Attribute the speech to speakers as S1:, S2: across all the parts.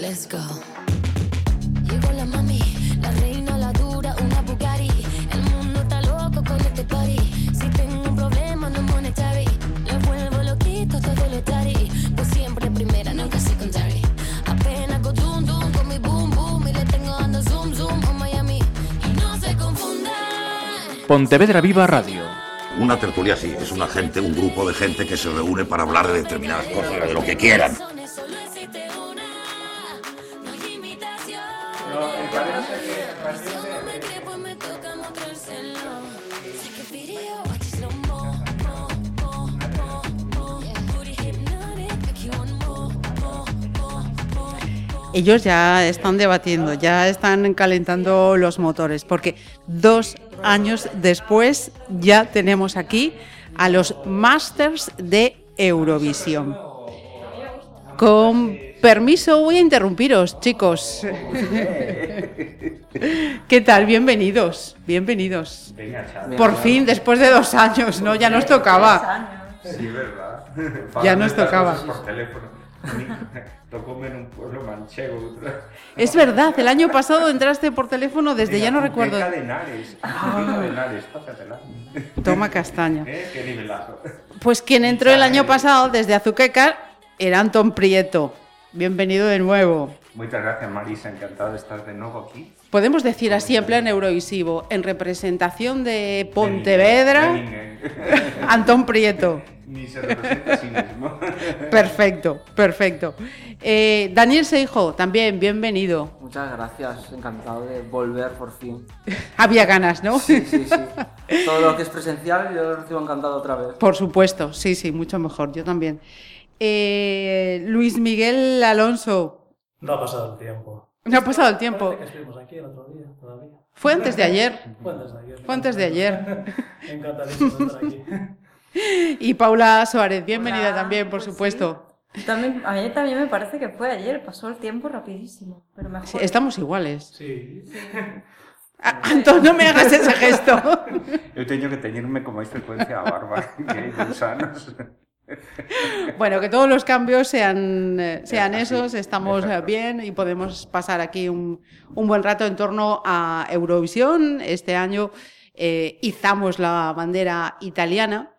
S1: let's go. Llegó la mami, la reina, la dura, una Bugatti. El mundo está loco con este party. Si tengo un problema, no monetary. Le vuelvo loquito todo lo tari. Pues siempre primera, nunca secondary. Apenas go zoom, zoom con mi boom, boom. Y le tengo dando zoom, zoom a Miami. Y no se confundan.
S2: Pontevedra Viva Radio.
S3: Una tertulia sí, es una gente, un grupo de gente que se reúne para hablar de determinadas cosas, de lo que quieran.
S1: Solo existe una, no hay imitación. Si no me cree, pues me toca mostrárselo. Sé que video, watch it slow mo, mo, mo, mo, mo. Booty hypnotic, make you want more, more, more, more.
S4: Ellos ya están debatiendo, ya están calentando los motores, porque dos años después ya tenemos aquí a los Masters de Eurovisión. Con permiso voy a interrumpiros, chicos. ¿Qué tal? Bienvenidos, bienvenidos. Por fin, después de dos años, ¿no? Ya nos tocaba.
S5: Sí, verdad.
S4: Ya nos tocaba.
S5: Por teléfono. Tocóme en un pueblo manchego.
S4: Es verdad, el año pasado entraste por teléfono desde ya no recuerdo. Ah.
S5: Qué cadenares. Qué cadenares, pásatela.
S4: Toma castaña.
S5: ¿Eh? Qué nivelazo.
S4: Pues quien entró el año pasado desde Azuqueca era Antón Prieto. Bienvenido de nuevo.
S5: Muchas gracias, Marisa. Encantado de estar de nuevo aquí.
S4: Podemos decir así en plan eurovisivo, en representación de Pontevedra,
S5: Lenin.
S4: Antón Prieto.
S5: Ni se representa a sí mismo.
S4: Perfecto, perfecto. Eh, Daniel Seijo, también, bienvenido.
S6: Muchas gracias, encantado de volver por fin.
S4: Había ganas, ¿no?
S6: Sí, sí, sí. Todo lo que es presencial yo lo recibo encantado otra vez.
S4: Por supuesto, sí, sí, mucho mejor, yo también. Eh, Luis Miguel Alonso,
S7: No ha pasado el tiempo.
S4: no ha pasado el tiempo.
S7: Parece que estuvimos aquí el otro día, todavía.
S4: Fue antes de ayer.
S7: Fue antes de ayer.
S4: Fue antes de ayer.
S7: Me encantadísimo de estar aquí.
S4: Y Paula Suárez, bienvenida
S8: Hola,
S4: también, por
S8: pues
S4: supuesto.
S8: sí. También, a mí también me parece que fue ayer, pasó el tiempo rapidísimo, pero mejor.
S4: Sí, Estamos iguales.
S7: Sí.
S4: Ah, Antón, no me hagas ese gesto.
S5: Yo tengo que teñirme con más frecuencia a barba que hay gusanos.
S4: Bueno, que todos los cambios sean, eh, sean
S5: Así,
S4: esos, estamos eh,
S5: exacto.
S4: bien y podemos pasar aquí un, un buen rato en torno a Eurovisión. Este año eh, izamos la bandera italiana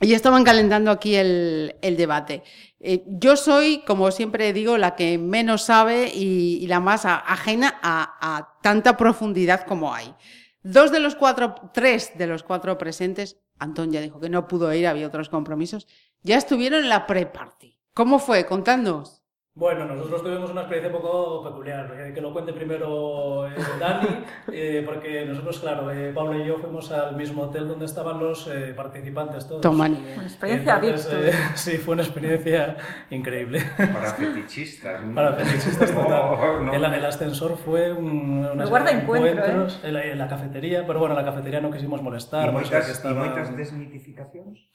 S4: y estaban calentando aquí el, el debate. Eh, yo soy, como siempre digo, la que menos sabe y, y la más a- ajena a, a tanta profundidad como hay. Dos de los cuatro, tres de los cuatro presentes, Antón ya dijo que no pudo ir, había otros compromisos, ya estuvieron en la pre-party. ¿Cómo fue? Contadnos.
S7: Bueno, nosotros tuvimos una experiencia un poco peculiar, eh, que lo cuente primero eh, Dani, eh, porque nosotros, claro, eh, Pablo y yo fuimos al mismo hotel donde estaban los eh, participantes todos.
S4: Toman.
S8: Una experiencia
S7: Entonces,
S8: virtual.
S7: eh, sí, fue una experiencia increíble.
S5: Para fetichistas. ¿no?
S7: Para fetichistas total.
S5: Oh, no.
S7: el, el ascensor fue un una
S8: Lugar de
S7: serie
S8: encuentro, ¿eh?
S7: encuentros en, la, en la cafetería, pero bueno, en la cafetería no quisimos molestar.
S5: ¿Y
S7: porque
S5: moitas,
S7: estaba-
S5: y moitas desmitificaciones?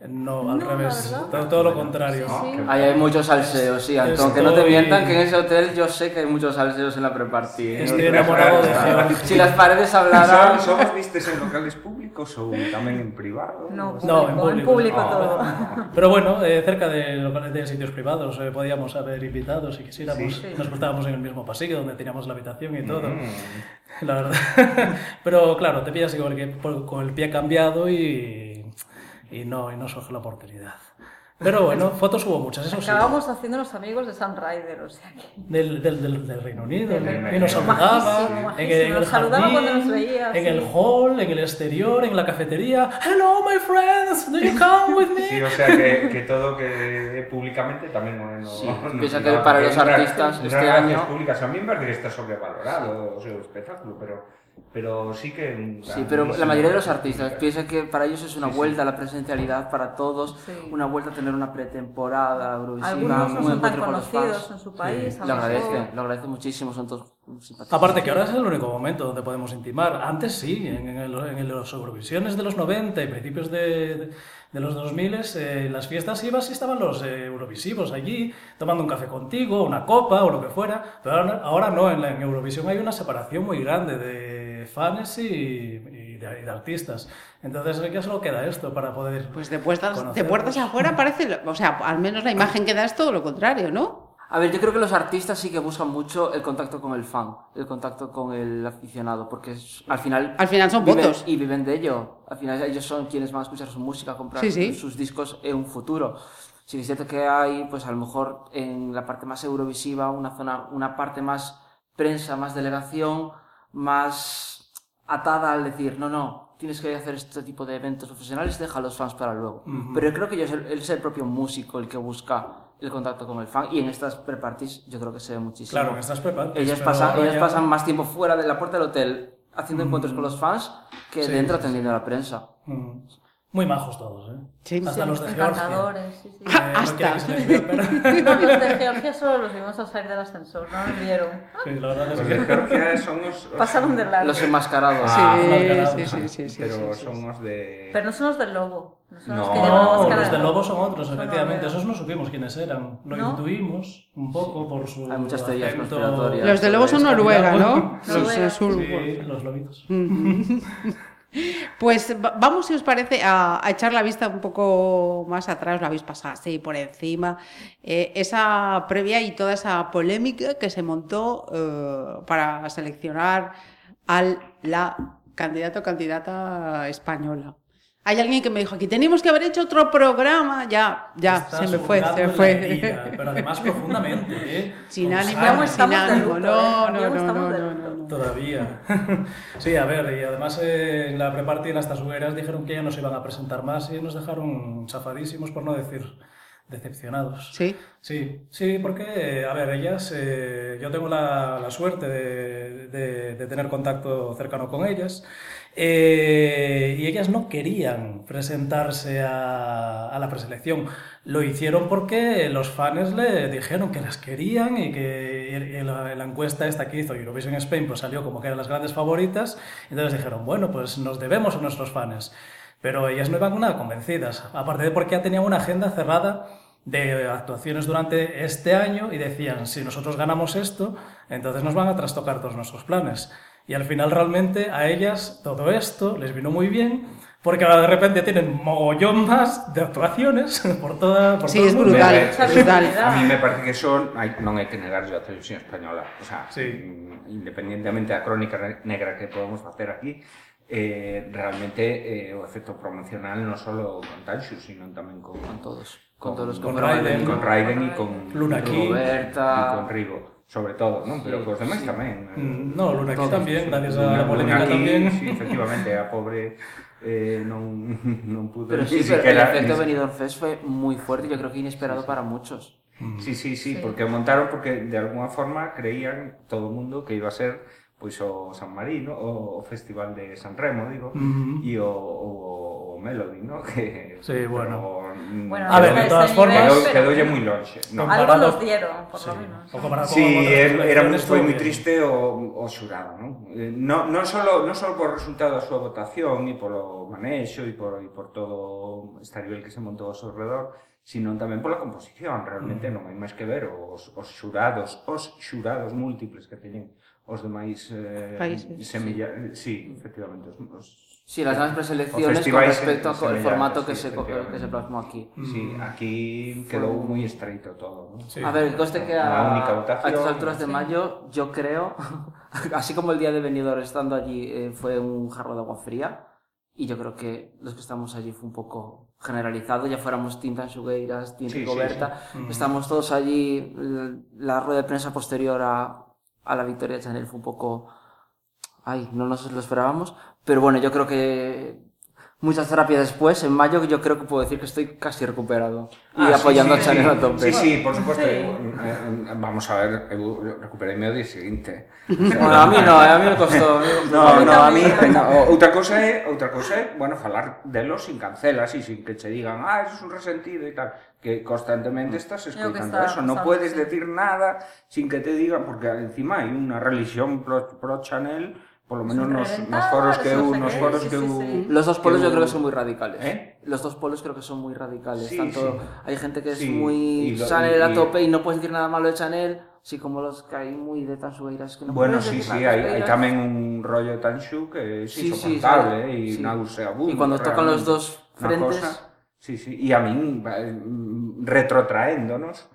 S7: No, al
S8: No,
S7: revés,
S8: la verdad.
S7: todo, todo lo contrario.
S5: Ah,
S8: Sí, sí.
S6: Ahí hay muchos salseos, sí, Antón, que no te
S7: Estoy-
S6: mientan que en ese hotel yo sé que hay muchos salseos en la prepartida.
S7: Estoy enamorado de George.
S6: Si las paredes
S5: Son,
S6: hablaran...
S5: somos vistes en locales públicos ou tamén en privado?
S8: No,
S7: No, en
S8: público, en
S7: público.
S8: público
S5: Ah.
S8: todo.
S7: Pero bueno, eh, cerca de, locales- de sitios privados eh, podíamos haber invitado si quisiéramos.
S8: Sí.
S7: Nos portábamos en el mismo pasillo donde teníamos la habitación y
S5: Mm.
S7: todo. La verdad. Pero claro, te pillas igual que por- con el pie cambiado y, y no, y no surge la oportunidad. Pero bueno, fotos hubo muchas, pues eso sí.
S8: Acabamos haciéndonos amigos de Sam Ryder, o sea que.
S7: Del, del, del, del Reino Unido,
S8: Del
S7: ¿no?
S5: Reino
S7: y nos
S5: Unido.
S7: saludaba,
S8: Majísimo,
S7: en
S8: majísimo.
S7: el, en
S8: Nos
S7: el
S8: saludaba
S7: jardín,
S8: cuando nos veía,
S7: en
S8: sí.
S7: el hall, en el exterior, en la cafetería. Hello, my friends, do you come with me?
S5: Sí, o sea que, que todo que é públicamente tamén non no,
S6: Sí,
S5: no
S6: pensa que para los artistas este año-
S5: públicas a mí me parece que está sobrevalorado o seu espectáculo, pero pero sí que é un gran-
S6: Sí, pero la mayoría de los artistas
S5: Sí,
S6: piensa que para ellos es una vuelta a la presencialidad, para todos,
S8: Sí.
S6: una vuelta a tener una pretemporada Eurovisiva,
S8: Algunos no
S6: un
S8: son tan
S6: encuentro con los
S8: conocidos
S6: fans.
S8: en su país.
S6: Lo
S8: a lo mejor.
S6: agradecen, lo agradecen muchísimo, son todos simpáticos.
S7: Aparte que ahora es el único momento donde podemos intimar. Antes sí, en, en el- en los Eurovisiones de los 90 y principios de, de- de los 2000, eh, en las fiestas ibas y estaban los eh, eurovisivos allí, tomando un café contigo, una copa o lo que fuera. Pero ahora, ahora no, en, la, en Eurovisión hay una separación muy grande de fans y, y de, y de artistas. Entonces, ¿qué solo queda esto para poder...?
S4: Pues de puertas, de
S7: conocerlos?
S4: puertas afuera parece, lo- o sea, al menos la imagen que da es todo lo contrario, ¿no?
S6: A ver, yo creo que los artistas sí que buscan mucho el contacto con el fan, el contacto con el aficionado, porque es- al final...
S4: Al final son
S6: viven-
S4: votos.
S6: Y viven de ello. Al final ellos son quienes van a escuchar su música, comprar
S4: Sí, sí.
S6: sus discos en un futuro. Si es cierto que hay, pues a lo mejor en la parte más eurovisiva, una zona, una parte más prensa, más delegación, más atada al decir, no, no, tienes que hacer este tipo de eventos profesionales, deja a los fans para luego.
S7: Ujú.
S6: Pero yo creo que yo es el, él es el propio músico el que busca el contacto con el fan y en estas pre-parties yo creo que se ve muchísimo.
S7: Claro, que estás preparado.
S6: ellas pasan, ellas pasan más tiempo fuera de la puerta del hotel haciendo encuentros con los fans que
S7: Sí,
S6: dentro
S7: sí, sí.
S6: atendiendo a la prensa.
S7: Mm. Muy majos todos, ¿eh?
S4: Sí,
S7: Hasta
S4: sí,
S7: los de Georgia.
S8: Encantadores, sí, sí.
S7: Eh, no
S4: Hasta.
S7: quiero que se les vea, pero-
S8: Los de Georgia solo los vimos al salir del ascensor, no los vieron.
S7: Sí, la verdad es
S5: Los
S7: que-
S5: de Georgia son os... os-
S8: Pasaron de largo.
S6: Los enmascarados.
S4: Sí,
S7: Ah, no,
S4: sí,
S7: claro.
S4: sí, sí, sí, sí,
S5: pero
S4: sí.
S5: son os de...
S8: Pero no son los del lobo. No son los
S5: No,
S8: que llevan la
S7: No,
S8: máscara
S7: los de
S8: de
S7: Lobo son otros,
S8: Son
S7: efectivamente.
S8: otros.
S7: Esos no supimos quiénes eran. Lo
S8: ¿No?
S7: intuimos un poco por su.
S6: Hay muchas teorías
S7: acento
S6: conspiratorias.
S4: Los de Lobo son Noruega, ¿no?
S7: escandinavo.
S4: Los, eh, sur-
S7: Sí, los lobitos.
S4: Pues va- vamos, si os parece, a, a echar la vista un poco más atrás, la habéis pasado así por encima, eh, esa previa y toda esa polémica que se montó eh, para seleccionar a la candidato o candidata española. Hay alguien que me dijo aquí, tenemos que haber hecho otro programa, ya, ya,
S7: Está
S4: se me fue,
S7: sufocando
S4: se me
S7: en la herida,
S4: fue.
S7: pero además profundamente, ¿eh?
S4: Sin
S7: Con
S4: ánimo,
S7: sangre.
S4: sin
S8: de
S4: ánimo,
S8: luto,
S4: no,
S8: ¿eh?
S4: no,
S8: Ya
S4: no,
S8: estamos
S4: no,
S8: de
S4: no,
S8: luto.
S4: no, no.
S7: Todavía. Sí, a ver, y además eh, en la preparty en las tasugueras dijeron que ya nos iban a presentar más y nos dejaron chafadísimos, por no decir decepcionados.
S4: Sí,
S7: Sí, sí, porque, eh, a ver, ellas, eh, yo tengo la, la suerte de, de- de tener contacto cercano con ellas, eh, y ellas no querían presentarse a, a la preselección. Lo hicieron porque los fans le dijeron que las querían y que en- en la, en la encuesta esta que hizo Eurovision Spain pues salió como que eran las grandes favoritas, entonces dijeron, bueno, pues nos debemos a nuestros fans. Pero ellas no iban nada convencidas, aparte de porque ya tenían una agenda cerrada de actuaciones durante este año y decían, si nosotros ganamos esto, entonces nos van a trastocar todos nuestros planes. Y al final realmente a ellas todo esto les vino muy bien, porque ahora de repente tienen mogollón más de actuaciones por toda... Por
S4: Sí,
S7: todo el
S4: es
S7: mundo.
S4: brutal,
S5: Bebé.
S4: es brutal.
S5: A mí me parece que eso hay, non hai que negar a televisión española. O sea,
S7: Sí.
S5: mm, independientemente da crónica re- negra que podemos facer aquí, eh, realmente eh, o efecto promocional non só con Tanxu, sino tamén con,
S6: Con todos. Con todos los
S5: con,
S7: Con
S5: Raiden,
S7: Raiden.
S5: con Raiden e con
S7: Luna
S5: con e
S7: King.
S6: Roberta.
S5: con Rigo, sobre todo, non? Pero
S6: Sí,
S5: cos demais
S6: sí.
S5: tamén. eh.
S7: Mm, No, Luna aquí
S6: Todos,
S7: también,
S6: sí.
S7: gracias a
S5: Luna-
S7: la polémica
S5: Luna King,
S7: también.
S5: Sí, efectivamente, a pobre eh, non, non pudo
S6: Pero
S5: ni
S6: sí, pero el
S5: siquiera- ni
S6: efecto
S5: si-
S6: Benidorm Fest fue muy fuerte, yo creo que inesperado para muchos.
S7: Mm.
S5: Sí, sí, sí,
S8: Sí.
S5: porque montaron porque de alguna forma creían todo el mundo que iba a ser pois o San Marino o, o Festival de San Remo, digo,
S7: Mm.
S5: e o, o, o Melody, ¿no? Que,
S7: Sí, bueno.
S5: pero, mm,
S8: Bueno,
S7: A ver, de
S8: ese
S7: todas
S8: nivel,
S7: formas-
S5: Quedou,
S8: pero-
S5: quedoulle moi lonxe. No.
S7: Ah,
S8: Algo
S7: Comparado-
S8: nos dieron, por lo
S7: Sí,
S8: menos.
S7: o comparado con
S5: Sí, er-
S7: otras
S5: era muy,
S7: elecciones,
S5: foi moi
S7: bien.
S5: triste o, o xurado, non? Eh, No, non solo, non solo por resultado da súa votación e polo manexo e por, e por todo este nivel que se montou ao seu redor, sino tamén pola composición, realmente non hai máis que ver os, os xurados, os xurados múltiples que teñen os demais eh,
S4: Países.
S5: semilla... Sí, efectivamente, os, os
S6: Sí, las grandes
S5: O
S6: preselecciones con
S5: festivais
S6: respecto
S5: en-
S6: al
S5: semejantes,
S6: formato que
S5: sí,
S6: se, co- que
S5: efectivamente.
S6: se plasmó aquí.
S5: Sí, aquí quedou moi estreito todo, non?
S7: Mm. Sí.
S6: A ver, coste que
S5: La única
S6: a, a
S5: votación.
S6: estas alturas de mayo, yo creo, así como el día de venidor estando allí eh, fue un jarro de agua fría, y yo creo que los que estamos allí fue un poco generalizado, ya fuéramos Tinta Sugueiras, Tinta
S5: Sí, sí,
S6: Rigoberta,
S7: sí. Mm.
S6: estamos todos allí, l- la rueda de prensa posterior a, a la victoria de Chanel fue un poco, ay, no nos lo esperábamos, pero bueno, yo creo que mucha terapia después, en mayo, yo creo que puedo decir que estoy casi recuperado, y
S5: Ah, sí,
S6: apoyando
S5: sí,
S6: a Chanel
S5: sí.
S6: a tope.
S5: Sí, sí, por supuesto.
S8: Sí.
S5: Eh, eh, Vamos a ver, eu recuperei meu día seguinte.
S6: Bueno, a mí no, eh, a mí me costó. a mí me costó.
S5: No, no, a mí, oh,
S8: tamén.
S5: no, outra cousa é, outra cousa é, bueno, falar delo sin cancelas e sin que che digan, ah, eso es un resentido e tal, que
S6: Mm.
S5: constantemente estás
S8: É o que
S5: escoitando
S8: está
S5: eso, non
S8: pasando,
S5: podes
S8: sí.
S5: decir nada sin que te digan, porque encima hai unha religión pro, pro Chanel, polo menos nos, nos foros que eu, nos foros que eu...
S6: Los dos polos
S5: que
S6: yo
S5: eu-
S6: creo que son muy radicales.
S5: ¿Eh?
S6: Los dos polos creo que son muy radicales.
S5: Sí,
S6: Tanto
S5: sí.
S6: hay gente que es
S5: Sí, y
S6: muy
S5: lo- y-
S6: Chanel a
S5: y-
S6: tope y no puedes decir nada malo de Chanel, así como los que hay muy de Tansueiras que no
S5: Bueno,
S6: puedes
S5: sí,
S6: decir
S5: sí,
S6: nada
S5: hai,
S6: de
S5: hai
S6: Tansueiras.
S5: tamén un rollo tan xu que é
S6: Sí, sí,
S5: insoportable ¿eh?
S6: sí.
S5: e
S6: Sí.
S5: nauseabundo.
S6: Y cuando tocan
S5: realmente.
S6: los dos
S5: Unha
S6: frentes-
S5: cosa- sí, sí, e a min va- mm, retrotraéndonos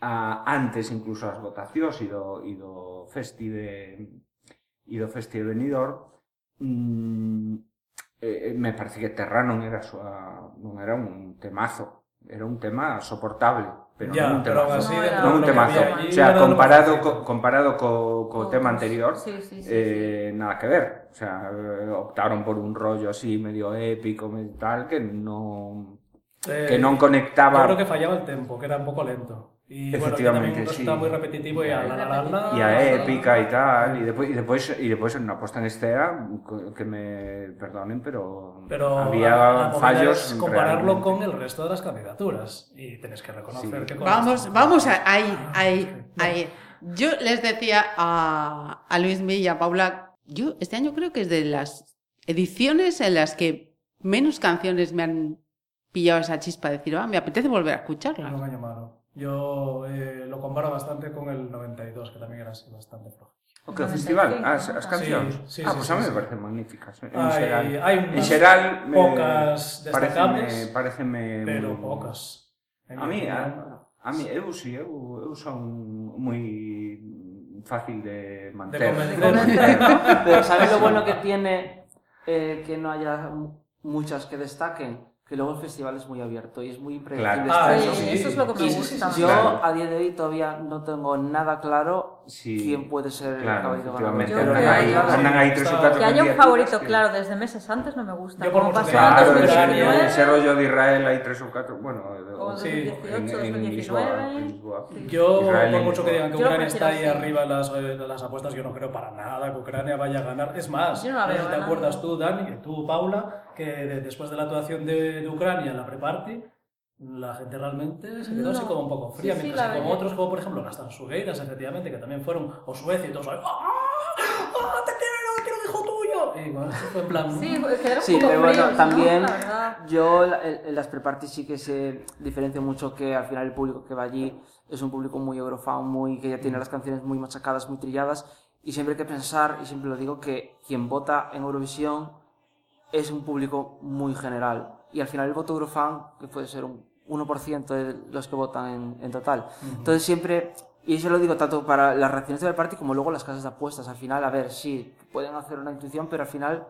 S5: a- antes incluso as votacións e do, e do festi de e do festi de Benidorm mm, eh, eh, me parece que Terra non era a súa, non era un temazo era un tema soportable pero
S7: ya,
S5: non un
S7: pero aún
S5: temazo
S7: así,
S8: No,
S7: dentro
S8: era-
S7: de
S5: non un
S7: lo que
S5: temazo
S7: había allí,
S5: o sea
S7: era lo
S5: comparado
S7: mejorcito.
S5: co, comparado co, co tema
S8: Otros.
S5: anterior
S8: Sí, sí, sí,
S5: eh, nada que ver. O sea, eh, optaron por un rollo así medio épico, medio tal, que no,
S7: Eh,
S5: que non
S7: Yo
S5: conectaba.
S7: creo que fallaba el tempo, que era un poco lento. Y bueno, que
S5: Efectivamente,
S7: también
S5: sí.
S7: está muy repetitivo y a la la la
S5: E
S7: la.
S5: a épica e tal, e depois, e depois, e depois en unha posta en escena co- que me perdonen, pero,
S7: Pero la- la
S5: había
S7: movida
S5: fallos
S7: es compararlo
S5: realmente.
S7: con el resto de las candidaturas. Y tenés que reconocer
S5: Sí.
S7: que con Ah,
S4: Vamos,
S7: las-
S4: vamos a, ahí, ahí, ahí. Yo les decía a, a Luis y a Paula, yo este año creo que es de las ediciones en las que menos canciones me han pillado esa chispa de decir, ah, me apetece volver a
S7: No
S4: escucharla.
S7: me llamaron. Yo eh, lo comparo bastante con el 92, que también era así bastante flojo.
S5: O que o festival, Ah,
S8: 95,
S5: as,
S8: ¿no?
S5: as cancións.
S7: Sí, sí,
S5: ah,
S7: sí,
S5: pois
S7: sí,
S5: a mí
S7: sí.
S5: me parecen magníficas. En
S7: Hay-
S5: xeral,
S7: hay
S5: en
S7: unas
S5: xeral me
S7: pocas destacables,
S5: pareceme, pareceme
S7: pero
S5: moi-
S7: pocas. En
S5: A mí,
S7: mi
S5: ah,
S7: opinión,
S5: a, a mí, eu si, eu, eu son moi fácil de
S7: de
S5: manter.
S7: convencer.
S6: Pero ¿sabes lo bueno que tiene eh, que no haya mu- muchas que destaquen? Que luego el festival es muy abierto y es muy impredecible.
S5: Claro.
S7: Ah,
S8: Sí,
S7: eso sí.
S8: eso es lo que me
S7: Sí, sí, sí,
S8: gusta.
S7: sí, sí.
S6: Yo
S5: Claro.
S6: a día de hoy todavía no tengo nada claro
S5: Sí.
S6: quién puede ser el
S5: Claro,
S6: caballo ganador.
S5: efectivamente.
S8: Yo creo
S5: Andan
S8: que
S5: aí,
S8: hay-
S5: andan aí tres ou
S7: Está-
S5: catro
S8: Que haya un
S5: candidaturas
S8: favorito,
S5: que-
S8: claro, desde meses antes no me gusta.
S7: Yo por
S8: como
S7: mucho
S8: pasó
S7: que-
S8: en
S5: Claro, ese,
S8: 2019,
S5: ese rollo de Israel hay tres ou catro, bueno,
S8: o
S7: Sí.
S8: 2018,
S5: en, en
S8: 2019.
S5: Lisboa, en Lisboa.
S8: Sí.
S7: Yo,
S5: Israel
S7: por
S5: y
S7: mucho
S5: Lisboa.
S7: que digan que
S8: Yo lo
S7: Ucrania está ahí
S8: prefiero así.
S7: arriba en las, eh, en las apuestas, yo no creo para nada que Ucrania vaya a ganar. Es más,
S8: Yo no la
S7: sé
S8: veo
S7: si te
S8: ganando.
S7: acuerdas tú, Dani, que tú, Paula, que de- después de la actuación de, de Ucrania en la pre-party, la gente realmente se quedó así
S8: No.
S7: como un poco fría,
S8: Sí, sí,
S7: mientras
S8: la
S7: que como
S8: verdad.
S7: otros, como por ejemplo las Tansugueiras, efectivamente, que también fueron, o Suecia y todos, ¡ah! ¡Ah! ¡Te quiero! ¡Quiero un hijo tuyo! Y bueno, eso fue en plan... "Mm,
S8: Sí, quedaron
S6: Sí,
S8: como
S6: pero bueno,
S8: fríos, ¿no?
S6: también
S8: La verdad.
S6: yo la- en en las prepartis sí que se diferencia mucho que al final el público que va allí es un público muy eurofound, muy que ya
S5: Mm.
S6: tiene las canciones muy machacadas, muy trilladas y siempre hay que pensar y siempre lo digo que quien vota en Eurovisión es un público muy general y al final el voto eurofan que puede ser un 1% de los que votan en, en total. Entonces siempre y eso lo digo tanto para las reacciones del party como luego las casas de apuestas. Al final, a ver, sí, pueden hacer una intuición, pero al final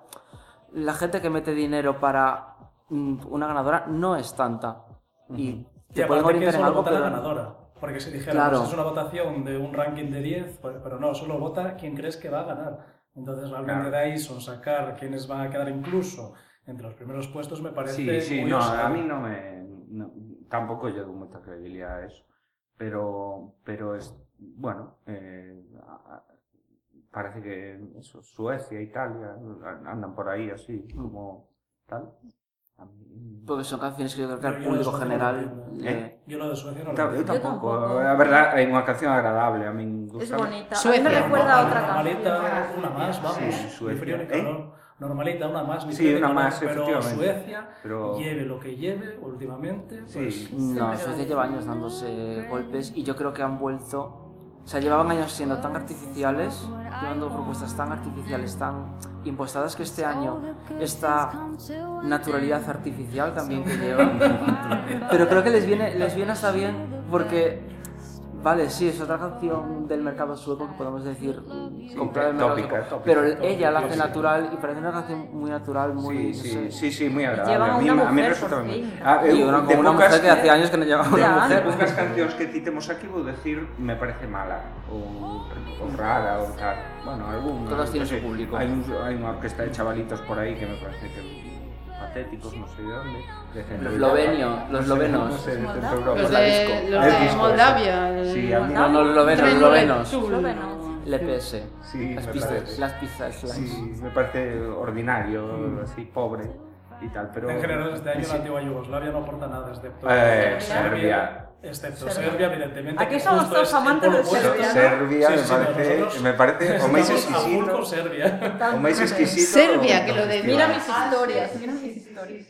S6: la gente que mete dinero para mm, una ganadora no es tanta. Y
S7: Y
S6: te pueden
S7: aparte que
S6: orientar en
S7: solo
S6: algo,
S7: vota la
S6: pero...
S7: ganadora. Porque si dijeran,
S6: Claro.
S7: pues es una votación de un ranking de 10, pues- pero no, solo vota quien crees que va a ganar. Entonces, realmente
S5: Claro.
S7: de ahí son sacar quienes van a quedar incluso entre los primeros puestos me parece
S5: Sí, sí,
S7: muy
S5: no,
S7: osado.
S5: a mí no me... no- tampoco yo doy mucha credibilidad a eso. Pero, pero es, bueno, eh, a- a- parece que eso, Suecia, Italia, an- andan por ahí así, como tal. A mí-
S6: Porque pues son canciones que yo creo que al
S7: Pero yo
S6: público
S7: eso no
S6: general...
S7: lo
S6: le-
S5: ¿Eh?
S7: Yo lo de Suecia no lo
S5: Ta- Eu
S7: entiendo.
S5: tampouco,
S8: tampouco.
S5: a verdad, é unha canción agradable, a min
S8: Es
S5: gusta.
S8: bonita. A mí
S4: Suecia,
S8: me recuerda a
S7: Normal-
S8: otra
S7: Normalita,
S8: canción.
S7: una más, vamos.
S5: Sí,
S7: ni
S5: Suecia.
S7: frío ni
S5: ¿Eh?
S7: calor. Normalita, una más, ni
S5: Sí,
S7: frío ni
S5: una
S7: calor,
S5: más,
S7: Pero
S5: efectivamente.
S7: Pero Suecia,
S5: Pero-
S7: lleve lo que lleve últimamente, pues...
S5: Sí,
S6: No, Suecia lleva años dándose golpes y yo creo que han vuelto... O sea, llevaban años siendo tan artificiales, llevando propuestas tan artificiales, tan impostadas, que este año esta naturalidad artificial también que llevan... Pero creo que les viene, les viene hasta bien porque... Vale, sí, es otra canción del mercado sueco que podemos decir comprar el mercado
S5: tópica,
S6: sueco,
S5: tópica,
S6: pero
S5: tópica,
S6: ella la hace
S5: sí.
S6: natural y parece una canción muy natural, muy...
S5: Sí,
S6: no
S5: sí,
S6: sé.
S5: sí, sí, moi agradable.
S8: Llevan
S5: a mí,
S8: a una
S5: a mí
S8: mujer,
S5: resulta
S8: por
S5: moi-
S8: fin.
S5: Ah, eu,
S6: Y una,
S5: de
S6: como una
S5: pocas-
S6: mujer que hace años que no llegaba una
S8: Ya.
S5: De
S6: mujer.
S5: poucas cancións que ti temos aquí vou decir me parece mala ou, ou rara ou tal. Bueno, algún
S6: Todas tienen su
S5: sí,
S6: público.
S5: Hai, un, hai unha orquesta de chavalitos por aí que me parece que patéticos, non sei de onde, de centro
S6: Los
S5: Europa.
S6: lovenio-
S5: Non
S6: los
S5: sei,
S6: lovenos.
S5: non sei, de centro Europa.
S4: Los
S6: la
S4: de,
S6: disco.
S4: los
S5: El
S4: de
S5: disco,
S4: Moldavia.
S5: eso.
S4: el-
S5: Sí, a mí
S6: No, no, los lovenos, los lovenos.
S8: Eslovenos.
S6: El EPS.
S5: Sí,
S6: Las
S5: me
S6: pistas,
S5: parece.
S6: las pistas. las-
S5: Sí, me parece ordinario,
S6: Mm.
S5: así, pobre y tal, pero...
S7: En general, este año la antigua Yugoslavia no aporta nada, excepto
S5: Eh,
S7: Serbia.
S5: Serbia.
S7: Excepto
S8: Serbia.
S7: Serbia, evidentemente.
S8: Aquí
S7: que
S8: somos
S7: justo
S8: todos
S7: es el
S8: amantes
S7: polo
S8: de
S7: opuesto.
S8: Serbia, ¿no?
S5: Serbia me
S7: Sí, sí,
S5: parece,
S7: nosotros
S5: me parece o máis
S7: estamos a full
S5: exquisito,
S7: con Serbia.
S5: o máis exquisito.
S4: Serbia, que
S5: do
S4: lo de
S5: festival.
S8: Mira mis historias, mira mis historias.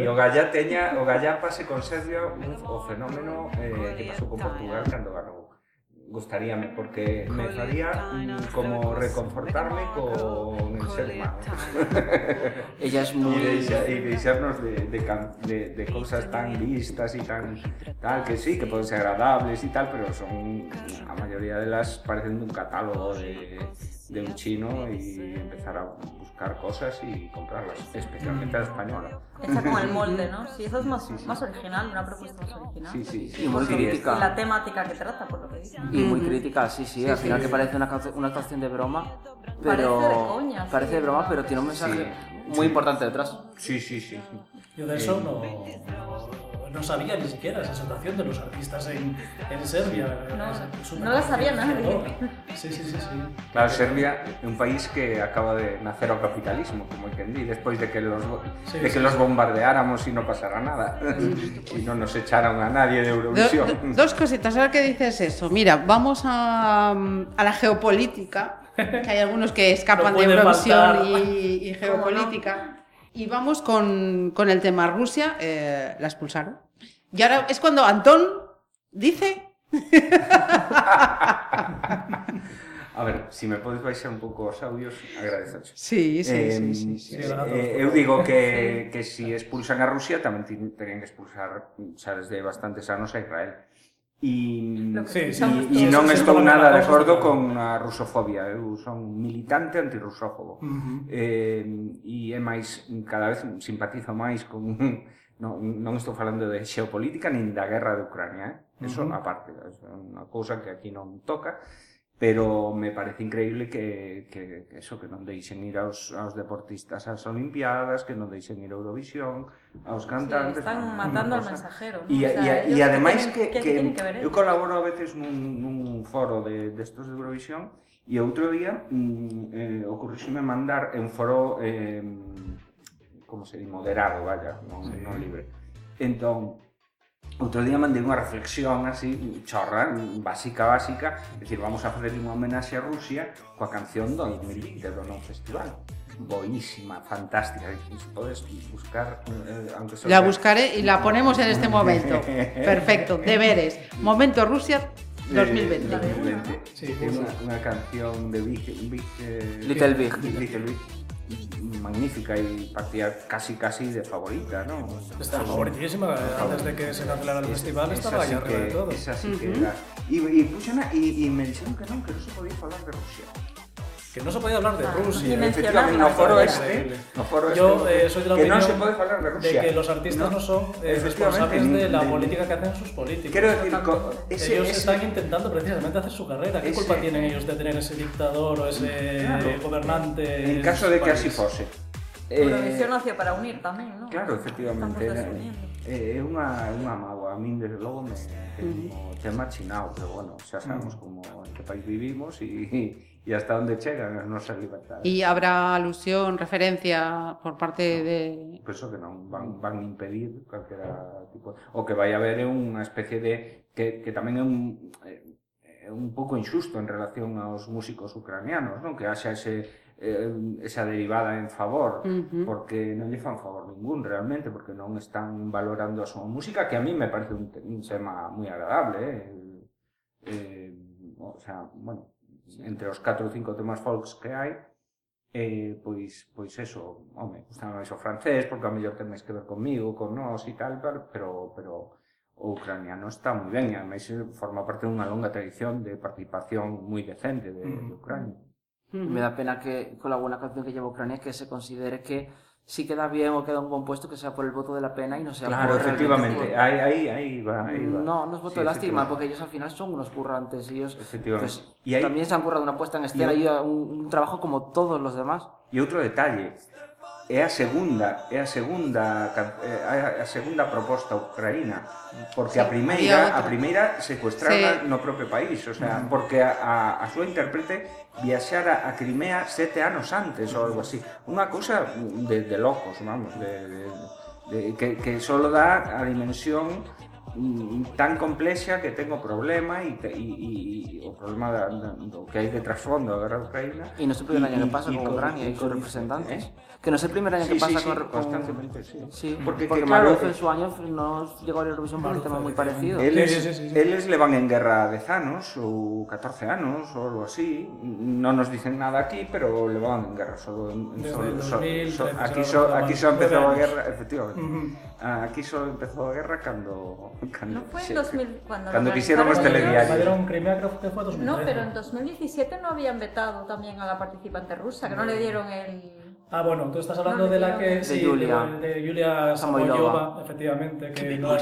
S5: E o Gallá teña, o Gallá pase con Serbia un, o fenómeno eh, que pasou con Portugal cando ganou. gustaríame porque me haría mm, como reconfortarme con el ser humano
S6: Ella es
S5: y
S6: muy...
S5: de, y de echarnos de, de can- de- de cosas tan listas y tan tal que sí que pueden ser agradables y tal pero son la mayoría de las parecen de un catálogo de, de un chino y empezar a buscar cosas y comprarlas especialmente la española
S8: Está como el molde, ¿no? Sí, eso es más, más original, una propuesta más original.
S5: sí sí, sí
S6: Y muy
S5: sí,
S6: crítica.
S8: La temática que trata, por lo que dice.
S6: Y muy crítica, sí, sí, al final que parece una, canción- una canción de broma, pero...
S8: Parece de coña, sí,
S6: parece de broma,
S8: ¿no?
S6: pero tiene un mensaje
S5: Sí.
S6: muy importante detrás.
S5: sí sí sí
S7: Yo de eso no, no sabía ni siquiera esa situación de los artistas en, en Serbia.
S8: No,
S7: Esa- es una
S8: no la sabía
S7: cosa
S8: nadie.
S7: loca. Sí, sí, sí. sí.
S5: Claro, Serbia es un país que acaba de nacer al capitalismo, como entendí, después de que los, bo-
S7: Sí,
S5: de
S7: sí.
S5: que los bombardeáramos y no pasara nada. y no nos echaron a nadie de
S4: Do-
S5: Eurovisión.
S4: do- dos cositas, ahora que dices eso. Mira, vamos a, mm, a la geopolítica, que hay algunos que escapan
S7: No
S4: de
S7: puede
S4: Eurovisión
S7: faltar.
S4: y, y
S8: ¿Cómo no?
S4: geopolítica. Y vamos con, con el tema Rusia, eh, la expulsaron. Y ahora es cuando Antón dice,
S5: A ver, si me podéis baixar un poco os audios, agradececho.
S4: sí, sí,
S5: Eh,
S8: Em,
S4: sí, sí, sí.
S5: eh,
S7: agradazos,
S5: eh, eu digo que, que si expulsan a Rusia tamén tin- terían que expulsar xa desde bastantes anos a Israel. E
S8: Lo que
S7: Sí, sí.
S8: escuchamos
S5: E
S7: Sí,
S5: non
S7: sí,
S5: estou
S7: sí,
S5: nada de
S7: sí, sí.
S5: acordo con a rusofobia, eu son militante antirrusófobo.
S7: Ujú.
S5: Eh, e é máis cada vez simpatizo máis con non, non estou falando de xeopolítica nin da guerra de Ucrania, eh? Eso uh
S7: Ujú.
S5: -huh. aparte, é unha cousa que aquí non toca, pero me parece increíble que, que, que eso, que non deixen ir aos, aos deportistas ás Olimpiadas, que non deixen ir a Eurovisión, aos
S8: Sí,
S5: cantantes...
S8: están
S5: unha
S8: matando al
S5: cosa.
S8: mensajero. ¿no?
S5: E,
S8: O sea,
S5: e, e
S8: ellos qué
S5: ademais
S8: tienen-
S5: que,
S8: qué
S5: que,
S8: tienen que ver eh?
S5: eu
S8: ellos?
S5: colaboro a veces nun, nun foro de, destos de Eurovisión e outro día mm, eh, ocurríseme mandar é un foro eh, como se di, moderado, vaya, non, sí. non libre. Entón, outro día mandei unha reflexión así, chorra, básica, básica, é dicir, vamos a facer unha homenaxe a Rusia coa canción do Inmilite do Non Festival. Boísima, fantástica, podes buscar... Eh, aunque só
S4: La
S5: sea-
S4: buscaré y la ponemos en este momento. Perfecto, deberes. Momento Rusia 2020.
S5: Eh, 2020.
S7: Sí,
S5: Una-
S7: justo.
S5: una, canción de Big, Big, eh,
S6: Little Big.
S5: Little Big. Magnífica y partía casi casi de favorita, ¿no?
S7: Está favoritísima. Antes de que se cancelara el festival
S5: Es
S7: estaba
S5: así
S7: ahí arriba de
S5: que-
S7: todo.
S5: es así que era. Y, y puse una- y, y me dijeron que no, que no se podía hablar de Rusia.
S7: Que no se podía hablar de
S8: Ah,
S7: Rusia.
S8: ni mencionarla.
S5: Efectivamente, no
S8: Mencionarla,
S5: foro
S7: me
S5: este.
S7: parece.
S5: no foro
S7: Yo
S5: este,
S7: eh, soy de la
S5: que
S7: opinión
S5: no se puede hablar de Rusia.
S7: que los artistas no, son eh,
S5: efectivamente,
S7: responsables
S5: ni-
S7: de la
S5: ni-
S7: política que hacen sus políticos.
S5: Quiero decir, co- ese-
S7: ellos
S5: ese-
S7: están intentando precisamente hacer su carrera. ¿Qué
S5: ese-
S7: culpa tienen ellos de tener ese dictador o ese
S5: Claro.
S7: gobernante?
S5: en caso
S7: su
S5: de que
S7: país?
S5: así fuese. Eh,
S8: Eurovisión nació para unir también, ¿no?
S5: Claro, efectivamente.
S8: Estamos
S5: era-
S8: desuniendo.
S5: eh, É unha, unha mágoa. A min, desde logo, me, me tema chinao, pero bueno, xa sabemos como en que país vivimos e, e hasta onde chegan as nosas libertades.
S4: Y habrá alusión, referencia por parte de...
S5: Penso que non van, van impedir calquera tipo... O que vai haber é unha especie de... Que, que tamén é un, é un pouco injusto en relación aos músicos ucranianos, non? Que haxa ese, eh, esa derivada en favor,
S4: Ujú.
S5: porque non lle fan favor ningún realmente, porque non están valorando a súa música, que a mí me parece un, te- un tema moi agradable, eh? Eh, o sea, bueno, entre os 4 ou 5 temas folks que hai, eh, pois, pois eso, home, gustame máis o francés, porque a mellor ten máis que ver comigo, con nós e tal, pero, pero, pero o ucraniano está moi ben, e ademais eh, forma parte dunha longa tradición de participación moi decente de, de Ucrania.
S8: Mm.
S6: Me da pena que con la buena canción que lleva Ucrania que se considere que sí queda bien o queda un buen puesto que sea por el voto de la pena y no sea
S5: Claro,
S6: por realmente
S5: efectivamente,
S6: por-
S5: aí, aí, aí va, aí va.
S6: No, no es voto
S5: Sí,
S6: de lástima,
S5: efectivamente.
S6: porque ellos al final son unos currantes. Ellos
S5: Efectivamente.
S6: pues,
S5: Y hay-
S6: también se han currado una puesta en escena
S5: hay-
S6: y un, un trabajo como todos los demás.
S5: E outro detalle, é a segunda, é a segunda, can- é a- a segunda proposta ucraína,
S4: Sí,
S5: porque a
S4: había
S5: primeira,
S4: outra.
S5: a primeira secuestrada
S4: Sí.
S5: no propio país, o sea, porque a, a, a súa intérprete viaxara a Crimea sete anos antes ou algo así. Unha cousa de, de locos, vamos, de, de, de, que, que solo dá a dimensión mm, tan complexa que tengo problema e y, y, o problema da, da, do que hai de trasfondo da guerra de Ucraína
S6: E non se o primeiro año que pasa
S5: e
S6: con Ucrania
S5: con- ¿eh?
S6: e con representantes. Que non é o primeiro año
S5: Sí,
S6: que
S5: sí,
S6: pasa
S5: sí,
S6: con... con-
S5: constantemente, sí.
S6: Sí,
S5: Porque,
S6: porque,
S5: que, claro,
S6: Maruf
S5: eh,
S6: en su año no llegó a la Eurovisión por un tema muy parecido.
S5: Él
S7: Sí,
S5: es,
S7: sí, sí, sí, sí.
S5: él es levan en guerra 10 anos ou 14 anos ou algo así. Non nos dicen nada aquí, pero levan en guerra solo en, en
S7: Desde
S5: solo,
S7: el
S5: so- so-
S7: 2013 se lo
S5: aquí só
S7: recordaban.
S5: aquí só empezou a
S7: Nueve
S5: guerra, efectivamente.
S7: Ujú.
S5: Ah, Aquí só empezou a guerra cando cando
S8: No fue
S5: se-
S8: en 2000 cuando,
S5: Cuando
S8: lo
S5: quisieron este los
S8: realizaron
S5: telediarios.
S8: ellos.
S7: Invadieron Crimea, creo que fue 2013.
S8: No, pero en 2017 no habían vetado también a la participante rusa, que no le dieron el...
S7: Ah, bueno, tú estás hablando
S8: No,
S7: de la que...
S8: de
S7: sí,
S6: Yulia.
S7: De, de Yulia
S6: Samoylova.
S7: Samoylova, efectivamente. Que no, la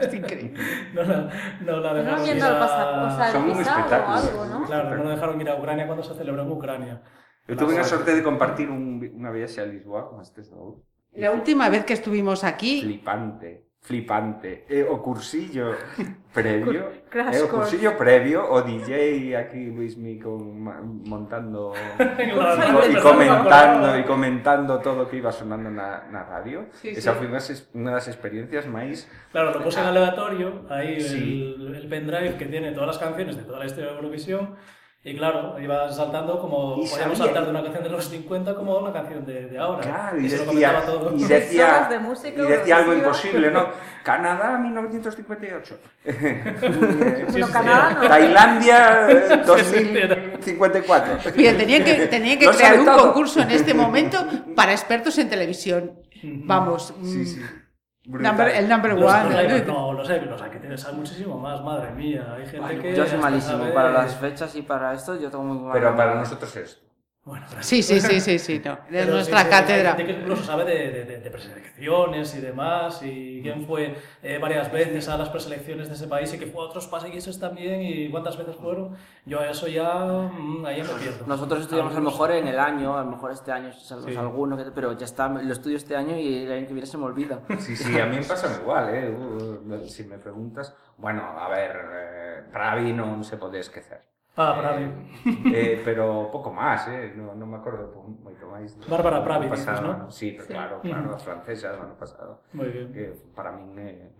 S4: Es increíble.
S7: no, la- no la
S8: Pues No
S7: dejaron ir
S8: viendo al pasado, o sea,
S5: Son
S8: el
S5: un
S8: visado o
S5: espectáculo.
S8: algo, ¿no?
S7: Claro, no la dejaron ir a Ucrania cuando se celebró en Ucrania.
S5: Eu tuve a sorte de compartir un, unha viaxe a Lisboa con estes dous.
S4: La última vez que estuvimos aquí,
S5: Flipante, flipante. E Eh, o cursillo previo,
S8: Crash
S5: e o
S8: course.
S5: cursillo previo, o DJ aquí Luismi con, ma- montando
S7: Claro,
S5: y
S7: pero
S5: comentando e comentando todo o que iba sonando na, na radio.
S4: Sí,
S5: Esa
S4: sí.
S5: foi unha, ses- unha das experiencias máis
S7: Claro, lo puse en aleatorio, ahí
S5: Sí.
S7: el, el pendrive que tiene todas las canciones de toda la historia de Eurovisión. Y claro, iba saltando como.
S5: Y
S7: Podíamos
S5: sabía-
S7: saltar de una canción de los 50 como a una canción de, de ahora.
S5: Claro,
S7: y
S5: y
S7: se lo
S5: decía,
S7: comentaba todo.
S5: y
S8: Seis
S5: decía,
S8: horas de música
S5: y decía algo
S8: progresiva.
S5: imposible, ¿no? Canadá 1958.
S8: Bueno, Canadá no.
S5: Tailandia eh,
S7: entera.
S5: 2054.
S4: mira, tenía que, tenía que
S5: Lo
S4: crear
S5: sabe
S4: un
S5: todo.
S4: concurso en este momento para expertos en televisión. Vamos,
S5: Sí, sí.
S4: mm,
S5: Brutal.
S4: number- el number
S7: Los
S4: one.
S7: problemas, no, los sé, los hay que tener sabe muchísimo más, madre mía. Hay gente que.
S6: Yo soy
S7: hasta
S6: malísimo
S7: sabe-
S6: para las fechas y para esto, yo tengo muy mala
S5: Pero
S6: memoria.
S5: para nosotros es
S7: Bueno, pero-
S4: Sí, sí, sí, sí, sí, no. Es
S7: Pero
S4: nuestra
S7: sí, sí,
S4: cátedra.
S7: Hay gente que incluso sabe de, de- de- de preselecciones y demás, y quién fue eh, varias veces a las preselecciones de ese país y que fue a otros países también, y cuántas veces fueron. Yo a eso ya, mm, ahí ya me pierdo.
S6: Nosotros estudiamos a lo mejor en el año, a lo mejor este año salvamos
S7: Sí.
S6: alguno, que- pero ya está, lo estudio este año y el año que viene se me olvida.
S5: Sí, sí, a mí me pasa igual, ¿eh? Uh, Si me preguntas, bueno, a ver, eh, Pravi non se pode esquecer.
S7: Ah, Pravi.
S5: Eh, pero pouco máis, eh? No, non me acordo po- moito máis. do-
S7: Bárbara
S5: do
S7: Pravi,
S5: pasado,
S7: dices, non?
S5: Sí, pero claro, claro, a francesa do ano pasado.
S7: Muy bien.
S5: Que para min eh,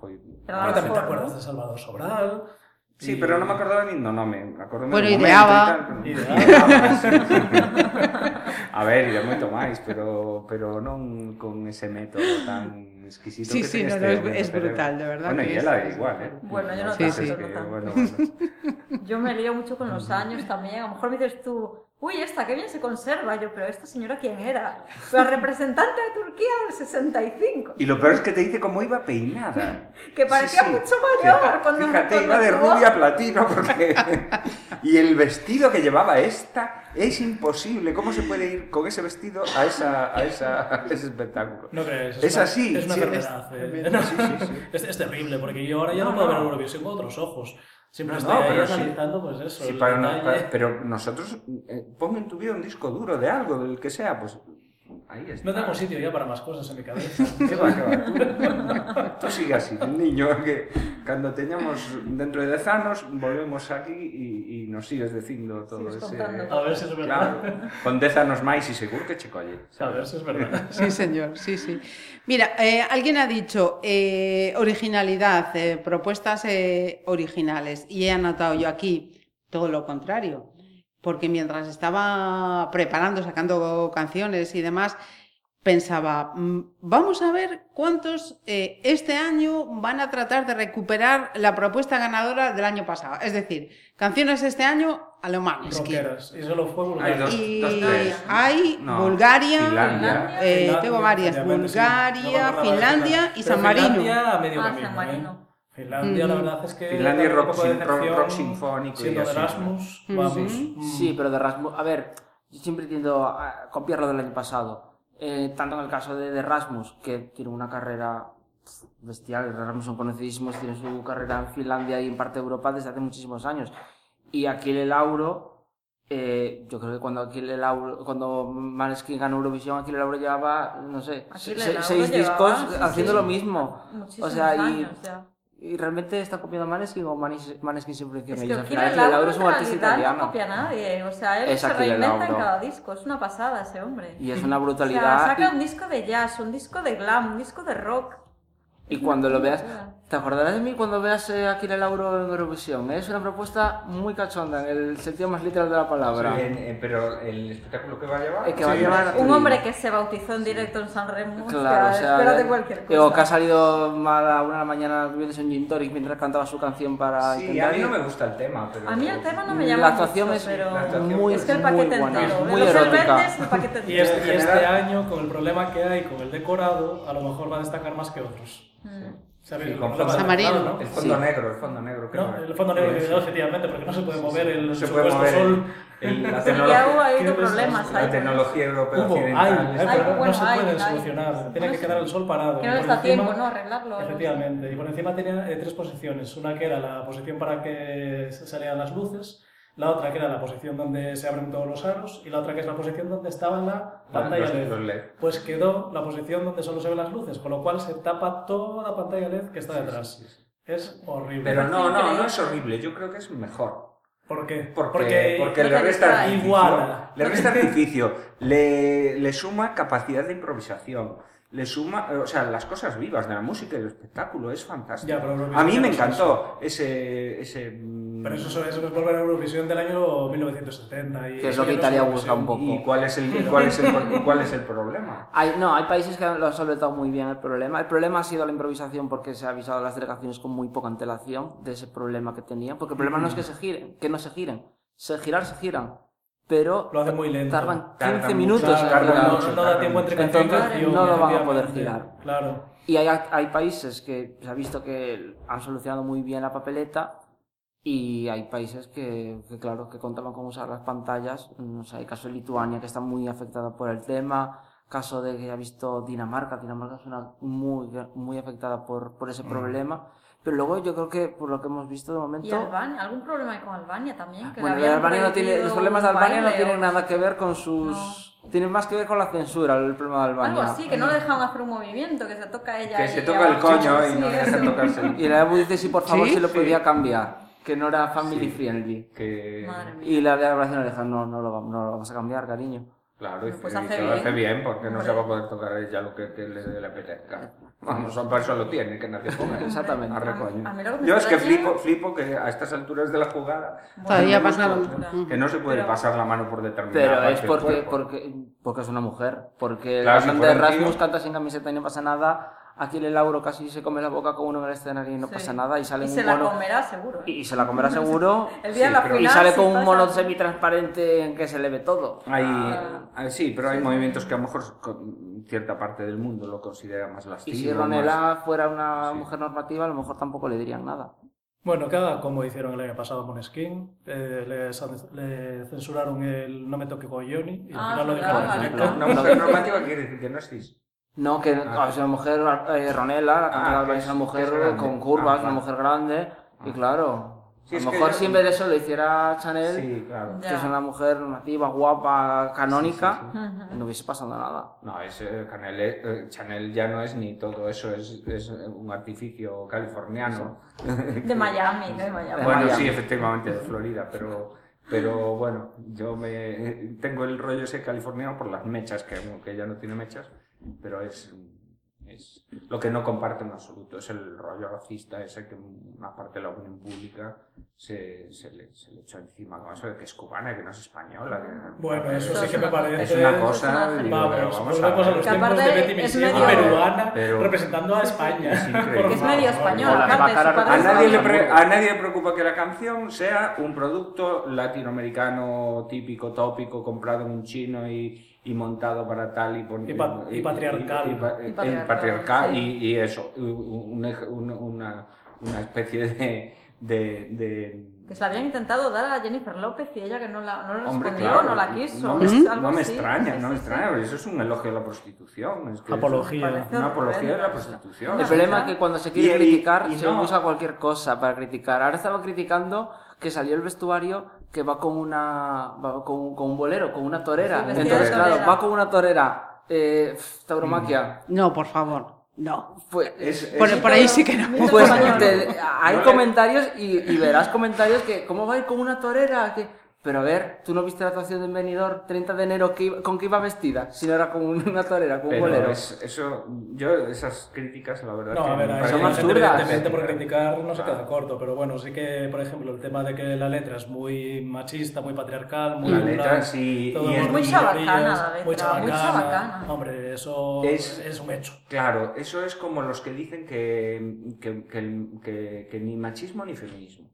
S5: foi...
S8: Pero
S7: Ahora
S8: ahora
S7: también te
S8: mejor,
S7: acuerdas de Salvador Sobral.
S5: Sí,
S7: y-
S5: pero non me acordaba nin do nome. Me acordome
S4: Bueno,
S5: do
S4: e de
S5: momento e
S4: Ava.
S5: tal, pero-
S7: Y de-
S5: A ver, e de moito máis, pero, pero non con ese método tan exquisito
S4: Sí,
S5: que
S4: sí,
S5: ten
S4: no,
S5: este
S4: no, es-
S5: hombre no
S4: es
S5: cerebro.
S4: brutal, de verdad
S5: Bueno,
S4: que
S5: y
S4: es-
S5: ela igual, eh.
S8: Bueno, yo no
S5: Sí,
S4: tanto,
S5: sí,
S4: yo
S8: no
S5: que,
S8: tanto.
S5: bueno, bueno.
S8: Yo me lío mucho con los años también. A lo mejor me dices tú, uy, esta, qué bien se conserva. Yo, pero esta señora, ¿quién era? La representante de Turquía del 65,
S5: Y lo peor es que te dice cómo iba peinada.
S8: que parecía
S5: Sí, sí.
S8: mucho mayor.
S5: Fija-
S8: cuando
S5: Fíjate,
S8: cuando
S5: iba de
S8: actuó.
S5: rubia a platino porque... y el vestido que llevaba esta es imposible. ¿Cómo se puede ir con ese vestido a, esa, a, esa, a ese espectáculo?
S7: No crees.
S5: Es
S7: una-
S5: así,
S7: Es una
S5: sí,
S7: enfermedad. eh. No, Es, es terrible, porque yo ahora ya no,
S5: No,
S7: puedo
S5: no.
S7: ver Eurovisión con otros ojos. Siempre
S5: No,
S7: estoy
S5: no,
S7: ahí
S5: pero sí.
S7: analizando, pues eso.
S5: Sí,
S7: el
S5: para no-
S7: detalle.
S5: para- pero nosotros, eh, pon en tu vida un disco duro de algo, del que sea, pues ahí está.
S7: No tengo sitio ya para más cosas en mi cabeza.
S5: Que va, que va. Tú, tú sigue así, niño, que cando teñamos dentro de 10 anos volvemos aquí e, e nos sigues dicindo todo
S8: Sigues
S5: ese...
S8: contando.
S7: A ver si es verdad.
S5: Claro, con 10 anos máis e seguro que che colle.
S7: A ver si es verdad.
S4: Sí, señor, sí, sí. Mira, eh, alguien ha dicho eh, originalidad, eh, propuestas eh, originales, y he anotado yo aquí todo lo contrario, porque mientras estaba preparando, sacando canciones y demás, pensaba, mm, vamos a ver cuántos eh, este año van a tratar de recuperar la propuesta ganadora del año pasado. Es decir, canciones este año a lo más.
S7: Rockeras. Y solo fue vulgar.
S5: Hay dos.
S4: Y
S5: tres.
S4: hay
S5: No,
S4: Bulgaria,
S5: Finlandia.
S4: eh,
S7: Finlandia,
S4: tengo varias,
S7: efectivamente, sí. No me
S4: Bulgaria,
S7: acordaba de
S4: Finlandia y
S7: Pero
S4: San Marino.
S7: Finlandia a medio
S8: Ah,
S7: camino.
S8: San
S7: ¿eh?
S8: Marino.
S7: Finlandia, la
S4: Mm.
S7: verdad es que.
S5: Finlandia
S7: da un
S5: rock
S7: poco de
S5: sin- rock-
S7: decepción,
S5: rock sinfónico y
S7: Siendo de
S5: así,
S7: Erasmus,
S4: ¿no?
S7: vamos.
S4: Ujú.
S7: mm,
S6: Sí, pero de Rasmus. A ver, yo siempre tiendo a copiar lo del año pasado. Eh, tanto en el caso de, de Rasmus, que tiene una carrera bestial, Rasmus son conocidísimos, tiene su carrera en Finlandia y en parte de Europa desde hace muchísimos años. Y Aquile Lauro, eh, yo creo que cuando Aquile Lauro, cuando Maneskin ganó Eurovisión, Aquile Lauro llevaba, no sé,
S8: Achille
S6: se-
S8: Lauro
S6: seis
S8: llevaba,
S6: discos
S8: sí,
S6: haciendo
S8: sí.
S6: lo mismo.
S8: Muchísimos
S6: o sea, y
S8: años ya.
S6: ¿Y realmente está copiando Maneskin o Manis- Maneskin se influenció
S8: Es
S6: en
S8: que
S6: ellos? Al
S8: Kira
S6: final,
S8: Lauro,
S6: Lauro, es un
S8: en
S6: artista
S8: realidad,
S6: italiano.
S8: No copia a nadie, o sea, él
S6: Es
S8: se
S6: Kira
S8: reinventa en
S6: Lauro.
S8: cada disco, es una pasada ese hombre.
S6: Y es una
S8: O sea,
S6: brutalidad.
S8: saca
S6: y-
S8: un disco de jazz, un disco de glam, un disco de rock.
S6: y, cuando lo veas, Te acordarás de mí cuando veas eh, aquí el Lauro en Eurovisión. ¿eh? Es una propuesta muy cachonda, en el sentido más literal de la palabra.
S5: Sí, en- en- pero el espectáculo que va a llevar.
S6: El que va a
S5: Sí,
S6: llevar-
S5: sí.
S8: Un hombre que se bautizó en directo en San Remo.
S6: Claro, o sea,
S8: espérate
S6: eh,
S8: cualquier cosa.
S6: digo, que ha salido mal a la una de la mañana bebiéndose un gin tonic mientras cantaba su canción para
S5: Sí, a
S6: intentar
S5: mí
S6: ir.
S5: no me gusta el tema. Pero
S8: A mí el tema no me
S6: La
S8: llama
S6: actuación
S8: mucho,
S6: es
S8: pero
S5: la actuación
S6: muy-
S8: es que el
S6: muy
S8: paquete
S6: buena,
S8: entero, ¿eh?
S6: muy
S8: los
S6: erótica.
S8: solventes, el paquete
S7: Y
S8: entero.
S7: este, y este
S5: general-
S7: año, con el problema que hay con el decorado, a lo mejor va a destacar más que otros. ¿Sabéis?
S5: Sí,
S7: El
S5: con
S7: problema del
S4: amarillo.
S7: decorado, ¿no?
S5: El fondo
S6: Sí.
S5: negro, el fondo negro. que
S7: No,
S5: va.
S7: el fondo negro que
S5: Sí, sí.
S7: efectivamente, porque no se puede mover el
S5: No se puede
S7: supuesto
S5: mover
S7: sol.
S5: el- el- la
S8: Sí, ya hubo
S5: tecnología.
S8: Mm. ahí
S7: ¿Qué
S8: otros
S7: ves?
S8: problemas.
S5: La
S8: ahí.
S5: tecnología europea
S7: Hubo, hay,
S5: occidental.
S7: hay, pero
S8: bueno,
S7: no se
S8: hay,
S7: puede
S8: hay.
S7: solucionar. Tenía que quedar el sol parado.
S8: Que no
S7: Y
S8: les
S7: por
S8: da
S7: encima-
S8: tiempo, ¿no? Arreglarlo. algo así.
S7: Efectivamente, y por encima tenía eh, tres posiciones. Una que era la posición para que se salieran las luces, la otra que era la posición donde se abren todos los aros y la otra que es la posición donde estaba la pantalla
S5: Los-
S7: LED.
S5: los LED.
S7: Pues quedó la posición donde solo se ven las luces, con lo cual se tapa toda la pantalla LED que está detrás. Es horrible.
S5: Pero no, no, no es horrible. Yo creo que es mejor.
S7: ¿Por qué?
S5: Porque, porque
S8: porque
S5: le resta
S8: distrae.
S5: artificio,
S7: Iguala.
S5: le resta artificio, le, le suma capacidad de improvisación, le suma, o sea, las cosas vivas de la música y del espectáculo, es fantástico.
S7: Ya, pero lo que
S5: a mí me
S7: decíamos
S5: encantó ese... ese mm,
S7: Pero eso, eso es volver a Eurovisión del año 1970. Y
S6: Que es lo que
S7: y no
S6: Italia
S7: sé,
S6: busca un poco.
S5: ¿Y cuál es el, y cuál es el, y cuál es el problema?
S6: Hay- no, hay países que han- lo han solventado muy bien el problema. El problema ha sido la improvisación porque se ha avisado a las delegaciones con muy poca antelación de ese problema que tenían. Porque el problema no es que se giren, que no se giren. Se girar, se giran. Pero
S7: Lo hacen muy lento.
S6: tardan 15
S5: Tardan mucho,
S6: minutos en
S5: tardan
S6: girar.
S7: Claro,
S5: mucho.
S7: no, no da tiempo entre canción y
S6: Entonces,
S7: canción,
S6: no lo van a
S7: efectivamente.
S6: poder girar.
S7: Claro.
S6: Y hay, hay países que se ha visto que han solucionado muy bien la papeleta y hay países que, que, claro, que contaban con usar las pantallas. Mm, O sea, hay caso de Lituania que está muy afectada por el tema, caso de que ha visto Dinamarca. Dinamarca es una muy, muy afectada por, por ese problema. Pero luego yo creo que por lo que hemos visto de
S8: Y
S6: momento...
S8: Albania, algún problema con Albania también. Que
S6: Bueno,
S8: le
S6: lo de
S8: habían
S6: Albania no tiene,
S8: prohibido
S6: los problemas de
S8: un
S6: Albania no
S8: baile o-
S6: tienen nada que ver con sus... Tienen más que ver con la censura, el problema de Albania.
S8: Algo así, que no le dejan hacer un movimiento, que se toca ella.
S5: Que
S8: y
S5: se
S8: ella
S5: toca el
S8: va-
S5: coño y
S8: Sí,
S5: no deja
S8: eso.
S5: tocarse
S6: Y
S5: el...
S6: la Ebu dice si por favor
S4: ¿Sí?
S6: se lo podía cambiar, que no era family friendly.
S5: Que,
S8: Madre mía.
S6: Y la de Abración Oreja, no, no lo, vamos- no lo vamos a cambiar, cariño.
S5: claro, y
S8: Pues
S5: que-
S8: hace
S5: que lo
S8: bien.
S5: hace bien porque no se va a poder tocar ella lo que, que le, le apetezca. Vamos, son personas lo tienen, que nadie ponga eso.
S6: Exactamente.
S5: Arre,
S8: A mí-
S5: coño.
S8: a mí lo que me
S5: Yo es que
S8: extraña-
S5: flipo, flipo que a estas alturas de la jugada
S4: Todavía
S5: tenemos
S4: pasa
S5: que-
S8: algo.
S5: que no se puede
S8: Pero-
S5: pasar la mano por determinada
S6: Pero
S5: parte
S6: es
S5: del
S6: porque,
S5: cuerpo.
S6: porque, porque es una mujer. Porque
S5: Claro,
S6: la
S5: si
S6: cantante
S5: fuera
S6: de
S5: un
S6: Rasmus
S5: tío.
S6: canta sin camiseta y no pasa nada. Aquí el Lauro casi se come la boca con uno en el escenario y no
S8: Sí.
S6: pasa nada. Y sale
S8: Y
S6: un
S8: se la
S6: mono-
S8: comerá seguro. ¿eh?
S6: Y se la comerá seguro.
S8: El día de
S5: Sí,
S8: la
S5: pero-
S8: final.
S6: y sale
S8: si
S6: con un
S8: pasa-
S6: mono semitransparente en que se le ve todo.
S5: Hay,
S8: Ah.
S5: ah, sí, pero hay movimientos que a lo mejor con cierta parte del mundo lo considera más
S6: Y
S5: lastivo.
S6: si
S5: más-
S6: Ronela fuera una
S5: Sí.
S6: mujer normativa, a lo mejor tampoco le dirían nada.
S7: Bueno, que haga como hicieron el año pasado con Skin, Eh, les, le censuraron el No me toque con Johnny y al
S8: Ah,
S7: final lo
S8: claro,
S7: dejaron
S8: vale.
S7: en
S5: Una mujer normativa quiere decir que no es cis.
S6: No, que
S5: Ah.
S6: o sea, una mujer, eh, Ronela, la cantante
S5: Ah,
S6: albanesa,
S5: que es-
S6: una mujer
S5: que es grande.
S6: con curvas,
S5: Ah,
S6: una
S5: vale. Ah.
S6: mujer grande, y claro,
S5: Sí,
S6: a
S5: es
S6: lo
S5: que
S6: mejor
S5: yo-
S6: si en vez de eso lo hiciera Chanel,
S5: Sí, claro.
S6: que es
S8: Ya.
S6: una mujer nativa, guapa, canónica,
S5: Sí,
S8: Ujú.
S6: no hubiese pasado nada.
S5: No, es, eh, Chanel, eh, Chanel ya no es ni todo eso, es, es un artificio californiano.
S8: De Miami, de Miami.
S5: Bueno,
S6: Miami.
S5: sí, efectivamente, de Florida, pero, pero bueno, yo me tengo el rollo ese californiano por las mechas, que, que ya no tiene mechas, pero es, es lo que no comparto en absoluto, es el rollo racista ese que una parte de la opinión pública se, se, le, se le echó encima, con eso de que es cubana, que no es española. que-
S7: Bueno, eso sí
S8: es
S7: que me
S8: una-
S5: es
S7: parece...
S5: una
S8: es
S5: cosa,
S8: una-
S5: digo,
S7: Vamos,
S5: pero
S7: volvemos
S5: vamos ver.
S7: a, los
S8: Que
S7: tiempos de
S8: aparte
S7: Betty
S8: es
S7: Mississippi,
S5: medio-
S7: peruana,
S5: Pero-
S7: representando a España.
S5: Es increíble.
S7: Por
S5: Que es
S7: favor.
S8: medio española,
S6: Con las
S8: aparte,
S6: vacas
S8: su padre
S5: A
S8: es
S5: nadie, le
S6: español.
S5: pre- a nadie le preocupa que la canción sea un producto latinoamericano típico, tópico, comprado en un chino y, y montado para tal y pon-
S7: Y pa- y patriarcal.
S5: Y, pa-
S8: Y
S5: y
S8: patriarcal,
S5: patriarcal
S8: sí.
S5: y- y eso, un- un- una, una especie de... de- de-
S8: Que se la habían intentado dar a Jennifer López y ella que no la no le
S5: Hombre,
S8: respondió,
S5: claro,
S8: no la quiso.
S5: No me,
S8: es algo
S5: no me
S8: así.
S5: extraña,
S8: Sí,
S5: no me
S8: sí, sí.
S5: extraña, pero eso es un elogio a la prostitución. es que es
S7: Apología.
S5: Una apología de la
S8: No,
S5: prostitución.
S6: El
S8: sí,
S6: problema es
S8: claro.
S6: que cuando se
S5: Y-
S6: quiere
S5: y-
S6: criticar,
S5: y
S6: se
S5: no-
S6: usa cualquier cosa para criticar. Ahora estaba criticando que salió el vestuario que va con una va con, un- con un bolero, con una torera.
S8: Sí, vestida de
S6: Entonces, claro,
S8: torera.
S6: va con una torera. Eh, pf,
S5: Mm.
S6: tauromaquia.
S4: No, por favor, no.
S6: Fue-
S5: Es-
S7: Eh,
S5: es-
S4: Por, por ahí sí que no.
S8: Mira,
S6: Pues
S8: español.
S6: te- hay
S5: No le-
S6: comentarios y, y verás comentarios que, ¿cómo va a ir con una torera? Que, Pero a ver, ¿tú no viste la actuación de Benidorm 30 de enero que iba- con qué iba vestida? Si no era con una torera, con un bolero.
S5: Pero es- eso, yo esas críticas, la verdad
S7: No,
S5: que
S7: a ver,
S5: me
S7: hay
S5: parecen
S6: son
S7: gente,
S6: absurdas.
S7: evidentemente por criticar no se
S5: Claro.
S7: queda corto, pero bueno, sí que, por ejemplo, el tema de que la letra es muy machista, muy patriarcal, muy...
S5: La
S7: en plan,
S5: letra sí,
S7: todo
S5: y
S7: el
S5: es
S7: mundo
S5: muy
S7: en
S8: chabacana
S7: brillas,
S8: la letra,
S7: muy
S8: muy
S7: chabacana.
S8: chabacana.
S7: Hombre, eso es,
S5: Es-
S7: un hecho.
S5: Claro, eso es como los que dicen que, que, que- que- que ni machismo ni feminismo.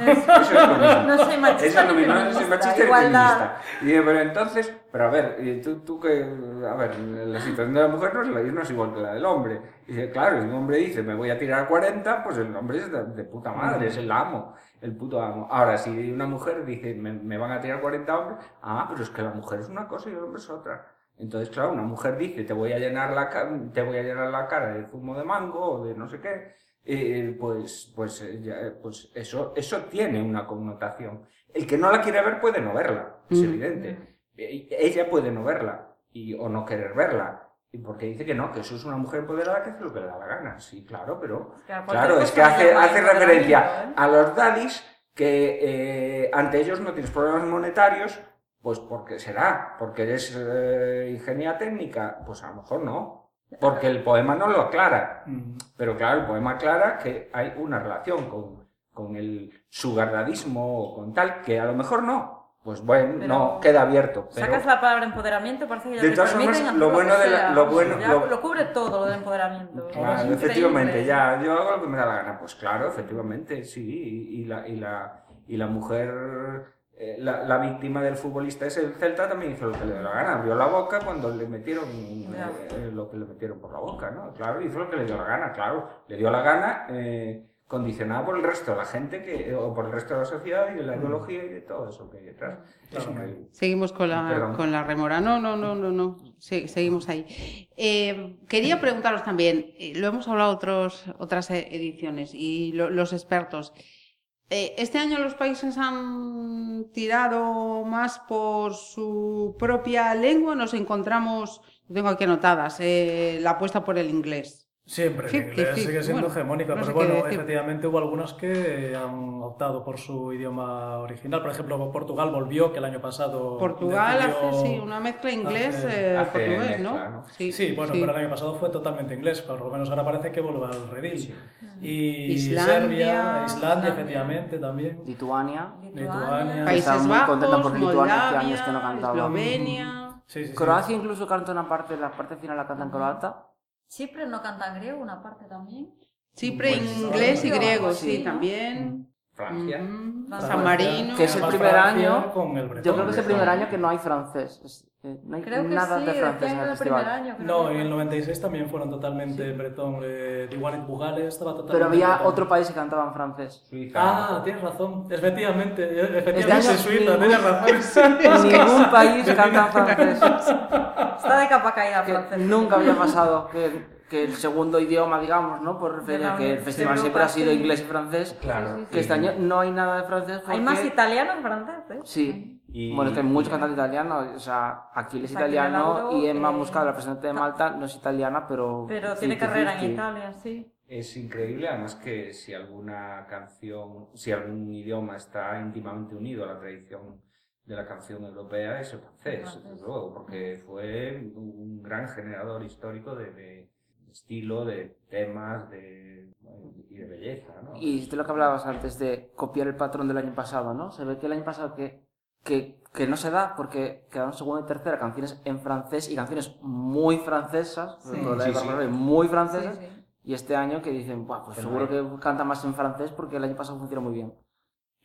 S5: Eso es lo mismo.
S8: No soy machista
S5: Eso es lo
S8: ni
S5: mismo, no
S8: feminista,
S5: soy machista ni
S8: igualdad.
S5: feminista. Y, eh, pero entonces, pero a ver, eh, tú, tú que, a ver, la situación de la mujer no es, la, no es igual que la del hombre. Y dice, claro, si un hombre dice, me voy a tirar a 40, pues el hombre es de, de puta madre, es el amo, el puto amo. Ahora, si una mujer dice, me, me van a tirar 40 hombres, ah, pero es que la mujer es una cosa y el hombre es otra. Entonces, claro, una mujer dice, te voy a llenar la, ca- te voy a llenar la cara de zumo de mango o de no sé qué, eh, pues, pues, eh, ya, eh, pues eso, eso tiene una connotación. El que no la quiere ver puede no verla, es
S4: Mm.
S5: evidente. Eh, Ella puede no verla y, o no querer verla. Y porque dice que no, que eso es una mujer empoderada que hace lo que le da la gana. Sí, claro, pero...
S8: Claro, cualquier
S5: Claro, es
S8: cosa
S5: que
S8: me
S5: hace,
S8: llama
S5: hace
S8: empoderamiento,
S5: referencia
S8: ¿eh?
S5: a los daddies que eh, ante ellos no tienes problemas monetarios, pues porque será, porque eres eh, ingeniera técnica, pues a lo mejor no, porque el poema no lo aclara.
S7: Mm.
S5: Pero claro, el poema aclara que hay una relación con, con el sugardadismo o con tal, que a lo mejor no. Pues bueno,
S8: Pero-
S5: no, queda abierto. Pero
S8: Sacas la palabra empoderamiento, parece que ya
S5: De
S8: te
S5: todas
S8: permiten
S5: formas,
S8: hacer
S5: lo
S8: que
S5: bueno de la-
S8: sea.
S5: lo bueno-
S8: Ya
S5: lo-
S8: lo cubre todo lo del empoderamiento.
S5: Claro,
S8: Es increíble.
S5: efectivamente, ya, yo hago lo que me da la gana. Pues claro, efectivamente, sí. Y, y la, y, la, y la mujer, eh, la, la víctima del futbolista ese, el Celta, también hizo lo que le dio la gana. Abrió la boca cuando le metieron
S8: Ya.
S5: eh, lo que le metieron por la boca, ¿no? Claro, hizo lo que le dio la gana, claro. Le dio la gana eh, condicionada por el resto de la gente que, eh, o por el resto de la sociedad y de la ideología y de todo eso que hay detrás. Es
S7: Claro.
S5: increíble.
S4: Seguimos con la,
S5: Perdón.
S4: con la remora. No, no, no, no, no. Se- seguimos ahí. Eh, quería preguntaros también, eh, lo hemos hablado otros, otras e- ediciones y lo- los expertos. Eh, este año los países han tirado más por su propia lengua. Nos encontramos, tengo aquí anotadas, eh, la apuesta por el inglés.
S7: Siempre,
S4: Sí,
S7: el inglés
S4: sí, sí.
S7: sigue siendo
S4: Bueno,
S7: hegemónica,
S4: no sé
S7: pero
S4: qué
S7: bueno,
S4: decir.
S7: efectivamente hubo algunas que eh, han optado por su idioma original. Por ejemplo, Portugal volvió, que el año pasado
S4: Portugal hace
S7: decidió-
S4: sí, una mezcla
S5: hace
S7: hace-
S4: inglés-portugués,
S5: mezcla,
S4: ¿no?
S5: ¿no?
S7: Sí, bueno, pero el año pasado fue totalmente inglés, por lo menos ahora parece que vuelve al redil. Y
S4: Islandia,
S7: Serbia, Islandia,
S8: Islandia.
S7: efectivamente, también.
S6: Lituania.
S7: Lituania.
S4: Países
S6: Estaba muy
S4: Bajos,
S6: contenta porque Lituania hacía años
S4: Moldavia,
S6: que no cantaba.
S4: Eslovenia.
S7: Sí, sí, sí.
S6: Croacia incluso canta una parte, la parte final la canta en croata.
S8: Chipre no canta en griego, una parte también.
S4: Chipre,
S7: Pues,
S4: inglés y
S8: algo
S4: griego,
S6: así,
S4: sí,
S8: ¿no?
S4: también.
S5: Francia.
S4: Ujú.
S8: Francia.
S4: San Marino.
S6: Que es el
S7: Además,
S6: primer
S7: Francia
S6: año-
S7: con el
S6: Yo
S7: bretón.
S6: creo que es el primer año que no hay francés. es- eh, no hay
S8: Creo que
S6: nada
S8: sí, este
S6: de francés en
S8: decían que
S6: el
S8: era
S6: festival.
S8: primer año. creo
S7: No,
S8: que
S7: en el
S8: era.
S7: 96 también fueron totalmente en bretón. Eh, Diwan et Bugale estaba totalmente.
S6: Pero había
S7: bretón.
S6: otro país que cantaba en francés.
S5: Suiza.
S7: Ah, tienes razón. Efectivamente, eh,
S6: Este
S7: efectivamente,
S6: Estás-
S7: Suiza, tienes razón.
S6: Ningún país canta en francés.
S8: Está de capa caída
S6: Que
S8: francés.
S6: nunca había pasado que, que el segundo idioma, digamos, ¿no? Por referencia
S8: la-
S6: que el
S8: de
S6: festival
S8: Europa,
S6: siempre ha sido
S8: sí.
S6: inglés y francés.
S5: Claro.
S6: Que este año no hay nada de francés.
S8: Hay
S6: porque-
S8: más italianos que franceses.
S6: Sí.
S5: Y-
S6: Bueno, este es que hay muchos cantantes italianos. O sea, Aquiles es
S8: Shakira
S6: italiano
S8: Lauro,
S6: y Emma
S8: eh,
S6: Muscat, la presidenta de Malta, no es italiana, pero.
S8: Pero tiene
S6: 50-50.
S8: carrera en Italia, sí.
S5: Es increíble, además que si alguna canción, si algún idioma está íntimamente unido a la tradición de la canción europea, es el francés, desde
S8: Francés.
S5: luego, porque
S6: Mm.
S5: fue un gran generador histórico de, de estilo, de temas de, y de belleza. ¿no?
S6: Y es de lo que hablabas antes de copiar el patrón del año pasado, ¿no? Se ve que el año pasado que, que, que no se da porque quedaron segunda y tercera canciones en francés y canciones muy francesas, sobre
S8: Sí.
S6: todo la de
S5: Sí, sí.
S6: Barbarroja, muy
S8: Sí,
S6: francesas,
S8: sí.
S6: y este año que dicen, Buah, pues
S5: Que no
S6: seguro que canta más en francés porque el año pasado funcionó muy bien.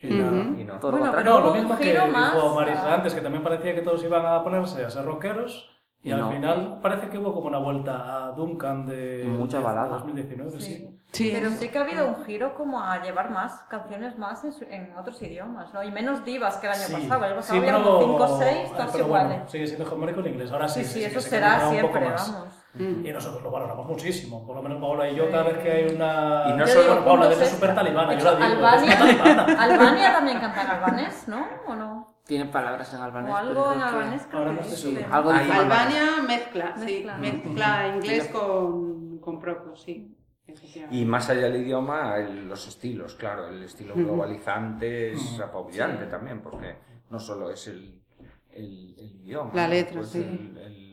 S7: Y nada.
S4: Ujú.
S5: Y no.
S6: Todo lo
S8: Bueno,
S6: contrario.
S7: No, lo
S8: Un
S7: mismo que
S8: giro
S7: dijo
S8: más,
S7: Maris
S8: ah.
S7: antes, que también parecía que todos iban a ponerse a ser rockeros. Y
S6: Y
S7: al
S6: no.
S7: final parece que hubo como una vuelta a Duncan de
S6: Mucha
S7: de
S6: balada.
S7: 2019, sí.
S8: Sí.
S4: Sí.
S8: Pero sí que ha habido un giro como a llevar más canciones más en, su- en otros idiomas, ¿no? Y menos divas que el año pasado. El año pasado había como 5 o 6,
S7: pero
S8: todas
S7: bueno,
S8: iguales.
S7: sigue siendo hegemónico el inglés. Ahora sí,
S8: sí,
S7: sí,
S8: sí,
S7: sí,
S8: eso
S7: se
S8: será
S7: concentra un poco
S8: siempre,
S7: más.
S8: vamos.
S7: Y nosotros lo valoramos muchísimo. Por lo menos Paola y yo, cada vez que hay una.
S5: Y no
S7: Yo
S5: solo-
S7: digo, Paola debe
S8: puntos
S7: ser súper
S8: extra.
S7: talibana,
S8: De
S7: yo la
S8: hecho,
S7: digo.
S8: Albania,
S7: es talibana.
S8: Albania también canta en albanés, ¿no? ¿O no?
S6: Tiene palabras en
S8: O
S6: albanés.
S8: algo
S6: pero
S8: en
S6: creo que-
S8: albanés creo
S7: Ahora
S8: que
S7: no sé
S6: Sí,
S8: dice.
S6: algo
S5: Ahí.
S6: dice en albanés.
S4: Albania mezcla, sí,
S8: Mezcla.
S4: mezcla inglés con, con propio, sí.
S5: Y más allá del
S8: Mm,
S5: idioma, el- los estilos, claro, el estilo globalizante es apabullante también, porque No solo es el, el, el idioma.
S4: La
S5: ¿no?
S4: letra,
S5: Pues
S4: sí.
S5: el- el-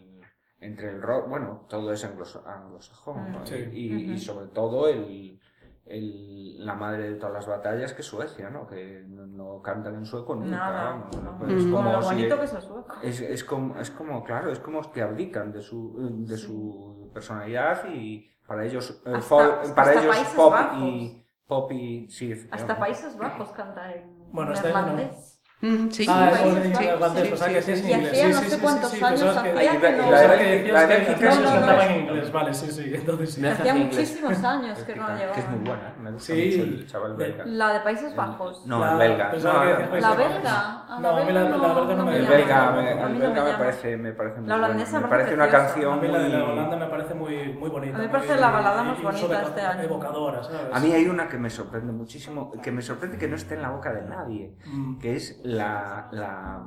S5: entre el rock, bueno, todo es anglos-
S4: Ah.
S5: anglosajón. ¿no?
S7: Sí.
S5: Y, y
S8: Ujú.
S5: sobre todo el, el- la madre de todas las batallas que es Suecia, ¿no? Que no, no cantan en sueco nunca.
S8: Nada.
S5: vamos,
S8: no,
S5: ¿no?
S8: no.
S5: Pues es
S4: Mm.
S5: como
S8: Con lo
S5: si-
S8: bonito que sos sueco.
S5: es, es como, es como, claro, es como que abdican de su, de su personalidad y para ellos, eh,
S8: Hasta-
S5: folk- para
S8: hasta
S5: ellos
S8: Países
S5: pop
S8: Bajos.
S5: y, pop y, sí,
S8: Hasta
S5: efectivamente.
S8: Países Bajos canta en
S7: Bueno, está en
S8: neerlandés.
S4: Mm, sí.
S7: Ah, es en
S8: sí, sí, sí,
S7: inglés,
S4: sí,
S7: o sea que sí es en
S8: sí.
S7: inglés.
S8: Y hacía
S7: Sí,
S8: no
S7: sí,
S8: sé
S7: sí,
S8: cuántos
S7: sí,
S8: años
S7: pensabas que-
S8: hacía
S5: Y la-
S8: que
S5: y la-
S8: no-
S7: pensabas que
S5: Bélgica-
S7: decías
S5: la
S7: que
S5: Bélgica
S7: casi
S8: es
S7: se
S8: en
S7: cantaba en
S5: inglés.
S7: inglés, vale, sí, sí, entonces sí.
S6: Me hace
S8: Hacía
S6: en inglés.
S8: muchísimos años que no
S5: que es muy
S8: llevaban.
S5: buena, me gusta
S7: Sí.
S5: mucho el chaval belga.
S8: La de Países Bajos.
S5: No,
S7: La-
S5: el belga.
S7: pensaba que
S5: No,
S7: decías, pues,
S8: La
S7: no,
S8: belga. A
S7: No, a mí la, la
S8: belga
S7: belga no me
S8: me
S5: El
S7: llama.
S5: belga,
S8: llama.
S5: me,
S8: A
S5: el
S8: mí no
S5: belga
S8: me
S5: me,
S8: llama.
S5: parece, me parece muy
S8: La holandesa
S5: bueno.
S8: me
S5: Me
S8: parece
S5: parece una
S8: preciosa.
S7: A
S5: canción
S7: mí la de la Holanda
S5: muy...
S7: me parece muy, muy bonita.
S8: A mí me parece
S7: muy-
S8: la balada más
S7: y
S8: bonita
S7: sobre-
S8: este año.
S7: Evocadora, ¿sabes?
S5: A mí hay una que me sorprende muchísimo, que me sorprende que no esté en la boca de nadie.
S7: Mm.
S5: que es la, la,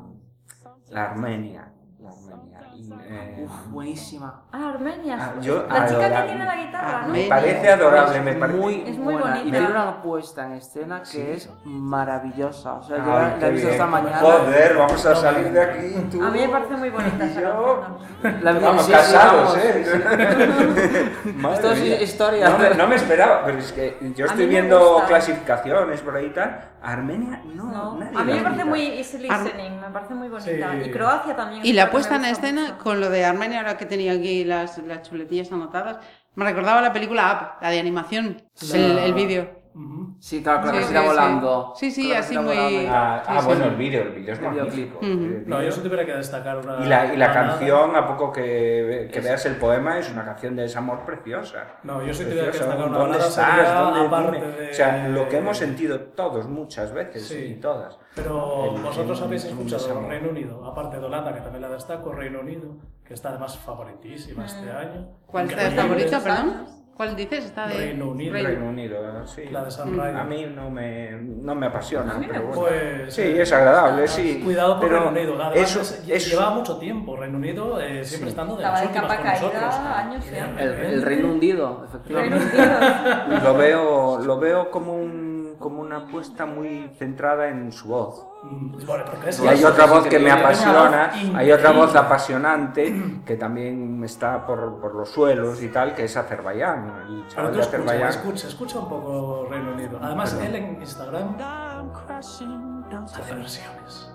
S5: la Armenia. La Armenia. Y, eh,
S6: Uf, buenísima.
S8: Ah, Armenia.
S5: Ah, yo
S8: la chica
S5: adoraba-
S8: que tiene la guitarra, ¿no?
S5: me
S4: Armenia.
S5: parece adorable, me parece.
S6: muy,
S8: Es muy
S6: buena. Y
S8: bonita.
S6: tiene una puesta en escena que es maravillosa. O sea, yo
S5: Ay,
S6: la- la
S5: qué
S6: he visto esta
S5: bien.
S6: mañana.
S5: Joder, vamos a salir de aquí. Tú.
S8: A mí me parece muy bonita esa
S5: Yo- pues
S8: canción.
S6: La vi-
S5: Vamos,
S6: sí, sí,
S5: casados,
S6: vamos.
S5: ¿eh? Madre
S6: Esto es
S5: mía.
S6: historia.
S5: No me, no me esperaba, pero es que yo
S8: A mí
S5: estoy
S8: me
S5: viendo
S8: gusta.
S5: clasificaciones por ahí y tal. Armenia, no,
S8: No,
S5: nadie.
S8: A mí me
S5: la
S8: parece
S5: quita.
S8: muy easy
S4: Ar-
S8: listening, me parece muy bonita.
S7: Sí.
S8: Y Croacia también.
S4: Y
S8: es
S4: la
S8: otra que
S4: puesta en
S8: me gusta
S4: escena
S8: mucho.
S4: con lo de Armenia, ahora que tenía aquí las, las chuletillas anotadas, me recordaba la película Up, la de animación,
S7: La-
S4: el, el vídeo.
S7: Ujú.
S6: Sí, claro, claro,
S4: Sí, sí,
S6: que se irá
S4: sí.
S6: volando.
S4: Sí, sí,
S6: Claro que
S4: así
S6: se irá
S4: muy-
S6: volando.
S5: Ah,
S4: Sí,
S5: ah,
S4: sí.
S5: bueno, el vídeo, el vídeo es
S6: El videoclip.
S5: magnífico.
S4: Ujú.
S5: El
S7: No,
S5: vídeo-
S7: yo si tuviera que destacar
S5: Y la,
S7: una.
S5: y la
S7: balada-
S5: canción, a poco que, que veas el poema, es una canción de desamor preciosa.
S7: No, yo sí te diría que
S5: Preciosa.
S7: destacar una
S5: ¿Dónde
S7: balada
S5: estás?
S7: sería
S5: ¿Dónde-
S7: aparte
S5: dime?
S7: de-
S5: O sea, lo que hemos sentido todos muchas veces
S7: Sí.
S5: y todas.
S7: Pero
S5: El-
S7: vosotros habéis
S5: el-
S7: escuchado
S5: el-
S7: Reino Unido, aparte de Holanda, que también la destaco, Reino Unido, que está además
S8: Ah.
S7: favoritísima este año.
S4: ¿Cuál está
S7: Increíble.
S4: favorita, perdón? ¿Cuál dices? Está de...
S7: Reino Unido.
S4: Reino-
S5: Reino Unido, sí.
S7: La de
S8: Mm.
S7: Sunrise.
S5: A mí no me, no me apasiona, pero bueno.
S7: Pues,
S5: sí,
S7: eh,
S5: es agradable, sí.
S7: Cuidado con
S5: pero
S7: Reino Unido. Además,
S5: Eso,
S7: es-
S5: eso-
S7: llevaba mucho tiempo Reino Unido eh, siempre estando de
S8: Estaba
S7: las
S8: de
S7: últimas
S8: capa
S7: con
S8: caída
S7: nosotros.
S8: años
S7: Y
S8: y
S7: de
S8: años.
S6: El, el
S5: ¿eh?
S7: repente-
S6: reino hundido,
S8: Reino
S6: efectivamente.
S8: Unido.
S5: lo veo, lo veo como, un, como una apuesta muy centrada en su voz.
S7: Mm, bueno, porque es-
S5: Y hay otra voz que me apasiona,
S7: Increíble.
S5: hay otra voz apasionante que también está por, por los suelos y tal, que es Azerbaiyán, el
S7: Pero
S5: chaval
S7: tú
S5: de
S7: escucha,
S5: Azerbaiyán.
S7: escucha, escucha un poco Reino Unido. Además, él en Instagram hace versiones.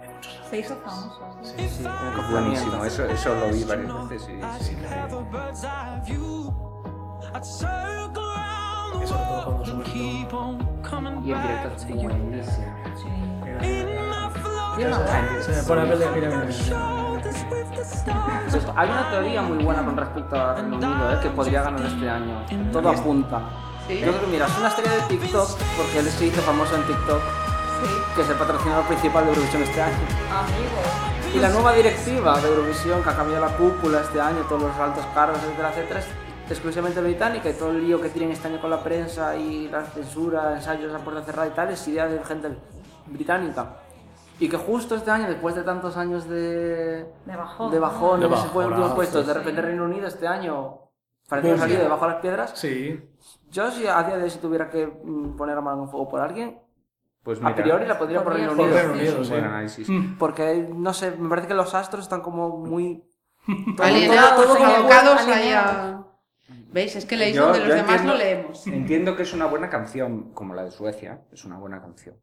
S7: de muchos artistas.
S8: Se hizo famoso. sí.
S6: Sí, el
S5: Buenísimo,
S6: acoplamiento.
S5: eso, eso lo vi varias veces. y-
S7: Es increíble. Y sobre todo cuando subes tú.
S6: Y en directo es buenísimo.
S8: Tiene una voz.
S7: Se me pone la piel de mira, mira, mira.
S6: Pues hay una teoría muy buena con respecto a Reino Unido, ¿eh? que podría ganar este año. Todo apunta.
S4: Sí.
S6: Yo creo que mira, es una estrella de TikTok, porque él se hizo famoso en TikTok, que es el patrocinador principal de Eurovisión este año.
S8: Amigo.
S6: Y la nueva directiva de Eurovisión, que ha cambiado la cúpula este año, todos los altos cargos, etcétera, etcétera, es exclusivamente británica y todo el lío que tienen este año con la prensa y la censura, ensayos a puerta cerrada y tal, es idea de gente británica. Y que justo este año, después de tantos años de,
S8: De bajón.
S6: de bajón,
S7: De
S6: que se fue en últimos
S7: bajonazo.
S6: puestos. De repente Reino Unido este año parece que ha
S7: Pues
S6: salido
S7: sí.
S6: debajo de las piedras.
S7: Sí.
S6: Yo si a día de hoy si tuviera que mm, poner la mano en fuego por alguien,
S5: Pues
S6: a priori
S5: mira,
S6: la pondría por
S8: Podría
S6: Reino
S8: ser.
S7: Por
S6: Unido.
S7: Reino
S8: Sí,
S7: Unido,
S5: es
S7: sí.
S5: un buen análisis.
S7: Mm.
S6: Porque, no sé, me parece que los astros están como muy... todo-
S4: Alienados,
S6: todo- todo como-
S4: abocados
S8: como-
S4: ahí a- ¿Veis? Es que leéis
S5: Yo-
S4: donde los
S5: yo
S4: demás no
S5: entiendo-
S4: leemos.
S5: Entiendo que es una buena canción, como la de Suecia, es una buena canción.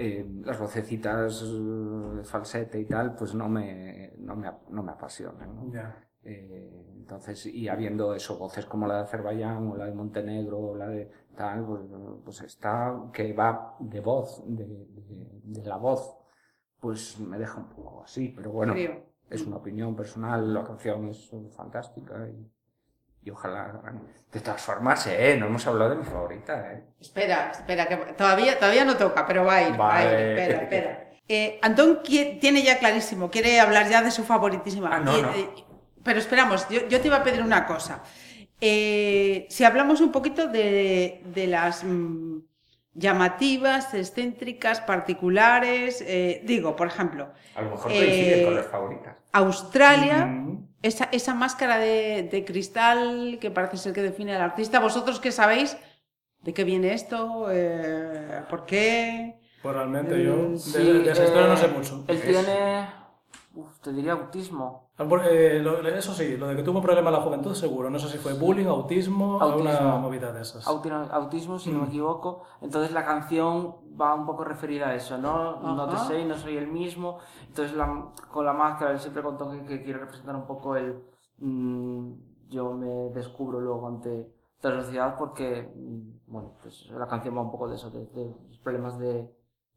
S5: Eh, las vocecitas eh, falsete y tal, pues no me, no me, ap- no me apasionan. ¿no?
S7: Ya.
S5: Eh, entonces, y habiendo eso, voces como la de Azerbaiyán o la de Montenegro o la de tal, pues, pues está que va de voz, de, de- de la voz, pues me deja un poco así, pero bueno,
S4: Frío.
S5: es una opinión personal, la canción es eh, fantástica y, y ojalá... De todas formas, eh, no hemos hablado de mi favorita, eh.
S4: Espera, espera, que todavía, todavía no toca, pero va a ir. Va a ir,
S5: Vale.
S4: espera, espera. Eh, Antón qui- tiene ya clarísimo, quiere hablar ya de su favoritísima.
S5: Ah, no,
S4: Y,
S5: no.
S4: eh, pero esperamos, yo, yo te iba a pedir una cosa. Eh, si hablamos un poquito de, de las mm, llamativas, excéntricas, particulares, eh, digo, por ejemplo,
S5: A lo mejor
S4: Eh,
S5: coincide con las favoritas.
S4: Australia,
S7: Mm.
S4: esa, esa máscara de, de cristal que parece ser que define al artista, ¿vosotros qué sabéis? ¿De qué viene esto? Eh, ¿Por qué?
S7: Pues realmente yo de,
S6: Sí,
S7: de- de esa historia
S6: eh,
S7: no sé mucho.
S6: Él tiene. Uf, te diría autismo.
S7: Ah, por- eh, lo- eso sí, lo de que tuvo un problema en la juventud seguro. No sé si fue bullying, autismo,
S6: Autismo.
S7: alguna movida de esas.
S6: Auti- Autismo,
S7: Mm.
S6: si no me equivoco. Entonces la canción va un poco referida a eso, ¿no? No te
S4: Ajá.
S6: sé, no soy el mismo. Entonces la- con la máscara él siempre contó que, que quiere representar un poco el. mm, yo me descubro luego ante ante la sociedad porque, mm, bueno, pues la canción va un poco de eso, de, de los problemas de,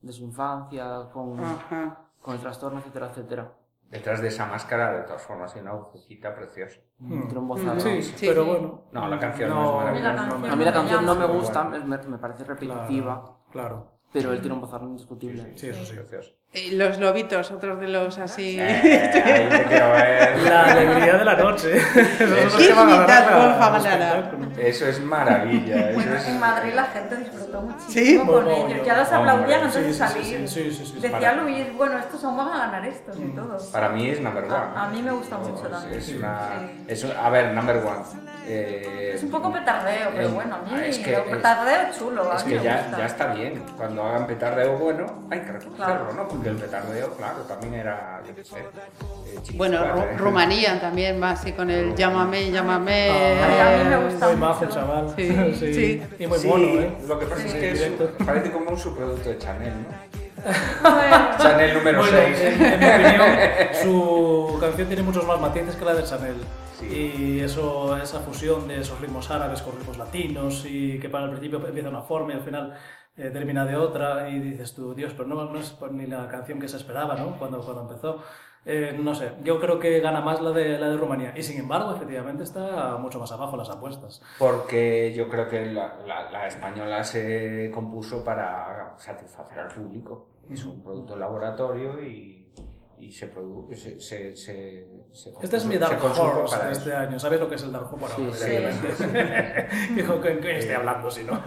S6: de su infancia, con,
S7: Ah.
S4: Ajá.
S6: con el trastorno, etcétera, etcétera.
S5: Detrás de esa máscara, de todas formas, hay una vocecita preciosa.
S7: Mm.
S6: Tiene un bozarrón.
S7: Sí,
S4: Sí,
S7: pero
S4: sí.
S7: bueno.
S5: No, la canción no,
S7: No,
S5: es maravillosa.
S8: La canción.
S6: A mí la canción no me
S5: Pero
S6: gusta,
S5: bueno,
S6: me, me parece
S7: Claro,
S6: repetitiva,
S7: Claro.
S6: pero él tiene un bozarrón indiscutible.
S7: Sí, eso sí.
S5: Preciosa.
S4: Y Eh, los lobitos, otros de los así.
S5: Eh, ahí te quiero ver.
S7: La alegría de la noche. Esos son los que van a
S4: Dignidad,
S7: dar la-
S4: porfa,
S7: al
S4: Valera.
S7: espectáculo.
S5: Eso es maravilla. Eso
S8: Bueno,
S5: es...
S8: en Madrid la gente disfrutó muchísimo
S4: Sí,
S8: con
S7: bueno,
S8: ellos.
S7: yo-
S8: Ya los
S5: hombre,
S8: aplaudían antes
S7: sí,
S8: de
S7: sí, sí,
S8: salir.
S7: sí, sí, sí, sí.
S8: Decía
S5: Para- Mm,
S8: Luis, bueno, estos aún van a ganar estos y todos.
S5: Para mí es number one.
S8: A- a mí me gusta mucho
S5: Es-
S8: también.
S5: Es una...
S8: Sí.
S5: es un- A ver, number one. Eh,
S8: Es un poco petardeo, pero
S5: eh,
S8: bueno, a mí
S5: es que,
S8: lo-
S5: es-
S8: petardeo chulo. a
S5: Es
S8: mí
S5: que
S8: me
S5: ya,
S8: gusta.
S5: ya está bien. Cuando hagan petardeo bueno, hay que reconocerlo,
S8: Claro.
S5: ¿no? Porque el petardeo, claro, también era. yo qué sé, eh, chiquis
S4: Bueno,
S5: cuatro,
S4: Ru-
S5: ¿eh?
S4: Rumanía también va así con el llámame, llámame.
S7: Ah,
S8: Ay, a mí me gusta
S7: Eh, Muy
S8: mucho.
S7: majo, el chaval.
S4: Sí, sí.
S7: Y muy
S5: Sí,
S7: mono, ¿eh?
S5: Lo que pasa es que es- parece como un subproducto de Chanel, ¿no?
S8: Bueno,
S5: Chanel número
S7: Bueno, eh,
S5: 6.
S7: en, en mi opinión, su canción tiene muchos más matices que la de Chanel.
S5: Sí.
S7: Y eso, esa fusión de esos ritmos árabes con ritmos latinos y que para el principio empieza de una forma y al final eh, termina de otra y dices tú, Dios, pero no, no es por- ni la canción que se esperaba, ¿no? Cuando, cuando empezó. Eh, no sé, yo creo que gana más la de, la de Rumanía. Y sin embargo, efectivamente, está mucho más abajo las apuestas.
S5: Porque yo creo que la, la- la española se compuso para satisfacer al público. Es un producto de laboratorio y, y se produce. Se, se, se, se
S7: Este es mi
S5: se
S7: Dark
S5: consume
S7: Horse
S5: para
S7: de
S5: eso.
S7: este año. ¿Sabes lo que es el Dark Horse? Bueno, pues
S6: Sí,
S7: evidentemente. Dijo que que estoy hablando si no.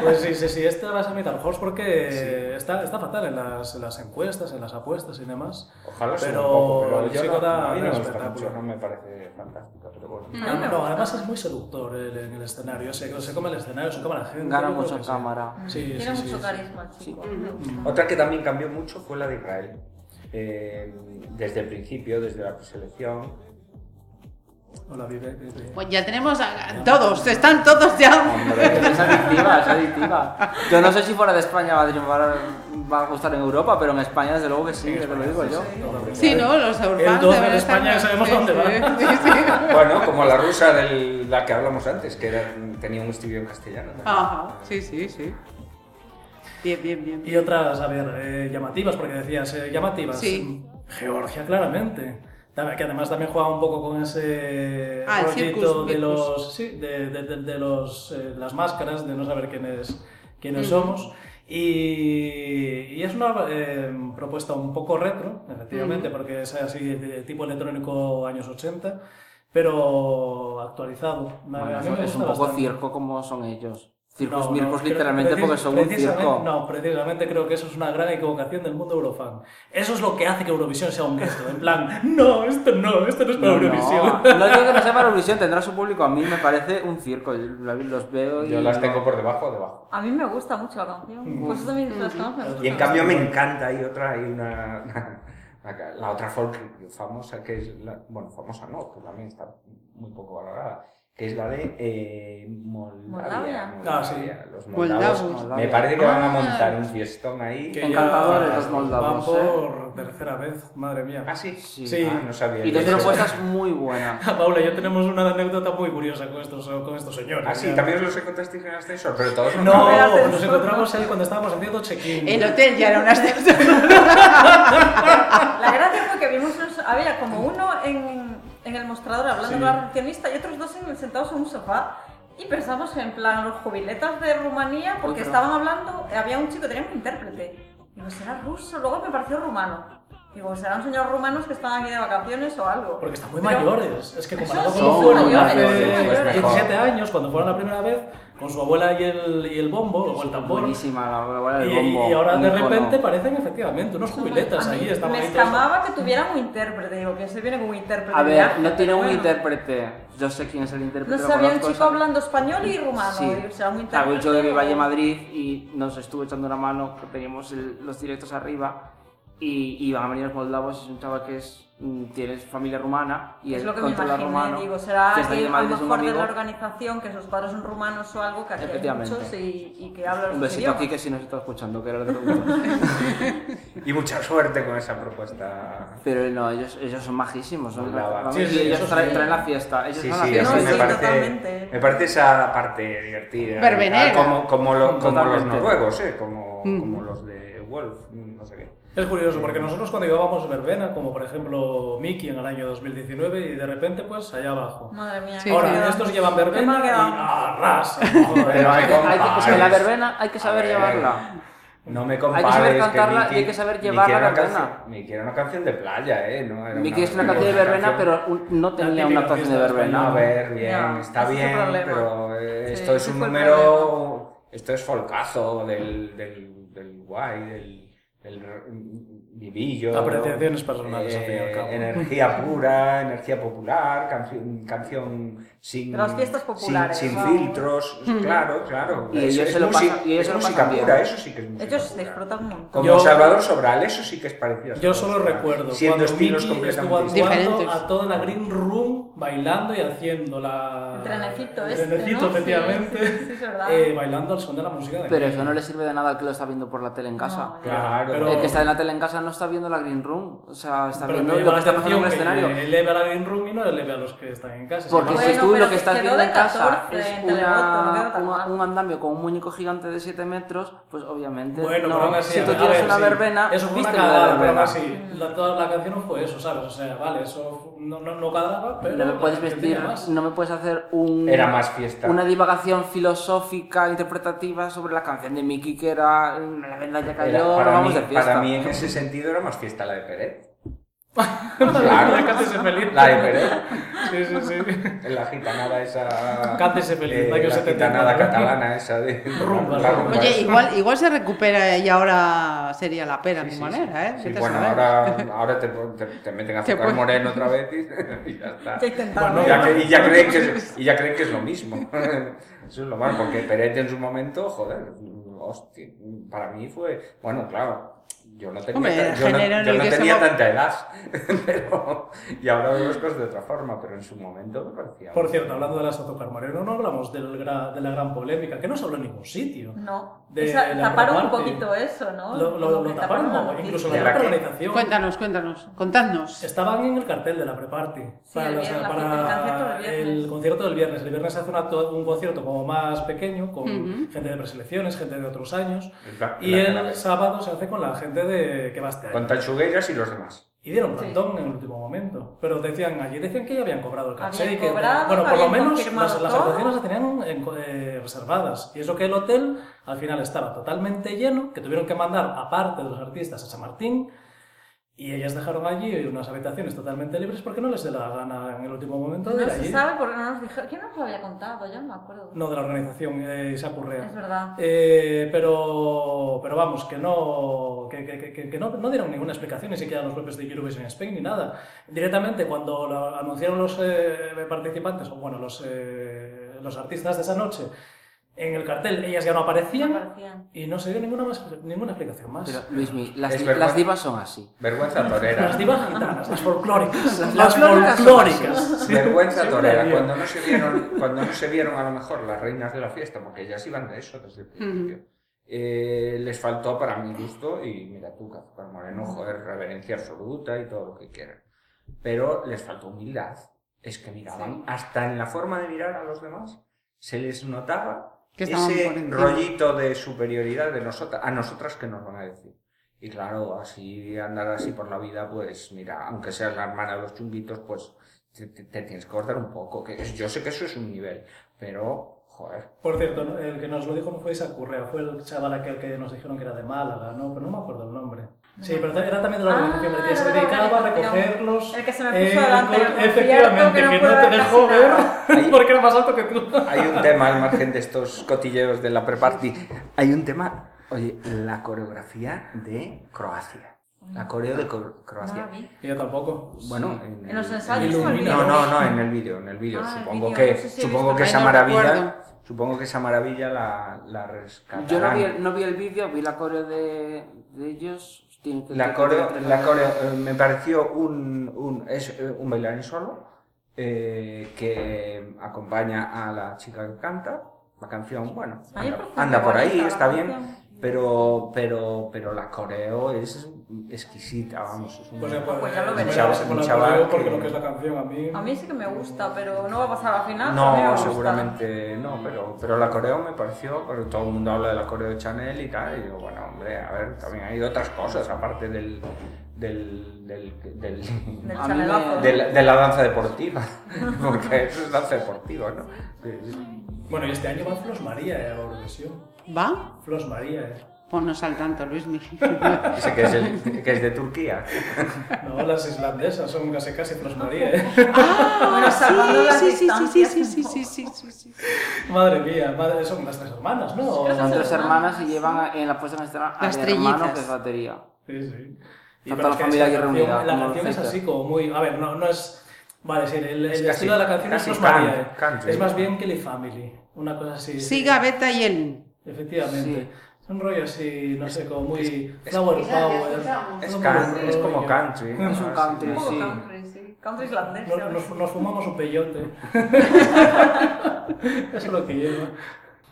S7: Pues sí, sí, sí. Este va a ser mi Dark Horse porque está, está fatal en las, en las encuestas, en las apuestas y demás.
S5: Ojalá sea
S7: Pero
S5: un poco, pero
S7: el
S5: yo
S7: chico
S5: no,
S7: da-
S5: a mí
S7: da
S5: no me gusta
S7: espectáculo.
S5: mucho, no me parece fantástica, pero bueno.
S8: No, me
S7: No,
S8: gusta.
S7: además es muy seductor el- en el escenario. Se, se come el escenario, se come la gente.
S6: Gana
S7: yo creo
S6: mucho
S7: que sí.
S6: cámara.
S7: Sí, sí,
S8: Tiene
S7: sí,
S8: mucho
S7: sí.
S8: carisma, el chico.
S5: Otra que también cambió mucho fue la de Israel. Eh, desde el principio, desde la preselección.
S7: Hola, vive, vive.
S4: Pues ya tenemos a, a todos, están todos ya.
S5: Hombre,
S6: Es adictiva, es adictiva. Yo no sé si fuera de España va a, triunfar- va a gustar en Europa, pero en España desde luego que sí, te lo digo yo.
S7: Totalmente.
S4: Sí, ¿no? Los urbanos
S7: doce de
S4: deben
S7: España,
S4: estar-
S7: sabemos
S4: sí,
S7: dónde va.
S4: sí, sí.
S5: bueno, como la rusa de la que hablamos antes, que era- tenía un estudio en castellano. también.
S4: Ajá, sí, sí, sí. Bien, bien, bien.
S7: Y otras, a ver, eh, llamativas, porque decías, eh, llamativas.
S4: Sí.
S7: Georgia, claramente. Tam- Que además también juega un poco con ese
S4: Ah, el
S7: rollito
S4: circus,
S7: de
S4: circus.
S7: los. Sí, de, de- de- de los, eh, las máscaras, de no saber quién es- quiénes
S4: Mm.
S7: somos. Y, y es una eh, propuesta un poco retro, efectivamente,
S4: Mm.
S7: porque es así de, de tipo electrónico años 80, pero actualizado. Me- a
S6: Bueno,
S7: mí
S6: es
S7: me
S6: un- es un
S7: gusta
S6: poco
S7: bastante.
S6: circo como son ellos. Circos
S7: No,
S6: mircos
S7: no, creo-
S6: literalmente
S7: precis-
S6: porque son un
S7: precisamente-
S6: circo.
S7: No, precisamente creo que eso es una gran equivocación del mundo eurofan. Eso es lo que hace que Eurovisión sea un gueto. En plan, no, esto no, esto no es para
S6: No,
S7: Eurovisión.
S6: no. No digo que no sea para Eurovisión, tendrá su público. A mí me parece un circo. Yo la- Los veo y.
S5: Yo las tengo por debajo o debajo.
S8: A mí me gusta mucho la canción. Pues eso también es de las que más me gusta.
S5: Mm. Y en cambio me encanta, hay otra, hay una, la- la otra folk famosa que es, la, bueno, famosa no, que también está muy poco valorada, que es la de eh, Moldavia.
S8: Moldavia.
S7: Ah, sí.
S5: Los
S4: Moldavos.
S5: moldavos. Me parece que van a montar un fiestón ahí.
S7: Que ya
S6: Encantadores los ¿eh?
S7: Van
S6: moldavos,
S7: por tercera vez, madre mía.
S5: Ah, sí.
S6: Sí.
S5: Ah, no sabía.
S6: Y
S5: yo
S6: tienen
S5: eso.
S6: puestas muy buenas.
S7: Paula, yo tenemos una anécdota muy curiosa con estos, con estos señores.
S5: Ah, sí,
S7: ya.
S5: también os los encontrasteis en el ascensor, pero todos
S7: No, nos encontramos ahí cuando estábamos haciendo check-in.
S4: El hotel ya era un ascensor.
S8: La gracia fue que vimos unos- había como uno en, en el mostrador hablando con la recepcionista y otros dos en- sentados en un sofá y pensamos en plan los jubiletas de Rumanía porque
S6: Otro.
S8: estaban hablando, había un chico que tenía un intérprete. Digo, será ruso, luego me pareció rumano. Digo, serán señores rumanos que están aquí de vacaciones o algo.
S7: Porque están muy
S8: Pero-
S7: mayores. Es que comparado
S8: Eso
S7: con
S8: sí,
S7: cómo fueron
S8: son Pues
S5: mayores,
S7: hace
S5: son mayores.
S7: 17 años, cuando fueron la primera vez, con su abuela y el, y el bombo o el tambor. Y,
S6: Buenísima la bola del bombo.
S7: y ahora
S6: un
S7: de
S6: icono.
S7: repente parecen efectivamente unos jubiletas
S8: A mí
S7: ahí. Están
S8: me
S7: ahí todos-
S8: escamaba que tuvieran un intérprete, digo, que se viene con un intérprete.
S6: A
S8: de
S6: ver,
S8: arte,
S6: no tiene
S8: pero
S6: un
S8: bueno.
S6: intérprete. Yo sé quién es el intérprete.
S8: No
S6: lo
S8: sabía un
S6: conozco,
S8: chico
S6: sabe-
S8: hablando español y rumano.
S6: Sí.
S8: y será un
S6: Claro,
S8: intérprete.
S6: yo de Valle Madrid y nos estuvo echando una mano, que teníamos el- los directos arriba y iban a venir los moldavos y es un chaval que es, mm, tiene familia rumana y
S8: Es
S6: él
S8: lo que me
S6: controla
S8: imaginé,
S6: rumano.
S8: digo, será
S6: que
S8: que
S6: es de Valle
S8: a
S6: Madrid,
S8: lo
S6: es un
S8: mejor de
S6: amigo.
S8: la organización que sus padres son rumanos o algo, que aquí hay
S6: Efectivamente.
S8: muchos y, y que hablan
S6: Un
S8: sus
S6: besito
S8: idiomas.
S6: aquí que si nos está escuchando, que era lo que preguntaba.
S5: Y mucha suerte con esa propuesta.
S6: Pero no, ellos, ellos son majísimos. Son,
S5: Hola,
S6: vamos,
S7: sí, sí,
S6: ellos
S7: eso
S6: traen,
S7: sí.
S6: traen la fiesta. Ellos
S5: Sí,
S6: son la
S5: sí, a
S6: fiesta.
S5: mí
S8: No,
S5: me
S8: sí,
S5: parece,
S8: totalmente.
S5: me parece esa parte divertida.
S4: Verbenera.
S5: Ah, Como, como, lo- como los
S6: Totalmente.
S5: noruegos, ¿eh? como, como los de Wolf, no sé qué.
S7: Es curioso, porque nosotros cuando llevábamos verbena, como por ejemplo Mickey en el año 2019, y de repente, pues allá abajo.
S8: Madre mía.
S4: Sí.
S8: qué
S7: Ahora,
S8: mal
S7: estos
S8: quedamos.
S7: llevan Ah,
S8: Qué
S7: verbena
S8: mal
S7: y
S8: quedamos.
S7: arrasan. joder.
S5: Pero hay que-
S6: Hay que, es que la
S5: Compares.
S6: verbena hay que saber
S5: A ver,
S6: llevarla.
S5: No me
S6: saber
S5: compares.
S6: cantarla
S5: Miki-
S6: y hay que saber
S5: Miki
S6: llevarla
S5: era una
S6: verbena.
S5: canción- Miki era una canción de playa, ¿eh? No era
S6: Miki es una
S5: una
S6: canción de verbena,
S5: canción-
S6: pero un- no tenía
S7: típica
S6: una canción de
S7: fiesta
S5: No, a
S6: verbena.
S5: ver, bien,
S8: Ya,
S5: está
S8: ese es el
S5: bien,
S8: problema.
S5: pero eh,
S8: Sí,
S5: esto es
S8: ese
S5: un
S8: fue el
S5: número. Esto es folcazo del, del, del guay, del, del r- vivillo.
S7: Apreciaciones personales,
S5: eh,
S7: al fin y al cabo.
S5: Energía pura, energía popular, canción, canción sin.
S8: De las fiestas populares,
S5: Sin, sin
S8: vamos.
S5: filtros, claro, claro.
S6: Y
S5: Es-
S6: ellos
S5: es
S6: se lo
S5: música-
S6: pasan- y ellos
S5: es
S6: se lo
S5: música
S6: pasan bien.
S5: pura, eso sí que es música
S8: Ellos
S5: pura.
S8: disfrutan un montón.
S5: Como
S7: Yo-
S5: Salvador Sobral, eso sí que es parecido. a Salvador
S7: Yo solo
S5: Sobral,
S7: recuerdo
S5: Siendo
S7: cuando Mickey
S5: estilos
S7: estuvo
S5: completamente
S4: Diferentes.
S7: actuando a toda la Green Room bailando y haciendo la...
S8: El trenecito
S7: el
S8: este,
S7: trenecito,
S8: ¿no? Sí,
S7: efectivamente.
S8: sí, sí, es verdad.
S7: eh, bailando al son de la música de
S6: Pero
S7: Mickey.
S6: eso no le sirve de nada al que lo está viendo por la tele en casa.
S8: No,
S5: Claro,
S7: Pero-
S6: El que está en la tele en casa no está viendo la Green Room. O sea, está
S7: Pero me
S6: viendo
S7: llama
S6: lo
S7: la
S6: que está pasando en el
S7: atención que
S6: escenario. Pues,
S7: Eleve a la Green Room y no eleve a los que están en casa.
S6: Porque
S8: Bueno,
S6: si tú
S8: pero
S6: lo
S8: se
S6: que estás
S8: quedó
S6: viendo
S8: de
S6: en casa
S8: 14
S6: es
S8: en
S6: una-
S8: Televoto, no queda tan
S6: una-
S8: mal.
S6: un andamio con un muñeco gigante de 7 metros, pues obviamente
S7: Bueno,
S6: no.
S7: pero aún así,
S6: si
S7: a
S6: tú
S7: ver,
S6: quieres
S7: a ver,
S6: una
S7: sí.
S6: verbena,
S7: eso fue una
S6: viste la
S7: cagada, pero aún
S6: verbena.
S7: así, la, toda la canción no fue eso, ¿sabes? O sea, vale, eso fu- no, no, no cuadraba, pero...
S6: No me
S7: la
S6: puedes
S7: canción
S6: vestir,
S7: tenía más.
S6: no me puedes hacer un,
S5: Era más fiesta.
S6: una divagación filosófica, interpretativa sobre la canción de Mickey que era mm, La venda ya cayó,
S5: Era- para,
S6: vamos
S5: mí,
S6: de fiesta.
S5: para mí en ese sentido era más fiesta la de Pérez.
S7: Claro. Cántese feliz.
S5: La de Pérez.
S7: Sí, sí, sí.
S5: La gitanada esa.
S7: Cántese feliz,
S5: eh,
S7: años
S5: La
S7: 70,
S5: gitanada
S7: ¿no?
S5: catalana esa de.
S7: Rumba,
S5: la
S7: rumba.
S4: Oye, igual, igual se recupera y ahora sería la pera
S5: Sí,
S4: de
S5: sí,
S4: manera, ¿eh?
S5: sí.
S4: Vete a
S5: bueno,
S4: saber.
S5: ahora, ahora te, pon- te- te meten a
S4: Te
S5: azúcar
S4: pon-
S5: moreno otra vez y, y ya está.
S8: Ya intentaron.
S4: ¿eh?
S5: Y
S7: Bueno,
S5: ya, cre- y ya creen que es, y ya creen que es lo mismo. Eso es lo malo, porque Pérez en su momento, joder, hostia, para mí fue, bueno, claro, yo no tenía,
S4: Hombre,
S5: tan- yo no-
S4: género en
S5: yo
S4: el
S5: no
S4: que se
S5: tenía
S4: mo-
S5: tanta edad, pero, y ahora veo las cosas de otra forma, pero en su momento me parecía...
S7: Por cierto, hablando de las azúcar moreno, no hablamos del gra- de la gran polémica, que no se habló en ningún sitio.
S8: No.
S7: De
S8: Esa-
S7: la
S8: taparon un
S7: Marte.
S8: poquito eso, ¿no?
S7: Lo, lo- lo
S8: que
S7: taparon,
S8: la
S7: no,
S8: noticia.
S7: incluso
S5: ¿De
S7: la
S5: la
S7: propia
S5: qué?
S7: organización.
S4: Cuéntanos, cuéntanos, contadnos.
S7: Estaban en el cartel de la pre-party para,
S8: el
S7: los-
S8: viernes, la
S7: para
S8: fiesta, el
S7: el
S8: concierto del viernes.
S7: concierto del viernes. El viernes se hace una to- un concierto como más pequeño, con gente de preselecciones, gente de otros años.
S5: La-
S7: Y
S5: la-
S7: el
S5: la-
S7: sábado se hace con la gente de que va este año.
S5: Con Tanchugueras y los demás.
S7: Y dieron plantón en el último momento. Pero decían, allí decían que ya habían cobrado el caché. y
S8: Habían
S7: que,
S8: cobrado,
S7: bueno, por lo
S8: habían
S7: menos
S8: confirmado
S7: las, las
S8: todo.
S7: actuaciones las tenían en- eh, reservadas. Y eso que el hotel al final estaba totalmente lleno, que tuvieron que mandar aparte de los artistas a San Martín. Y ellas dejaron allí unas habitaciones totalmente libres porque no les de la gana en el último momento de ir
S8: No
S7: allí.
S8: se sabe porque no nos dijeron. ¿Quién nos lo había contado? Yo no me acuerdo.
S7: No de la organización eh, Isacurrea.
S8: Es verdad.
S7: Eh, pero, pero vamos, que no, que, que- que- que no, no dieron ninguna explicación, ni siquiera los propios de Eurovision Spain ni nada. Directamente cuando lo anunciaron los eh, participantes, o bueno, los, eh, los artistas de esa noche, en el cartel ellas ya no aparecían
S8: Parecían.
S7: y no se dio ninguna, más, ninguna explicación más.
S6: Pero, Luismi, las,
S5: Es
S6: di-
S5: verdad.
S6: las divas son así.
S5: Vergüenza
S7: Las
S5: torera.
S7: divas gitanas, las folclóricas,
S6: Las-
S7: las,
S6: las folclóricas son
S7: folclóricas. Sí,
S5: Vergüenza
S7: siempre
S5: torera.
S7: había.
S5: Cuando no, se vieron, cuando no se vieron a lo mejor las reinas de la fiesta, porque ellas iban de eso desde el principio, eh, les faltó para mi gusto, y mira tú, Cazúcar Moreno, joder, reverencia absoluta y todo lo que quieran. Pero les faltó humildad. Es que miraban, hasta en la forma de mirar a los demás, se les notaba
S4: Que estaban por
S5: ese
S4: encima.
S5: rollito de superioridad de nosotras, a nosotras que nos van a decir. Y claro, así andar así por la vida, pues mira, aunque seas la hermana de los chunguitos, pues te, te- te tienes que cortar un poco. Que es- yo sé que eso es un nivel, pero joder.
S7: Por cierto, ¿no? el que nos lo dijo no fue Isaac Correa, fue el chaval aquel que nos dijeron que era de Málaga, ¿no? Pero no me acuerdo el nombre. Sí, pero era también de la
S8: Ah,
S7: organización, porque se
S8: era de la
S7: dedicaba a
S8: organización.
S7: recogerlos.
S8: El que se me
S7: en
S8: puso
S7: alcohol.
S8: delante en el concierto,
S7: Efectivamente,
S8: que no
S7: que
S8: pude
S7: no te
S8: ver
S7: dejó
S8: casi
S7: ver porque era más alto que tú.
S5: Hay un tema al margen de estos cotilleos de la pre-party. Hay un tema, oye, la coreografía de Croacia. La coreo de Cro- Croacia.
S7: Y yo tampoco.
S5: Bueno, en,
S8: En los
S5: el-
S8: ensayos
S7: o en el
S5: No,
S7: vídeo?
S5: no, no, en el vídeo, en el vídeo.
S8: Ah, el
S5: supongo
S8: vídeo,
S5: que,
S8: no sé si he
S5: supongo
S8: visto.
S5: que
S4: Ay,
S5: esa
S4: no recuerdo.
S5: maravilla, supongo que esa maravilla la, la rescatarán.
S6: Yo no vi, el- no vi el vídeo, vi la coreo de, de ellos. Tienen que-
S5: La
S6: que-
S5: coreo,
S6: que-
S5: la coreo, eh, me pareció un, un, es eh, un bailarín solo eh, que acompaña a la chica que canta. La canción, bueno,
S8: A mí me
S5: anda,
S8: parece
S5: anda por ahí,
S8: bonita la
S5: está bien,
S8: canción.
S5: pero, pero, pero la coreo es exquisita, vamos. Es un-
S7: Pues ya, pues,
S8: Pues ya lo
S7: eh,
S8: veremos.
S7: chaval-
S5: Un
S7: bueno,
S5: chaval
S7: creo porque
S5: que-
S7: lo que es la canción a mí.
S8: A mí sí que me gusta, pero no va a pasar a la final. pero a mí me
S5: No,
S8: gusta.
S5: seguramente no, pero, pero la coreo me pareció, porque todo el mundo habla de la coreo de Chanel y tal, y digo, bueno, hombre, a ver, también hay otras cosas aparte del, del, del, del-
S8: Del
S6: A mí
S8: chanelazo.
S6: me-
S5: de, la, de la danza deportiva, porque eso es danza deportiva, ¿no?
S7: Bueno, y este año va Flos María eh, a Eurovisión.
S4: ¿Va?
S7: Flos María, eh.
S4: Ponnos al tanto, Luis Miguel.
S5: Dice que es, el- que es de Turquía.
S7: No, las islandesas son casi casi Flos María, eh.
S8: Bueno, salvando las
S4: sí, sí, sí,
S8: distancias
S4: sí,
S8: un
S4: sí,
S8: poco.
S4: sí, sí, sí, sí, sí.
S7: Madre mía, madre, son las tres hermanas, ¿no?
S6: Son tres hermanas y llevan a- en la puesta en escena a
S4: Las
S6: mi hermano
S4: trellizas.
S6: que es batería.
S7: Sí, sí.
S6: Está
S7: pero
S6: toda
S7: es que
S6: la familia
S7: esa
S6: aquí
S7: canción-
S6: reunida,
S7: La
S6: como
S7: canción es
S6: Rosetta.
S7: así como muy. A ver, no, no es. Vale, sí, el, el
S5: Es
S7: estilo
S5: casi-
S7: de la canción es
S5: casi
S7: Flos María.
S5: can-
S7: eh.
S5: country.
S7: Es más bien Kelly Family. Una cosa así.
S4: Sí, Gaveta y él.
S7: Efectivamente.
S6: Sí.
S7: Es un rollo así, no sé, como muy. Flower Power.
S5: Es,
S7: todo
S5: can-
S7: muy
S5: es como
S7: rollo.
S5: country. ¿no?
S6: Es
S7: Ah,
S6: un country,
S8: Un poco
S6: sí.
S8: country, sí. Country islandés.
S7: No-
S8: ¿sabes?
S7: Nos, nos fumamos un peyote. Eso es lo que lleva.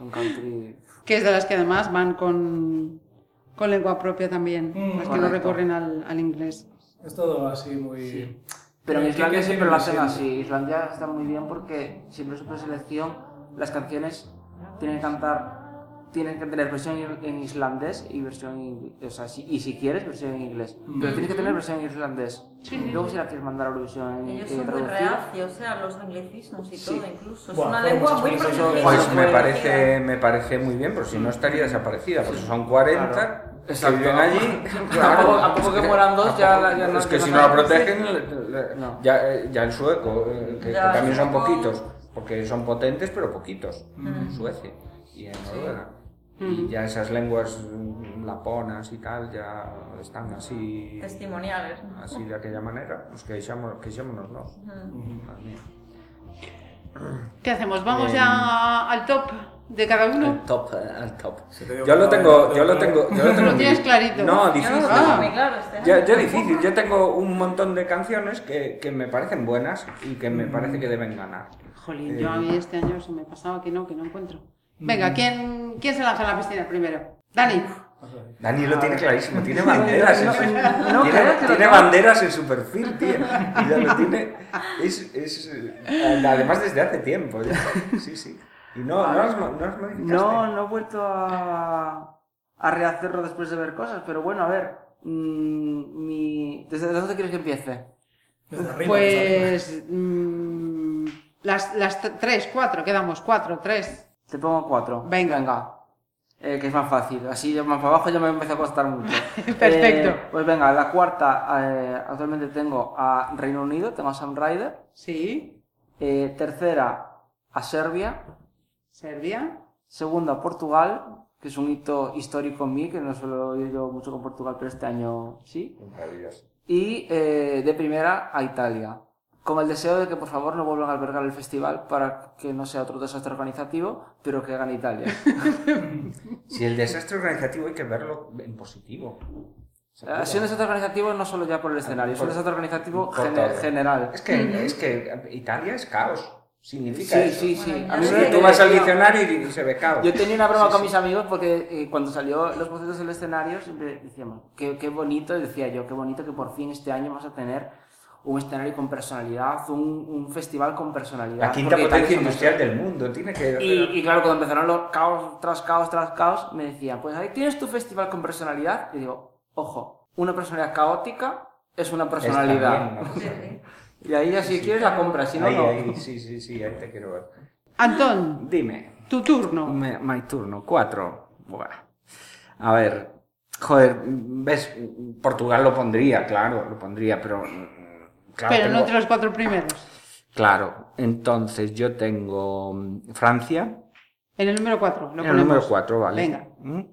S6: Un country.
S4: Que es de las que además van con, con lengua propia también,
S7: Mm,
S4: las que no
S6: correcto.
S4: recurren al, al inglés.
S7: Es todo así muy.
S6: Pero en
S7: ¿Qué-
S6: Islandia
S7: qué-
S6: siempre
S7: qué
S6: lo hacen
S7: sientes?
S6: así. Islandia está muy bien porque siempre su preselección, las canciones tienen que cantar, tienen que tener versión en en islandés y versión en o sea, si- y si quieres versión en inglés. Pero tienes que tener versión en islandés. Luego si la quieres mandar a Eurovisión en,
S8: Ellos
S6: en
S8: son muy
S6: traducida,
S8: reacios, o sea, los anglicismos y todo, incluso. Es
S7: Buah,
S8: una
S7: fueron
S8: lengua
S7: muchas
S8: muy
S7: cosas.
S8: protegida.
S5: Pues
S6: Eso
S5: me
S6: fue-
S5: parece, me parece muy bien, porque si no estaría desaparecida, porque son 40
S6: Claro.
S5: que
S6: Exacto.
S5: viven allí.
S6: A poco- a poco que mueran dos,
S5: a
S6: ya
S5: poco-
S6: la- ya no-
S5: Es que
S6: ya
S5: si
S6: no
S5: no la
S6: saben.
S5: protegen, le- le-
S6: No.
S5: ya, eh, ya el sueco, eh, que,
S8: Ya,
S5: que también son
S8: sueco.
S5: poquitos, porque son potentes, pero poquitos,
S6: Mm.
S5: en Suecia y en Noruega. Y ya esas lenguas mm, laponas y tal ya están así,
S8: Testimoniales. ¿no?
S5: así de aquella manera. Pues que echémonos, no.
S6: Mm.
S5: Madre mía.
S4: ¿Qué hacemos? ¿Vamos
S5: Eh,
S4: ya al top de cada uno?
S6: Eh,
S5: Al top, al top.
S7: digo
S5: Yo
S7: que
S5: lo
S7: no,
S5: tengo,
S7: no,
S5: yo lo
S7: no.
S5: tengo, yo lo tengo.
S4: Lo tienes clarito.
S5: No,
S8: Yo no
S5: difícil.
S8: lo tengo muy claro este
S5: Yo,
S8: año.
S5: yo difícil, yo tengo un montón de canciones que, que me parecen buenas y que
S6: Mm.
S5: me parece que deben ganar.
S4: Jolín, yo a mí este año se me pasaba que no, que no encuentro. Venga, ¿quién, quién se lanza a la piscina primero? Dani.
S5: Dani
S6: Ah,
S5: lo tiene clarísimo, tiene banderas, en su, tiene,
S6: creo que lo
S5: tiene
S6: tenga.
S5: banderas en su perfil, tío. Y ya lo tiene. Es, es, eh, además desde hace tiempo ya. Sí, sí. Y no, no las mo- no las modificaste.
S6: No, no he vuelto a, a rehacerlo después de ver cosas, pero bueno, a ver. mm, mi- ¿Desde dónde quieres que empiece?
S7: Desde arriba.
S5: Eh,
S4: Pues mm, las, las t- tres, cuatro, quedamos cuatro, tres.
S6: Te pongo cuatro.
S4: Venga.
S6: Venga. Eh, que es más fácil. Así ya más para abajo ya me empieza a costar mucho.
S4: Perfecto.
S6: Eh, pues venga, la cuarta. eh, actualmente tengo a Reino Unido, tengo a Sam Ryder.
S4: Sí.
S6: Eh, tercera, a Serbia.
S4: Serbia.
S6: Segunda, a Portugal, que es un hito histórico en mí, que no suelo ir yo mucho con Portugal, pero este año sí.
S5: Maravilloso.
S6: Y eh, de primera a Italia. Con el deseo de que por favor no vuelvan a albergar el festival para que no sea otro desastre organizativo, pero que hagan Italia. Eh,
S5: Si el desastre organizativo hay que verlo en positivo.
S6: Eh, Es un desastre organizativo no solo ya por el escenario, es
S5: Ah, Por-
S6: un
S5: eh.
S6: desastre organizativo
S5: por
S6: gene-
S5: todo.
S6: general.
S5: Es que, es que Italia es caos.
S6: Sí,
S5: Significa eso.
S6: sí, sí.
S8: Bueno,
S6: A
S8: ya
S6: mí
S5: Es
S8: sé
S6: me-
S5: que tú vas al
S6: yo-
S5: diccionario y se ve caos.
S6: Yo tenía una broma
S5: Sí,
S6: con
S5: sí.
S6: mis amigos porque eh, cuando salió los bocetos del escenario siempre decíamos, qué, qué bonito, y decía yo, qué bonito que por fin este año vamos a tener un escenario con personalidad, un, un festival con personalidad.
S5: La quinta
S6: porque Italia
S5: potencia
S6: es una-
S5: industrial del mundo. Tiene que.
S6: Y, y claro, cuando empezaron los caos tras caos tras caos, me decían, pues ahí tienes tu festival con personalidad. Y digo, ojo, una personalidad caótica es una
S5: Está
S6: personalidad.
S5: bien, ¿no?
S6: Y ahí ya si quieres la compras, si no,
S5: Ahí,
S6: no.
S5: ahí, sí, sí, sí, ahí te quiero ver.
S4: Antón,
S5: Dime. Mm,
S4: tu turno.
S5: Me- my turno, cuatro. Buah. A ver, Joder, ves, Portugal lo pondría, claro, lo pondría, pero. mm, Claro,
S4: Pero no
S5: tengo-
S4: entre los cuatro primeros.
S5: Claro, entonces yo tengo mm, Francia
S4: En el número cuatro. Lo
S5: en el número
S4: ponemos.
S5: 4, ¿vale?
S4: Venga.
S5: Mm.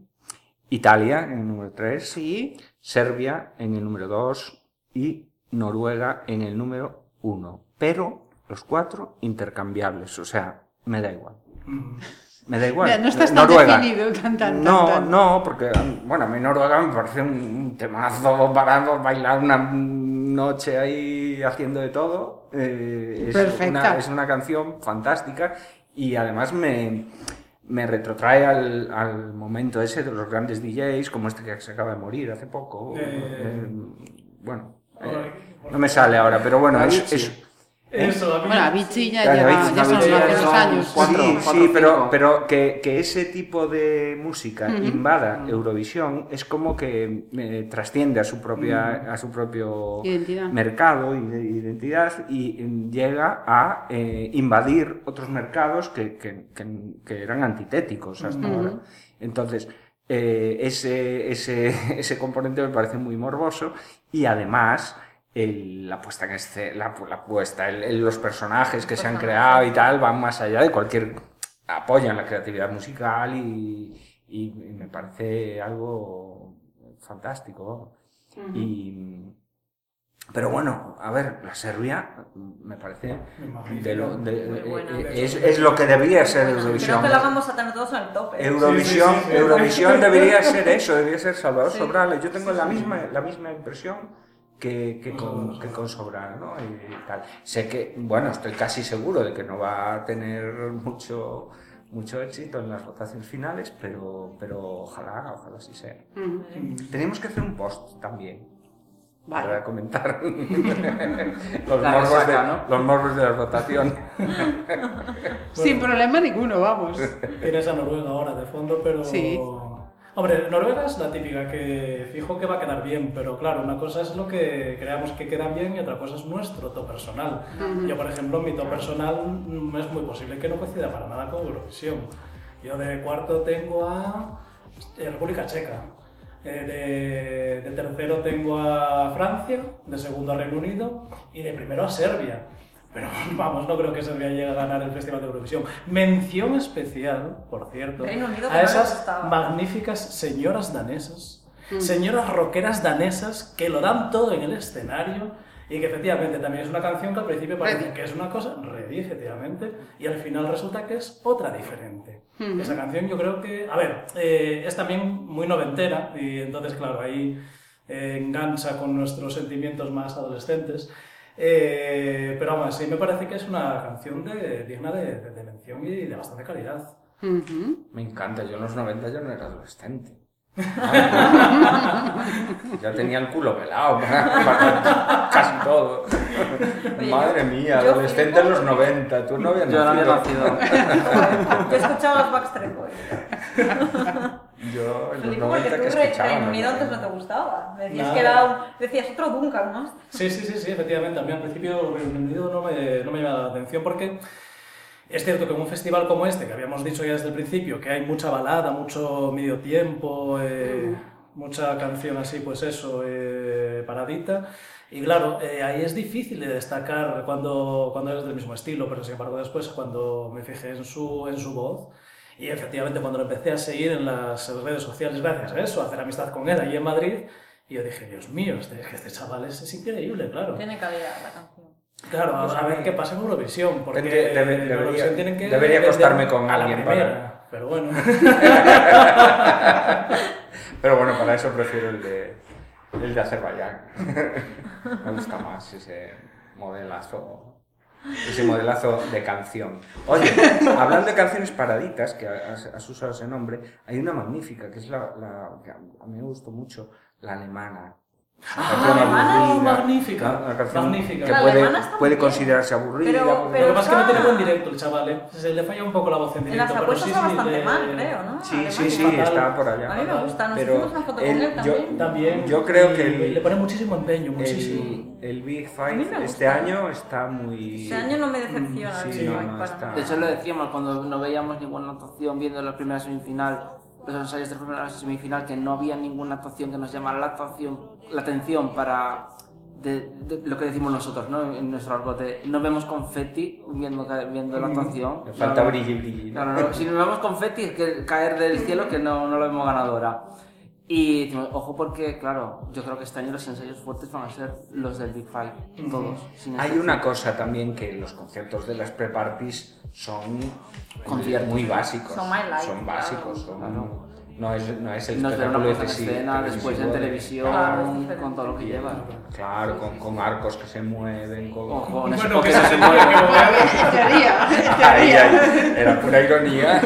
S5: Italia en el número 3,
S4: Sí.
S5: Serbia en el número 2 y Noruega en el número 1. Pero los cuatro intercambiables, o sea, me da igual.
S7: Mm.
S5: Me da igual.
S4: Mira, no estás tan
S5: Noruega.
S4: definido, tan, tan, tan,
S5: no,
S4: tan.
S5: no, porque, bueno, a mí Noruega me parece un- un temazo para bailar una noche ahí haciendo de todo. Eh, es,
S4: Perfecta.
S5: una, es una canción fantástica y además me, me retrotrae al, al momento ese de los grandes DJs, como este que se acaba de morir hace poco.
S7: Eh,
S5: Eh, bueno, eh, no me sale ahora, pero bueno, es- es,
S7: Eso, a mí-
S4: Bueno, Avicii ya
S5: Claro,
S4: lleva,
S5: Avicii,
S4: ya son
S5: Avicii
S4: hace unos
S6: son
S4: años.
S6: cuatro.
S5: sí, sí,
S6: cinco.
S5: pero, pero que, que ese tipo de música invada Eurovisión es como que eh, trasciende a su propia a su propio
S4: Identidad.
S5: mercado y de- identidad y mm, llega a eh, invadir otros mercados que, que- que- que eran antitéticos hasta ahora. Entonces, eh, ese, ese, ese componente me parece muy morboso y además el- la puesta en escena, la, pu- la puesta, el- el- los personajes que se han creado y tal van más allá de cualquier... apoyan la creatividad musical y, y- y me parece algo fantástico. Y, pero bueno, a ver, la Serbia me parece...
S7: Magnífico.
S5: de lo- de-
S8: Muy buena.
S5: eh, es, es lo que debería ser
S8: Bueno,
S5: Eurovisión.
S8: Creo que la vamos a tener todos en el tope.
S5: Eurovisión,
S7: Sí, sí, sí, sí.
S5: Eurovisión debería ser eso, debería ser Salvador
S8: Sí.
S5: Sobral. Yo tengo la, misma, la misma impresión que, que, con,
S7: Nosotros.
S5: que con Sobral, ¿no? Y tal. Sé que, bueno, estoy casi seguro de que no va a tener mucho, mucho éxito en las votaciones finales, pero, pero ojalá, ojalá sí sea.
S4: Ujú.
S8: ¿eh?
S5: Tenemos que hacer un post también.
S4: Vale.
S5: Para comentar los,
S6: La
S5: morbos de,
S6: resaca, ¿no?
S5: los morbos de la votación.
S4: Sin problema ninguno, vamos.
S7: Tienes a Noruega ahora de fondo, pero.
S4: Sí.
S7: Hombre, Noruega es la típica que fijo que va a quedar bien, pero claro, una cosa es lo que creamos que queda bien y otra cosa es nuestro top personal. Yo, por ejemplo, mi top personal mm, es muy posible que no coincida para nada con Eurovisión. Yo de cuarto tengo a eh, República Checa. Eh, de, de tercero tengo a Francia, de segundo a Reino Unido y de primero a Serbia. Pero vamos, no creo que Serbia llegue a ganar el Festival de Eurovisión. Mención especial, por cierto,
S8: Reino Unido, que
S7: a
S8: no
S7: esas
S8: les estaba.
S7: magníficas señoras danesas, señoras rockeras danesas que lo dan todo en el escenario y que efectivamente también es una canción que al principio parece que es una cosa, redí efectivamente, y al final resulta que es otra diferente. Esa canción yo creo que, a ver, eh, es también muy noventera y entonces claro, ahí eh, engancha con nuestros sentimientos más adolescentes. Eh, pero aún así me parece que es una canción de- digna de, de- de mención y de bastante calidad.
S4: Ujú.
S5: Me encanta, yo en los 90 yo no era adolescente. ya tenía el culo pelado para, para casi todo. Madre mía,
S8: yo
S5: adolescente
S8: flipo.
S5: en los 90, tú no habías
S6: Yo no había
S5: nacido.
S6: nacido.
S8: Yo escuchaba los Backstreet Boys.
S5: Yo en los
S8: Flipo,
S5: 90
S8: porque
S5: que
S8: tú Re-
S5: escuchaba.
S8: Reino
S5: ¿no?
S8: Unido antes no te gustaba. Me Decías
S7: Nada.
S8: que era un... Decías otro Duncan, ¿no?
S7: Sí, sí, sí, sí, efectivamente. A mí al principio Reino Unido no me, no me llamaba la atención porque es cierto que en un festival como este, que habíamos dicho ya desde el principio, que hay mucha balada, mucho medio tiempo, eh, mucha canción así, pues eso, eh, paradita. Y claro, eh, ahí es difícil de destacar cuando, cuando es del mismo estilo, pero sin embargo después cuando me fijé en su, en su voz, y efectivamente cuando lo empecé a seguir en las redes sociales, gracias a eso, a hacer amistad con él allí en Madrid, y yo dije, Dios mío, este, este chaval es, es increíble, claro.
S8: Tiene calidad la canción.
S7: Claro, pues a, a ver qué pasa en Eurovisión, porque
S5: Ah, Tendría- debe-
S7: en
S5: debería-
S7: Eurovisión tienen que...
S5: debería
S7: vender
S5: acostarme con
S7: a la
S5: alguien
S7: primera,
S5: para-
S7: Pero bueno,
S5: Pero bueno, para eso prefiero el de, el de Azerbaiyán. Me gusta más ese modelazo. Ese modelazo de canción. Oye, hablando de canciones paraditas, que has, has usado ese nombre, hay una magnífica, que es la, la- que a mí me gustó mucho, la alemana.
S7: Ah,
S5: La
S7: alemana,
S5: aburrida,
S7: magnífica,
S5: ¿no? Una canción
S7: magnífica.
S5: que
S8: La
S5: puede,
S8: alemana está
S5: puede
S8: muy bien.
S5: considerarse aburrida.
S8: Pero-
S5: porque-
S7: lo que
S8: pero-
S7: pasa es que no tiene buen directo el chaval, ¿eh? Se le falla un poco la voz en
S8: En
S7: directo.
S8: las
S7: pero
S8: apuestas
S7: sí,
S8: está
S7: sí,
S8: bastante
S7: le-
S8: mal, creo, ¿no?
S5: Sí, sí,
S8: Alemania.
S5: sí,
S7: fatal.
S5: está por allá.
S8: A mí me gusta, nos
S5: Pero
S8: hicimos una foto con
S5: él-
S8: él
S5: yo-
S8: también.
S7: También.
S5: Yo creo
S7: y
S5: que el-
S7: Le pone muchísimo empeño, muchísimo.
S5: El, el Big
S8: mí me
S5: Five
S8: gusta.
S5: este año está muy.
S8: Este año no me decepciona
S5: Sí,
S8: el Big
S5: no, no
S8: Five para
S5: está.
S8: nada.
S6: De hecho, lo decíamos cuando no veíamos ninguna anotación viendo la primera semifinal los ensayos de la semifinal que no había ninguna actuación que nos llamara la, actuación, la atención para de, de lo que decimos nosotros, ¿no? En nuestro argot de no vemos confeti viendo, ca- viendo la actuación.
S5: Le falta
S6: No,
S5: brilli, brilli.
S6: no, no, no. Si nos vemos confeti es que caer del cielo que no, no lo vemos ganadora. Y decimos, ojo porque, claro, yo creo que este año los ensayos fuertes van a ser los del Big Five, todos. sin
S5: Hay
S6: excepción.
S5: una cosa también que los conceptos de las pre-parties son conciertos muy básicos.
S8: Son my life,
S5: Son básicos. son-
S6: Claro.
S5: No, es, no es el
S6: Nos verá una
S5: espectáculo
S6: puesta en
S5: de sí-
S6: escena, después en
S5: televisivo
S6: televisión,
S5: de-
S8: Claro, es diferente.
S6: con todo lo que lleva.
S5: Claro, con, con arcos que se mueven. Con...
S6: Ojo, con ese
S7: Bueno, que
S6: poquito
S7: esa
S6: se
S7: señora
S6: mueve.
S7: que volea-
S4: En teoría, en
S5: Ay,
S4: teoría.
S5: ay, era pura ironía.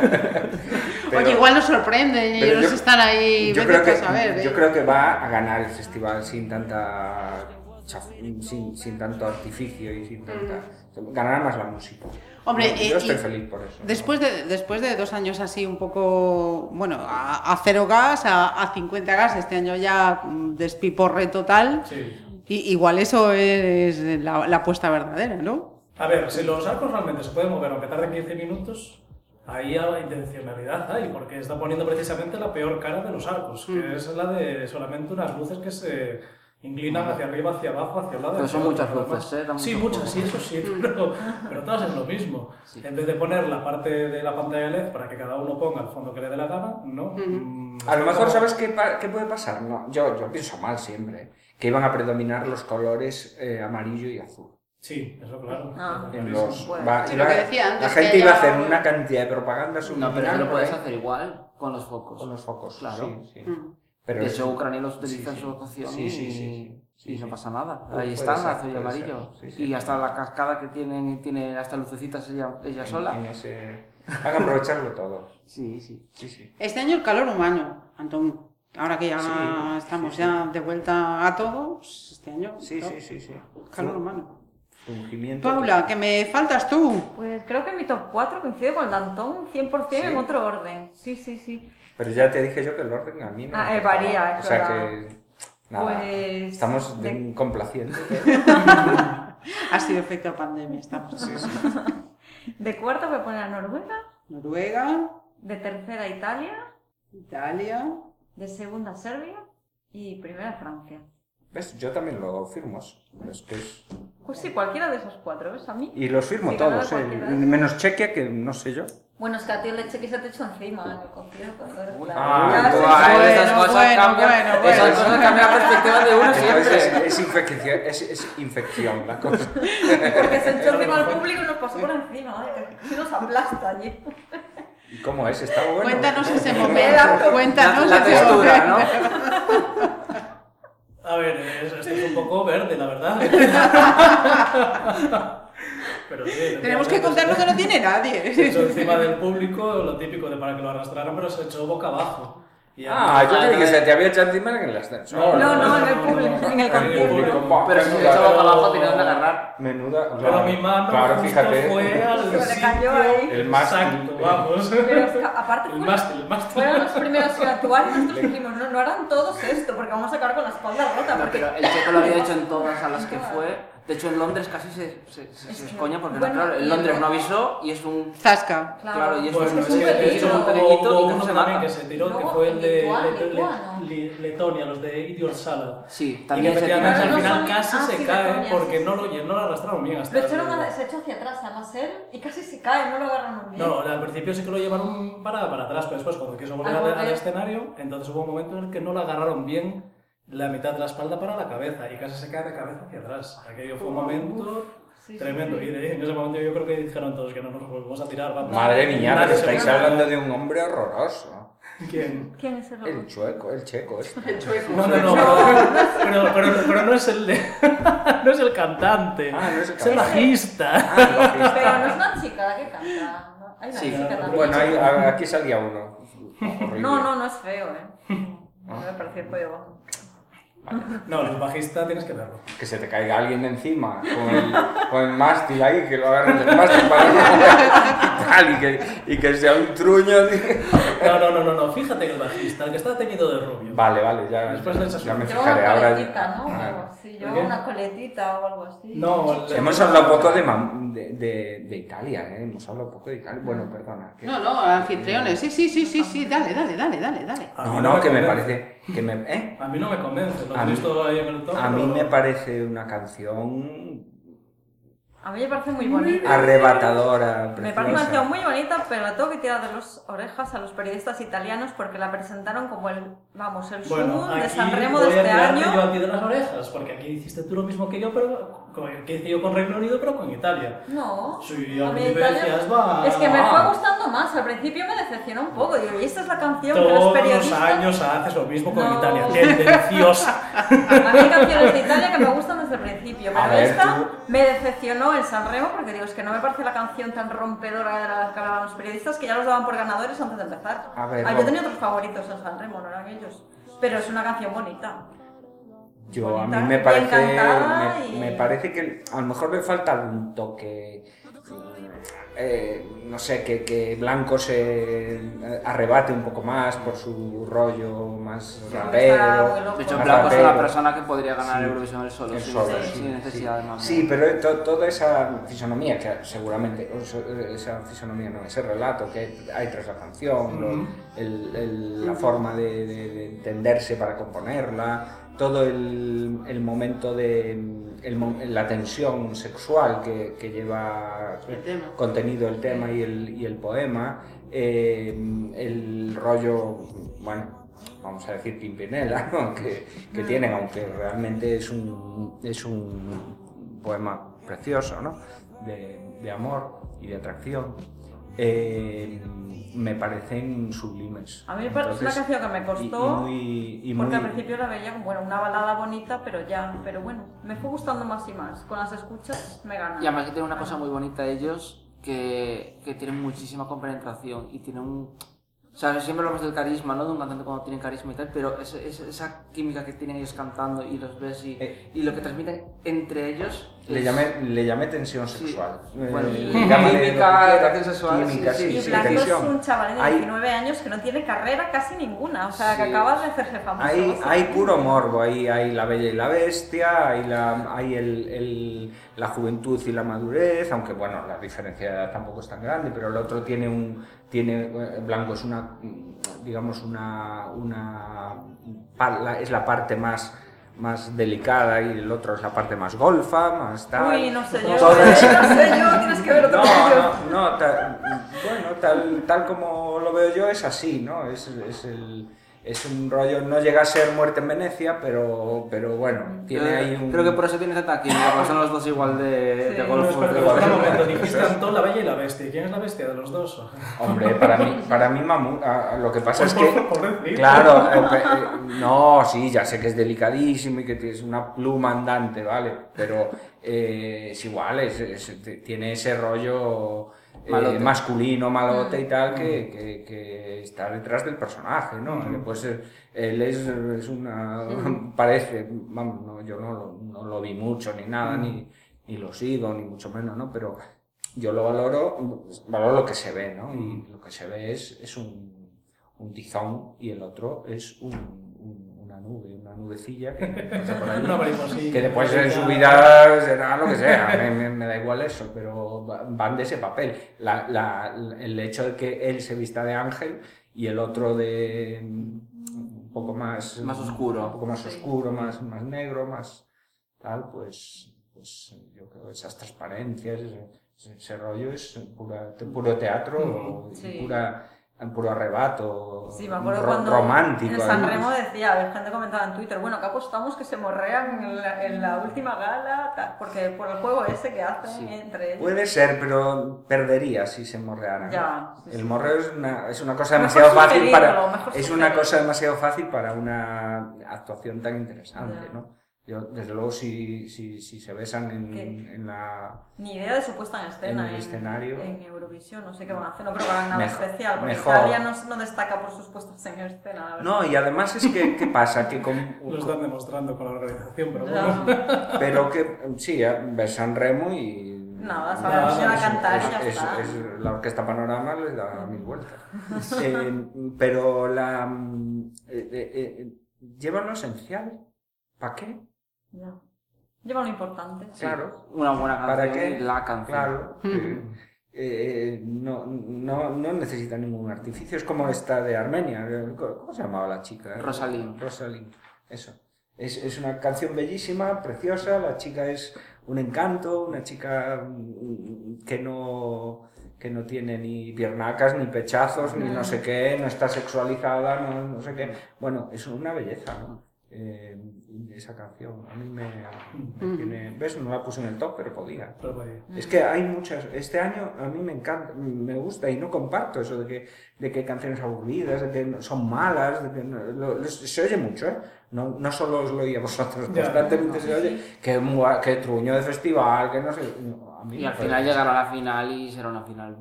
S5: Pero-
S4: Oye, igual nos sorprenden y
S5: pero
S4: ellos
S5: yo-
S4: están ahí.
S5: Yo
S4: vete
S5: creo,
S4: tú
S5: que,
S4: a saber, ¿eh?
S5: yo creo que va a ganar el festival sin tanta chaf- sin, sin tanto artificio y sin tanta. Ganará más la música.
S4: Mm. Hombre,
S5: yo,
S4: eh,
S5: yo estoy
S4: y
S5: feliz por eso. ¿no?
S4: Después de, después de dos años así un poco, bueno, a, a cero gas, a, a 50 gas, este año ya mm, despiporre total,
S7: Sí.
S4: y, igual eso es la, la apuesta verdadera, ¿no?
S7: A ver, si los arcos realmente se pueden mover aunque tarden 15 minutos, ahí a la intencionalidad hay, porque está poniendo precisamente la peor cara de los arcos, que es la de solamente unas luces que se inclinan hacia arriba, hacia abajo, hacia un lado.
S6: Pero
S7: hacia
S6: son
S7: otro,
S6: muchas
S7: ¿no?
S6: luces, ¿eh? Dan
S7: Sí,
S6: muchos
S7: muchas,
S6: focos.
S7: sí, eso sí, pero, pero todas es lo mismo.
S6: Sí.
S7: En vez de poner la parte de la pantalla LED para que cada uno ponga el fondo que le dé la gana, no. Mm,
S5: A lo mejor,
S7: como-
S5: ¿sabes qué, pa- qué puede pasar? No, yo, yo pienso mal siempre. ¿eh? Que iban a predominar los colores eh, amarillo y azul.
S7: Sí, eso claro.
S8: Ah.
S5: En los,
S8: Bueno,
S5: va-
S4: sí, lo
S5: iba-
S4: que decía antes,
S5: la
S4: que
S5: gente iba a
S4: haya
S5: hacer
S4: un-
S5: una cantidad de propaganda
S6: No,
S5: subliminal
S6: pero eso lo
S5: por
S6: puedes
S5: ahí
S6: hacer igual con los focos.
S5: con los focos.
S6: Claro.
S5: sí, sí.
S4: Mm.
S5: Pero
S6: de
S5: eso-
S6: hecho, Ucrania los utiliza
S5: sí,
S6: en su actuación
S5: Sí, sí,
S6: y,
S5: sí, sí,
S6: y no
S5: sí.
S6: pasa nada.
S5: Puede
S6: Ahí están,
S5: ser,
S6: azul y
S5: puede
S6: amarillo.
S5: ser, sí, sí.
S6: Y hasta la cascada que tienen, tiene hasta lucecitas ella, ella
S5: en-
S6: sola.
S5: en ese- Van a aprovecharlo todo.
S6: Sí, sí.
S5: Sí, sí.
S4: Este año el calor humano, Antón. Ahora que ya
S5: Sí,
S4: estamos
S5: sí, sí.
S4: ya de vuelta a todos, este año.
S5: Sí,
S4: ¿no?
S5: sí, sí, sí.
S4: Calor humano.
S5: Fungimiento.
S4: Paula, que me faltas tú.
S8: Pues creo que mi top 4 coincide con el Dantón 100% en
S5: Sí.
S8: otro orden. Sí, sí, sí.
S5: Pero ya te dije yo que el orden a mí no. me
S8: Ah, eh,
S5: importaba.
S8: varía, es
S5: O sea
S8: verdad.
S5: que. Nada.
S8: Pues-
S5: Estamos de...
S8: de-
S5: complacientes.
S4: Ha sido efecto pandemia, estamos.
S8: De cuarta voy a poner a Noruega,
S4: Noruega,
S8: de tercera Italia,
S4: Italia.
S8: de segunda Serbia y primera Francia.
S5: ¿Ves? Yo también lo firmo. Es que es-
S8: Pues sí, cualquiera de esos cuatro, ¿ves? A mí.
S5: Y los firmo
S8: Sí, ganaba
S5: todos, eh,
S8: cualquiera.
S5: menos Chequia, que no sé yo.
S8: Bueno, es que a ti el leche que se te echó encima ¿eh? en el concierto. ¿no?
S5: Ah,
S8: Ya, sí,
S5: guay.
S8: sí.
S6: Bueno, esas
S4: bueno,
S6: cosas
S4: bueno,
S6: cambian-
S4: bueno,
S6: esas
S4: bueno.
S6: cosas cambian la perspectiva de uno
S5: Entonces es, eh,
S6: siempre.
S5: es infección, es, es infección la cosa.
S8: Porque se echó encima al público y nos pasó por encima. ¿eh? Que nos aplasta allí.
S5: ¿Y cómo es? ¿Está bueno?
S4: Cuéntanos
S5: eh,
S4: ese
S8: da
S4: momento. Cuéntanos
S6: la, la
S4: ese
S6: textura,
S4: momento.
S6: ¿no?
S7: A ver, es- esto es un poco verde, la verdad. Pero sí,
S4: Tenemos que
S7: efectivamente,
S4: contar lo que no tiene
S7: Se echó
S4: nadie.
S7: encima del público, lo típico de para que lo arrastraran, pero se echó boca abajo. Y
S5: Ah, yo
S6: Ah,
S5: creí que
S6: no,
S5: se te había echado encima en el ascensor.
S8: No, no, en el público, en el
S5: En el público.
S7: público.
S5: Buah,
S6: Pero si se
S5: menuda-
S6: echa boca abajo, tiene dónde agarrar.
S5: Menuda.
S7: Pero
S5: claro,
S7: mi mano
S5: claro,
S7: justo
S5: fíjate.
S7: fue al
S8: Se le
S7: sitio
S8: cayó ahí.
S5: El mástil.
S7: Exacto, vamos.
S8: Pero es que aparte
S7: el
S8: fue-
S7: mástil, el mástil.
S8: Fueron los primeros que actuaron y nosotros dijimos, no, no harán todos esto, porque vamos a acabar con la espalda rota.
S6: No,
S8: Porque...
S6: pero el checo lo había hecho en todas a las que fue. De hecho, en Londres casi se, se, se, se escoña porque,
S8: Bueno,
S6: claro, en Londres no avisó y es un
S4: Zasca.
S6: Claro, y es
S7: Bueno,
S6: un
S7: es que de
S6: pequeñito,
S7: hecho
S6: un
S7: hubo-
S6: pequeñito
S7: hubo
S6: y no
S7: uno
S6: se
S7: también
S6: mata.
S7: que se tiró, que
S8: No,
S7: fue el de
S8: Lituania,
S7: Le- Le-
S8: Lituania.
S7: Le- Letonia, los de Idiot Sala.
S6: Sí,
S7: Y que
S6: también se
S7: efectivamente al
S8: tira. Pero no
S7: final
S8: son-
S7: casi
S8: ah,
S7: se
S8: sí,
S7: cae
S8: Letonia,
S7: porque
S8: sí,
S7: no,
S8: sí,
S7: lo,
S8: sí.
S7: no lo arrastraron bien hasta
S8: Lo echaron
S7: el-
S8: a- se echó hacia atrás, además él, y casi se cae, no lo agarran muy bien.
S7: No, al principio sí que lo llevaron para, para atrás, pero después cuando quiso volver
S8: Al
S7: al, al
S8: volver.
S7: escenario, entonces hubo un momento en el que no la agarraron bien la mitad de la espalda para la cabeza y casi se cae de cabeza hacia atrás. Aquello fue un momento
S8: Sí, sí,
S7: tremendo y de- en ese momento yo creo que dijeron todos que no nos volvemos a tirar. vamos.
S5: Madre mía,
S7: Nadie
S5: pero
S7: se
S5: estáis
S7: mueve.
S5: hablando de un hombre horroroso.
S7: ¿Quién?
S8: ¿Quién es el
S5: El
S8: robot?
S5: chueco, el checo. este.
S7: No, no, no. Pero, pero, pero no es el de- no es el cantante.
S5: Ah, no es el
S7: Es el
S5: cantante.
S7: bajista.
S5: Ah, lo que-
S8: Pero no es una chica la que canta. ¿no? Hay una
S6: Sí,
S8: chica también.
S5: Bueno, ahí- a- aquí salía uno.
S8: No, no, no es feo, ¿eh? No me parece feo.
S7: No, el bajista tienes que verlo.
S5: Que se te caiga alguien de encima con el, con el mástil ahí, que lo agarres del mástil para no y, tal, y que, y que sea un truño. tío.
S7: No, no, no, no, no, fíjate en el bajista, el que está teñido de rubio.
S5: Vale, vale, ya,
S7: Después de esa
S5: ya me
S8: Lleva una
S5: fijaré ahora.
S8: coletita, ¿no? O algo
S5: Ah.
S8: así.
S7: ¿Por
S8: Lleva
S7: qué?
S8: una coletita o algo así.
S7: No, el-
S5: Hemos hablado poco de, mam- de, de- de Italia, ¿eh? Hemos hablado poco de Italia. Bueno, perdona. que-
S4: No, no, anfitriones. Sí, sí, sí, sí, sí, dale, dale, dale, dale, dale.
S7: A
S5: no,
S7: mí
S5: no, que me
S7: convence.
S5: parece. Que me, ¿eh?
S7: A mí no me convence, lo
S5: A
S7: he
S5: mí-
S7: visto ahí en el top.
S5: A mí
S7: pero-
S5: me parece una canción
S8: A mí me parece muy bonita.
S5: arrebatadora.
S8: Me parece una
S5: preciosa.
S8: canción muy bonita, pero la tengo que tirar de las orejas a los periodistas italianos porque la presentaron como el, vamos, el
S7: Bueno,
S8: sumum de
S7: aquí
S8: San Remo
S7: voy
S8: de
S7: a
S8: este
S7: tirarte Yo
S8: año.
S7: a ti de las orejas, porque aquí hiciste tú lo mismo que yo, pero con- que hice yo con Reino Unido, pero con Italia.
S8: No,
S7: Sí, a
S8: mí
S7: mí decías, va.
S8: Es que me fue gustando más. Al principio me decepcionó un poco. Digo, y esta es la canción que los
S7: Todos los
S8: periodistas.
S7: años haces lo mismo con
S8: No.
S7: Italia, tendenciosa.
S8: A mí hay canciones de Italia que me gustan desde el principio,
S5: A
S8: pero
S5: ver,
S8: esta
S5: tú-
S8: me decepcionó en Sanremo porque digo, es que no me parece la canción tan rompedora de la que hablaban los periodistas que ya los daban por ganadores antes de empezar.
S5: A ver,
S8: ah, yo
S5: vamos.
S8: tenía otros favoritos en Sanremo, no eran ellos. Pero es una canción bonita.
S5: Yo a mí
S8: Bonita,
S5: me
S8: bien
S5: parece,
S8: cantada
S5: me,
S8: y-
S5: me parece que a lo mejor le falta un toque, mm, eh, no sé, que, que Blanco se eh, arrebate un poco más por su rollo más
S8: está muy
S5: rapero.
S8: loco.
S6: De hecho,
S5: más
S6: Blanco es una
S5: rapero.
S6: pues, persona que podría ganar
S5: Sí.
S6: Eurovisión él solo,
S5: El
S6: sin,
S5: solo,
S6: sin
S5: sí,
S6: necesidad de más.
S5: Sí, pero to- toda esa fisonomía, que seguramente, o so- esa fisonomía no, ese relato que hay tras la canción, lo- el- el- la forma de, de- de entenderse para componerla, todo el, el momento de el mo- la tensión sexual que, que lleva
S4: El tema.
S5: contenido el tema y el, y el poema, eh, el rollo, bueno, vamos a decir Pimpinela, ¿no? que,
S8: Ah.
S5: que tienen, aunque realmente es un, es un poema precioso, ¿no? de, de amor y de atracción, eh, me parecen sublimes.
S8: A mí me parece una
S5: Entonces,
S8: canción que me
S5: y- y
S8: costó
S5: muy- y
S8: porque
S5: muy-
S8: al principio la veía como bueno, una balada bonita, pero ya, pero bueno, me fue gustando más y más. Con las escuchas me gana.
S6: Y además que tienen una cosa muy bonita ellos, que, que tienen muchísima compenetración y tienen un... O sea, siempre hablamos del carisma, ¿no? De un cantante cuando tienen carisma y tal, pero ese- ese- esa química que tienen ellos cantando y los ves y,
S5: Eh.
S6: y lo que transmiten entre ellos...
S5: Le
S6: es-
S5: llamé, le llamé tensión
S6: Sí.
S5: sexual.
S6: Bueno,
S5: Eh,
S6: y-
S5: llámale lo que
S6: química,
S5: quieras,
S6: atracción sexual,
S5: química,
S6: sí,
S5: sí,
S6: sí.
S8: Y
S5: sí,
S8: Blanco es
S5: tensión.
S8: un chaval de
S5: Hay-
S8: 19 años que no tiene carrera casi ninguna, o sea,
S6: Sí.
S8: que acaba de hacerse famoso.
S5: Hay, hay
S8: básicamente.
S5: puro morbo, hay, hay la bella y la bestia, hay, la, hay el- el- la juventud y la madurez, aunque bueno, la diferencia de edad tampoco es tan grande, pero el otro tiene un, tiene, eh, Blanco es una, mm, digamos, una, una, pa- la- es la parte más, más delicada y el otro es la parte más golfa, más tal.
S8: Uy, no sé yo,
S5: Todo
S8: eh,
S5: eso.
S8: no sé yo, tienes que ver otro
S5: No,
S8: vídeo.
S5: no, no, tal, bueno, tal, tal como lo veo yo es así, ¿no? Es, es, el, es un rollo, no llega a ser muerte en Venecia, pero, pero bueno,
S6: Yo
S5: tiene ahí un...
S6: Creo Eh, que por eso tiene tanta química, porque son los dos igual de,
S8: Sí.
S6: de
S7: Bueno,
S6: golfo.
S7: espera,
S6: de
S7: que espera un
S6: golfo.
S7: momento, dijiste Antón, la bella y la bestia. ¿Quién es la bestia de los dos?
S5: Hombre, para mí, para mí Mamu, a- a lo que pasa es
S7: Por-
S5: Pues que...
S7: por- por decir.
S5: Claro, eh, pe- eh, no, sí, ya sé que es delicadísimo y que tienes una pluma andante, ¿vale? Pero eh, es igual, es- es- t- tiene ese rollo eh,
S6: Malote.
S5: masculino, malote y tal, que, que- que está detrás del personaje, ¿no? Pues eh, él es, es una... parece, vamos, no, yo no lo, no lo vi mucho ni nada, ni, ni lo sigo, ni mucho menos, ¿no? Pero yo lo valoro, valoro lo que se ve, ¿no? Y lo que se ve es, es un, un tizón y el otro es un, un- una nube, una nubecilla que pasa por ahí.
S7: Una mariposilla.
S5: Que después en su vida será lo que sea, me, me- me da igual eso, pero va- van de ese papel. La- la- el hecho de que él se vista de ángel y el otro de un poco más...
S6: Más oscuro.
S5: Un poco más oscuro, más, más negro, más tal, pues, pues yo creo que esas transparencias, ese, ese rollo es pura- puro teatro y
S8: Sí.
S5: pura, puro arrebato
S8: Sí, me acuerdo
S5: ro-
S8: cuando
S5: romántico.
S8: en San
S5: además.
S8: Remo decía, la gente comentaba en Twitter, bueno, que apostamos que se morrean en la, en la última gala, tal, porque por el juego ese que hacen
S6: Sí.
S8: entre ellos.
S5: Puede ser, pero perdería si se morrearan.
S8: Ya, sí,
S5: El
S8: sí.
S5: morreo es una, es una cosa
S8: Mejor
S5: demasiado fácil
S8: sugerirlo,
S5: para
S8: mejor
S5: es una
S8: sugerirlo.
S5: cosa demasiado fácil para una actuación tan interesante,
S8: Ya.
S5: ¿no? Yo desde luego si, si, si se besan en,
S8: ¿Qué?
S5: en la
S8: Ni idea de su puesta en escena.
S5: En el escenario.
S8: En Eurovisión, no sé qué van a hacer, no creo que hagan nada
S5: Mejor-
S8: especial, porque
S5: mejor.
S8: Italia no, no destaca por sus puestas en escena. la verdad.
S5: no y además es que qué pasa que con,
S7: Lo están demostrando con la organización, pero
S8: Ya.
S7: bueno.
S5: pero que sí eh, besan remo y
S8: Nada, sabe la señora cantar y ya
S5: es-
S8: está.
S5: es- es- la orquesta panorama le da mil vueltas. Eh, pero la. mm, eh, eh, eh, lleva lo esencial. ¿Para qué?
S8: Ya. Lleva lo importante.
S5: Claro.
S6: Una buena canción
S5: ¿Para qué?
S6: y la canción.
S5: Claro.
S4: Ujú.
S5: eh, eh, no, no, no necesita ningún artificio. Es como esta de Armenia. eh, ¿Cómo se llamaba la chica?
S6: Rosalind.
S5: Rosalind. Eso. Es, es una canción bellísima, preciosa. La chica es un encanto, una chica mm, que no que no tiene ni piernacas, ni pechazos, ni no sé qué, no está sexualizada, no, no sé qué. Bueno, es una belleza, ¿no? Eh, esa canción a mí me, me tiene... ¿Ves? No la puse en el top, pero podía.
S7: Pero, pues,
S5: Es que hay muchas. Este año a mí me encanta, me gusta y no comparto eso de que, de que hay canciones aburridas, de que no- son malas, de que no- lo- lo- se oye mucho, ¿eh? No, no solo os lo oí a vosotros,
S7: Ya.
S5: constantemente se oye que, mua- que truño de festival, que no sé. no, a mí
S6: Y
S5: me
S6: al
S5: parece-
S6: final llegaron a la final y será una final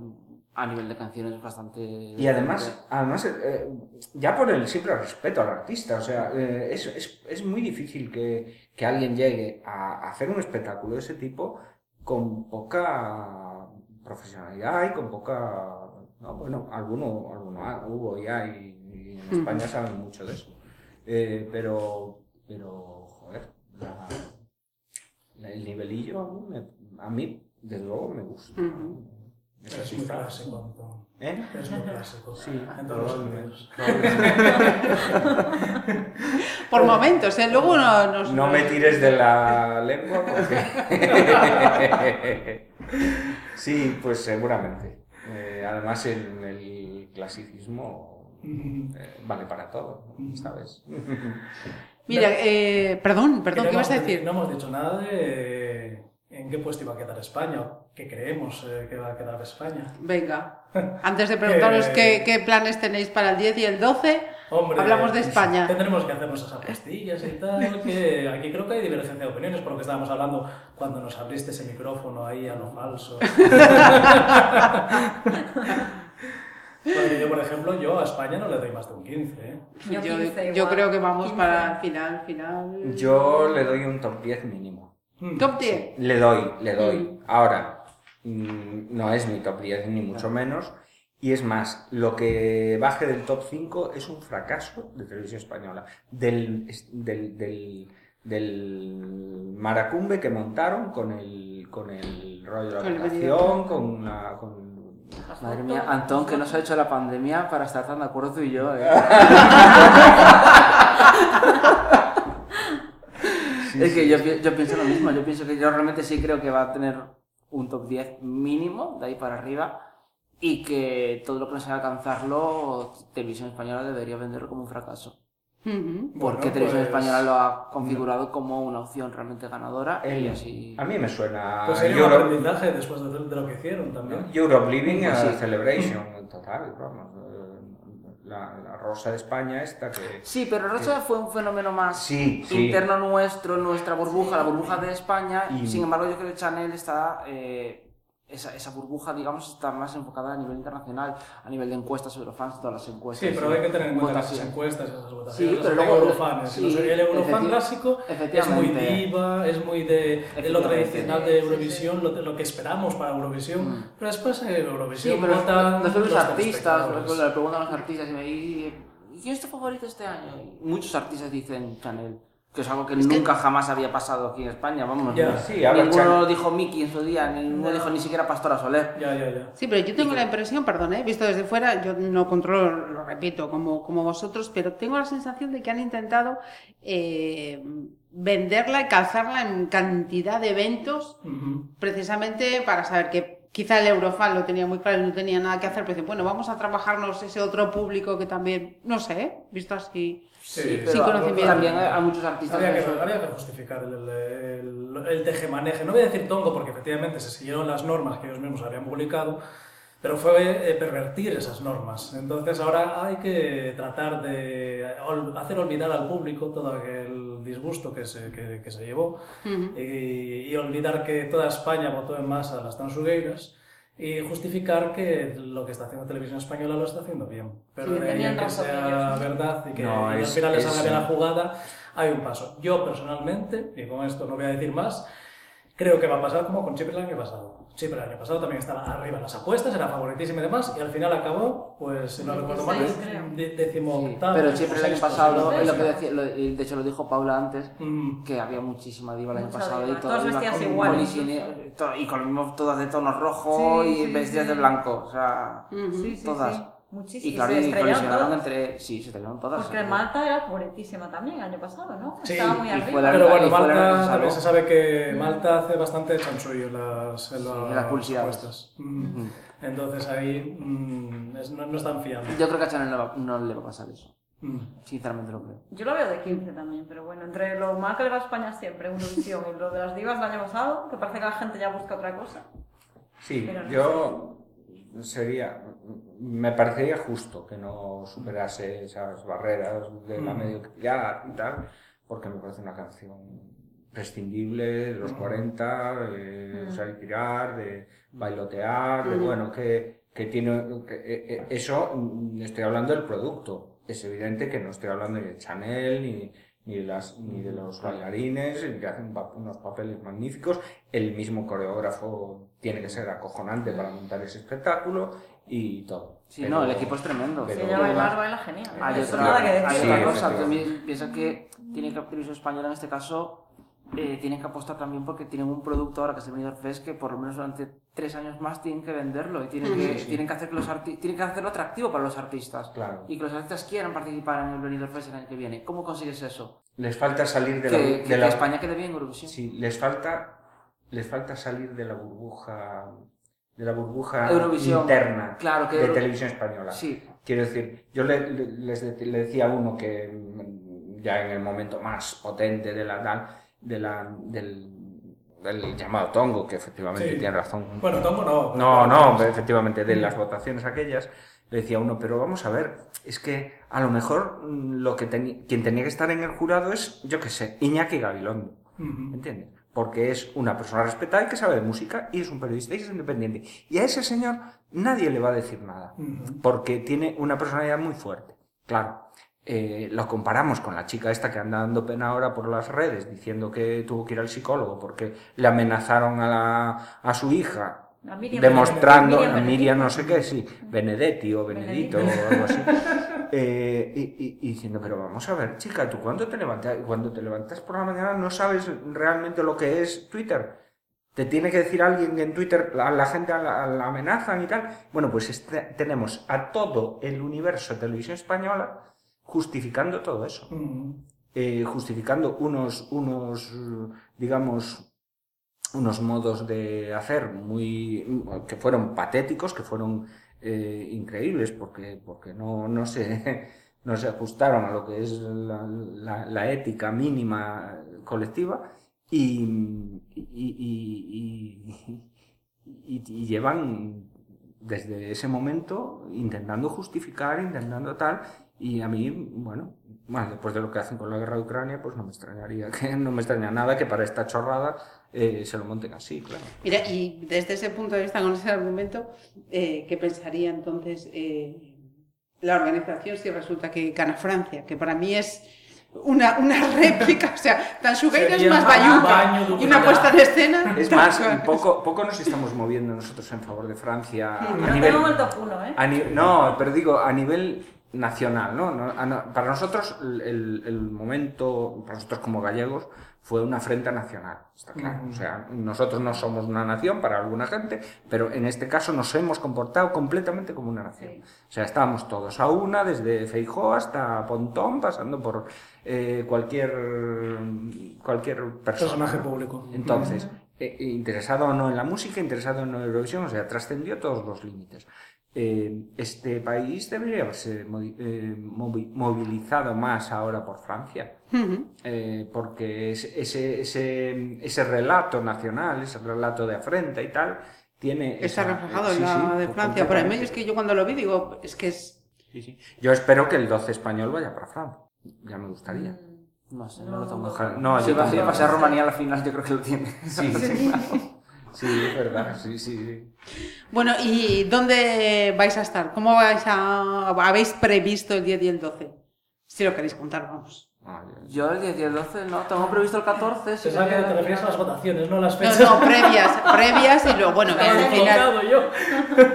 S6: a nivel de canciones bastante.
S5: Y además, además eh, ya por el simple respeto al artista, o sea, eh, es, es, es muy difícil que, que alguien llegue a hacer un espectáculo de ese tipo con poca profesionalidad y con poca... No, bueno, alguno, alguno ha- hubo ya y, y en España saben mucho de eso. Eh, pero, pero, joder, la- la- el nivelillo a mí, me- a mí, desde luego, me gusta.
S4: Ujú.
S5: Es
S7: es
S5: así,
S7: muy
S5: claro.
S7: clásico, Antón.
S5: ¿Eh?
S7: Es muy clásico.
S5: Sí,
S7: en todos los
S5: probablemente.
S7: sentidos.
S4: Por momentos, ¿eh? Luego no, nos-
S5: No me tires de la lengua porque... sí, pues seguramente. Eh, además el, el clasicismo
S7: Mm.
S5: eh, vale para todo, ¿sabes?
S4: Mira, eh, perdón,
S7: Que
S4: perdón,
S7: no
S4: ¿qué ibas a
S7: hemos-
S4: decir?
S7: No hemos dicho nada de en qué puesto iba a quedar España, o qué creemos eh, que va a quedar España.
S4: Venga, antes de preguntaros
S7: Eh,
S4: qué, qué planes tenéis para el 10 y el 12,
S7: Hombre,
S4: hablamos de España.
S7: Tendremos que hacernos esas pastillas y tal, que aquí creo que hay divergencia de opiniones por lo que estábamos hablando cuando nos abriste ese micrófono ahí a lo falso. Porque yo, por ejemplo, yo a España no le doy más de un 15, ¿eh?
S8: Yo 15
S4: yo
S8: igual.
S4: creo que vamos
S8: 15.
S4: para el final, final.
S5: Yo le doy un top 10 mínimo.
S7: Mm.
S4: Top 10.
S5: Le doy, le doy. Ahora, mm, no es mi top 10 ni mucho menos. Y es más, lo que baje del top 5 es un fracaso de televisión española. Del, es- del, del, del maracumbe que montaron con el, con el rollo de la
S4: Con el
S5: habitación, con la... Con...
S6: Madre mía, Antón, que nos ha hecho la pandemia para estar tan de acuerdo tú y yo. eh. es que yo, pi- yo pienso lo mismo, yo pienso que yo realmente sí creo que va a tener un top 10 mínimo, de ahí para arriba, y que todo lo que no sea alcanzarlo, Televisión Española debería venderlo como un fracaso.
S4: Ujú.
S7: Bueno,
S6: Porque Televisión
S7: pues-
S6: Española lo ha configurado como una opción realmente ganadora y
S5: El-
S6: así...
S5: A mí me suena...
S7: Pues sería un
S5: Europe,
S7: aprendizaje después de, de lo que hicieron también.
S5: Europe Living
S6: Pues
S5: a
S6: sí.
S5: Celebration, total, vamos. eh, La, la rosa de España esta que...
S6: Sí, pero Rocha fue un fenómeno más
S5: Sí, sí.
S6: interno nuestro, nuestra burbuja, la burbuja de España.
S5: Y-
S6: Sin embargo, yo creo que Chanel está. eh, esa, esa burbuja, digamos, está más enfocada a nivel internacional, a nivel de encuestas, Eurofans, todas las encuestas.
S7: Sí, pero hay que tener en cuenta las
S6: pues, votación.
S7: encuestas, esas votaciones.
S6: Sí,
S7: los
S6: pero luego-
S7: eurofanes.
S6: sí,
S7: Los- el eurofan
S6: efecti-
S7: clásico es muy
S6: efectivamente.
S7: diva, es muy de, de lo
S6: Efectivamente.
S7: tradicional
S8: Sí,
S7: de
S8: sí,
S7: Eurovisión, lo, lo que esperamos para Eurovisión.
S6: Mm.
S7: Pero después en
S6: Sí,
S7: Eurovisión
S6: pero
S7: votan
S6: nosotros los artistas, por ejemplo,
S7: telespectadores.
S6: le preguntan a los artistas y me dicen, "¿Y quién es tu favorito este año? Y muchos artistas dicen Chanel, que es algo que nunca jamás había pasado aquí en España, vamos.
S7: Ya,
S6: ¿no?
S5: sí, ahora
S6: ninguno
S5: Chanel-
S6: dijo Mickey en su día, ninguno dijo ni siquiera Pastora Soler.
S7: Ya, ya, ya.
S4: Sí, pero yo tengo la impresión, perdón, ¿eh? visto desde fuera, yo no controlo, lo repito, como, como vosotros, pero tengo la sensación de que han intentado eh, venderla y calzarla en cantidad de eventos
S7: Ujú.
S4: precisamente para saber que quizá el Eurofan lo tenía muy claro y no tenía nada que hacer, pero dicen, bueno, vamos a trabajarnos ese otro público que también, no sé, ¿eh? visto así.
S7: Sí,
S6: pero
S4: sin conocimiento.
S6: También eh, hay hay muchos artistas.
S7: Habría
S6: que
S7: que,
S6: son-
S7: habría que justificar el, el, el tejemaneje. No voy a decir tongo porque efectivamente se siguieron las normas que ellos mismos habían publicado, pero fue eh, pervertir esas normas. Entonces ahora hay que tratar de ol- hacer olvidar al público todo aquel disgusto que se, que, que se llevó
S4: Ujú.
S7: y, y olvidar que toda España votó en masa a las tansugueiras y justificar que lo que está haciendo Televisión Española lo está haciendo bien. Pero de
S8: Sí,
S7: ahí a
S8: tenían
S7: que
S8: razón
S7: sea
S8: ellos.
S7: verdad y que
S5: No,
S7: y al
S5: es-
S7: final les
S5: es-
S7: haga bien la jugada, hay un paso. Yo personalmente, y con esto no voy a decir más, Creo que va a pasar como con Chipre el año pasado. Chipre el año pasado también estaba arriba en las apuestas, era favoritísima y demás, y al final acabó, pues, si no recuerdo mal,
S8: Dieciséis, creo.
S7: de- décimo
S6: Sí,
S7: octavo,
S6: pero siempre el año
S7: sexto,
S6: pasado,
S7: séptimo,
S6: es lo que
S7: sexto.
S6: decía, lo- y de hecho lo dijo Paula antes,
S7: Mm.
S6: que había muchísima diva el año
S8: Mucha
S6: pasado
S8: diva,
S6: y todo
S8: todas
S6: iba
S8: vestidas
S6: con
S8: iguales,
S6: polisine- to- y con lo mismo todas de tono rojo
S8: Sí,
S6: y
S8: sí,
S6: vestidas
S8: sí.
S6: de blanco, o sea,
S8: Sí, sí,
S6: todas.
S8: sí. Muchísimo.
S6: y claro,
S8: se
S6: y colisionaron
S8: estrellaron todas.
S6: entre, sí, se estrellaron todas.
S8: Porque
S6: ¿no?
S8: Malta era pobretísima también el año pasado, ¿no?
S7: Sí,
S8: Estaba muy
S6: y
S8: arriba.
S6: fue la-
S7: Pero bueno,
S6: y fue la
S7: Malta
S6: responsable.
S7: también se sabe que Malta hace bastante chanchullo en las, en
S6: en las publicidades.
S7: apuestas. Mm. Entonces ahí mm, es- no, no es tan fiable.
S6: Yo creo que a Chanel no, va- no le va a pasar eso,
S7: Mm.
S6: sinceramente lo creo.
S8: Yo lo veo de 15 también, pero bueno, entre lo mal que le va a España siempre, Eurovisión, y lo de las divas del año pasado, que parece que la gente ya busca otra cosa.
S5: Sí,
S8: Pero no
S5: yo sería, me parecería justo que no superase esas barreras de la
S7: Mm.
S5: mediocridad y tal, porque me parece una canción prescindible de los 40, de
S8: Mm.
S5: usar y tirar, de bailotear, de bueno, que, que tiene, que- eh, eh, eso mm, estoy hablando del producto. Es evidente que no estoy hablando ni de Chanel, ni, ni, de, las, ni de los bailarines, que hacen pa- unos papeles magníficos. El mismo coreógrafo tiene que ser acojonante para montar ese espectáculo y todo.
S6: Sí,
S5: Pero-
S6: no, el equipo es tremendo.
S5: pero-
S8: Si ella bailar, baila genial.
S6: Hay Ah,
S8: Eso
S6: otra,
S8: nada que
S6: hay
S8: decir.
S6: otra
S5: Sí,
S6: cosa,
S5: efectivamente.
S6: también piensa que tiene que Televisión Española en este caso eh, tienen que apostar también porque tienen un producto ahora que es el Benidorm Fest que por lo menos durante tres años más tienen que venderlo y tienen que, tienen que, hacer que los arti- tienen que hacerlo atractivo para los artistas
S5: Claro.
S6: y que los artistas quieran participar en el Benidorm Fest el año que viene. ¿Cómo consigues eso?
S5: Les falta salir de
S6: Que,
S5: la,
S6: que-
S5: de
S6: que
S5: la-
S6: España quede bien en Eurovisión.
S5: Sí, les falta, les falta salir de la burbuja, de la burbuja
S6: Eurovisión.
S5: interna
S6: Claro que
S5: de
S6: Euro-
S5: televisión española.
S6: Sí,
S5: Quiero decir, yo le, le- les de- le decía a uno que mm, ya en el momento más potente de la, tal- de la- del, del llamado tongo, que efectivamente
S7: Sí.
S5: tiene razón.
S7: Bueno, tampoco no.
S5: No, no, hombre, efectivamente, de
S7: Mm.
S5: las votaciones aquellas, le decía uno, pero vamos a ver, es que a lo mejor mm, lo que teni- quien tenía que estar en el jurado es, yo qué sé, Iñaki Gabilondo.
S7: mm,
S5: ¿Me
S7: Ujú.
S5: entiendes? Porque es una persona respetada y que sabe de música y es un periodista y es independiente. Y a ese señor nadie le va a decir nada.
S7: Ujú.
S5: Porque tiene una personalidad muy fuerte. Claro, eh, lo comparamos con la chica esta que anda dando pena ahora por las redes diciendo que tuvo que ir al psicólogo porque le amenazaron a, la- a su hija.
S8: A Miriam
S5: demostrando
S8: Benedetti.
S5: a Miriam no sé qué, sí, Benedetti o Benedito o algo así. Eh, y, y- y diciendo, pero vamos a ver, chica, ¿tú cuándo te levantas? Y Cuando te levantas por la mañana no sabes realmente lo que es Twitter. Te tiene que decir alguien que en Twitter a la gente a la, a la amenazan y tal. Bueno, pues este- tenemos a todo el universo de televisión española justificando todo eso
S7: Ujú.
S5: eh, justificando unos, unos, eh, digamos, unos modos de hacer muy, que fueron patéticos, que fueron eh, increíbles, porque, porque no, no, se, no se ajustaron a lo que es la, la- la ética mínima colectiva y, y, y- y- y- y llevan desde ese momento intentando justificar, intentando tal, y a mí, bueno, bueno, después de lo que hacen con la guerra de Ucrania, pues no me extrañaría, que no me extraña nada que para esta chorrada eh, se lo monten así, claro.
S4: Mira, y desde ese punto de vista, con ese argumento, eh, ¿qué pensaría entonces eh, la organización si resulta que gana Francia? Que para mí es una, una réplica, o sea, tan es
S7: Sería
S4: más
S7: un
S4: bayuca
S7: baño de
S4: y una
S7: humildad.
S4: puesta en escena.
S5: Es
S4: tan
S5: más,
S4: suave.
S5: poco, poco nos estamos moviendo nosotros en favor de Francia a
S8: No
S5: nivel...
S8: tengo el top 1, ¿eh?
S5: a ni- no, pero digo, a nivel nacional, ¿no? No, a no- para nosotros el, el- el momento, para nosotros como gallegos, fue una afrenta nacional, está claro. O sea, nosotros no somos una nación para alguna gente, pero en este caso nos hemos comportado completamente como una nación.
S8: Sí.
S5: O sea, estábamos todos a una, desde Feijó hasta Pontón, pasando por eh, cualquier, cualquier persona.
S7: Personaje
S5: ¿no?
S7: público.
S5: Entonces, eh, eh, interesado o no en la música, interesado o no en Eurovisión, o sea, trascendió todos los límites. Eh, este país debería haberse movi- eh, movi- movilizado más ahora por Francia,
S4: Ujú.
S5: eh, porque es- ese, ese, ese relato nacional, ese relato de afrenta y tal, tiene...
S4: Está
S5: esa-
S4: reflejado
S5: eh, sí,
S4: en la
S5: sí,
S4: de
S5: por-
S4: Francia. Para mí
S5: completamente.
S4: es que yo cuando lo vi digo, es que es...
S5: Sí, sí. Yo espero que el 12 español vaya para Francia, ya me gustaría.
S8: Mm.
S6: no sé, no lo tengo.
S5: Ojalá- No,
S6: Si
S5: yo
S6: va si
S5: tampoco.
S6: va a ser Rumanía a la final, yo creo que lo tiene.
S5: Sí, sí, sí, es verdad, sí, sí, sí.
S4: Bueno, ¿y dónde vais a estar? ¿Cómo vais a... habéis previsto el 10 y el 12? Si lo queréis contar, vamos.
S5: Ah, ya.
S6: Yo el 10 y el 12 no, tengo previsto el 14. si
S7: Pensaba que
S6: quería-
S7: te refieres a las votaciones, no a las
S4: No,
S7: fechas.
S4: no, previas, previas y luego, bueno,
S7: Estaba
S4: al final.
S7: descolocado yo.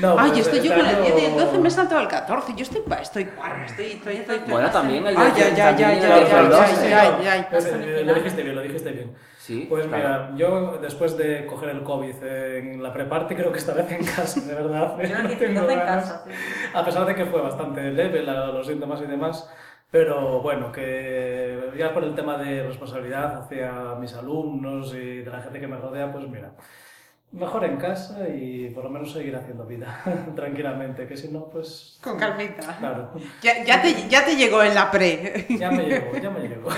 S7: No,
S4: Ay,
S7: pues,
S4: Ah, yo estoy yo
S7: este
S4: con el
S7: año-
S4: 10 y el 12, me he saltado al 14. Yo estoy, estoy, cuarra, estoy, estoy, estoy, estoy.
S6: Bueno, también el
S4: Ay,
S6: 10 y el
S4: ay, ay,
S6: también
S4: ay,
S6: el
S4: ay,
S6: 12 y el
S4: ay, ay, ay,
S6: 12.
S4: ay, ay.
S7: Pues, eh, Lo dijiste bien, lo dijiste bien.
S6: Sí,
S7: Pues
S6: claro.
S7: mira, yo después de coger el COVID en la preparte, creo que esta vez en casa, de verdad.
S8: Yo el
S7: No
S8: 10 y el
S7: tengo
S8: 12 en
S7: ganas.
S8: casa. sí.
S7: A pesar de que fue bastante leve la- los síntomas y demás, pero bueno, que ya por el tema de responsabilidad hacia mis alumnos y de la gente que me rodea, pues mira, mejor en casa y por lo menos seguir haciendo vida tranquilamente, que si no, pues
S4: Con calmita.
S7: claro,
S4: Ya, ya, te, ya te llegó en la pre.
S7: ya me llevo, ya me llevo.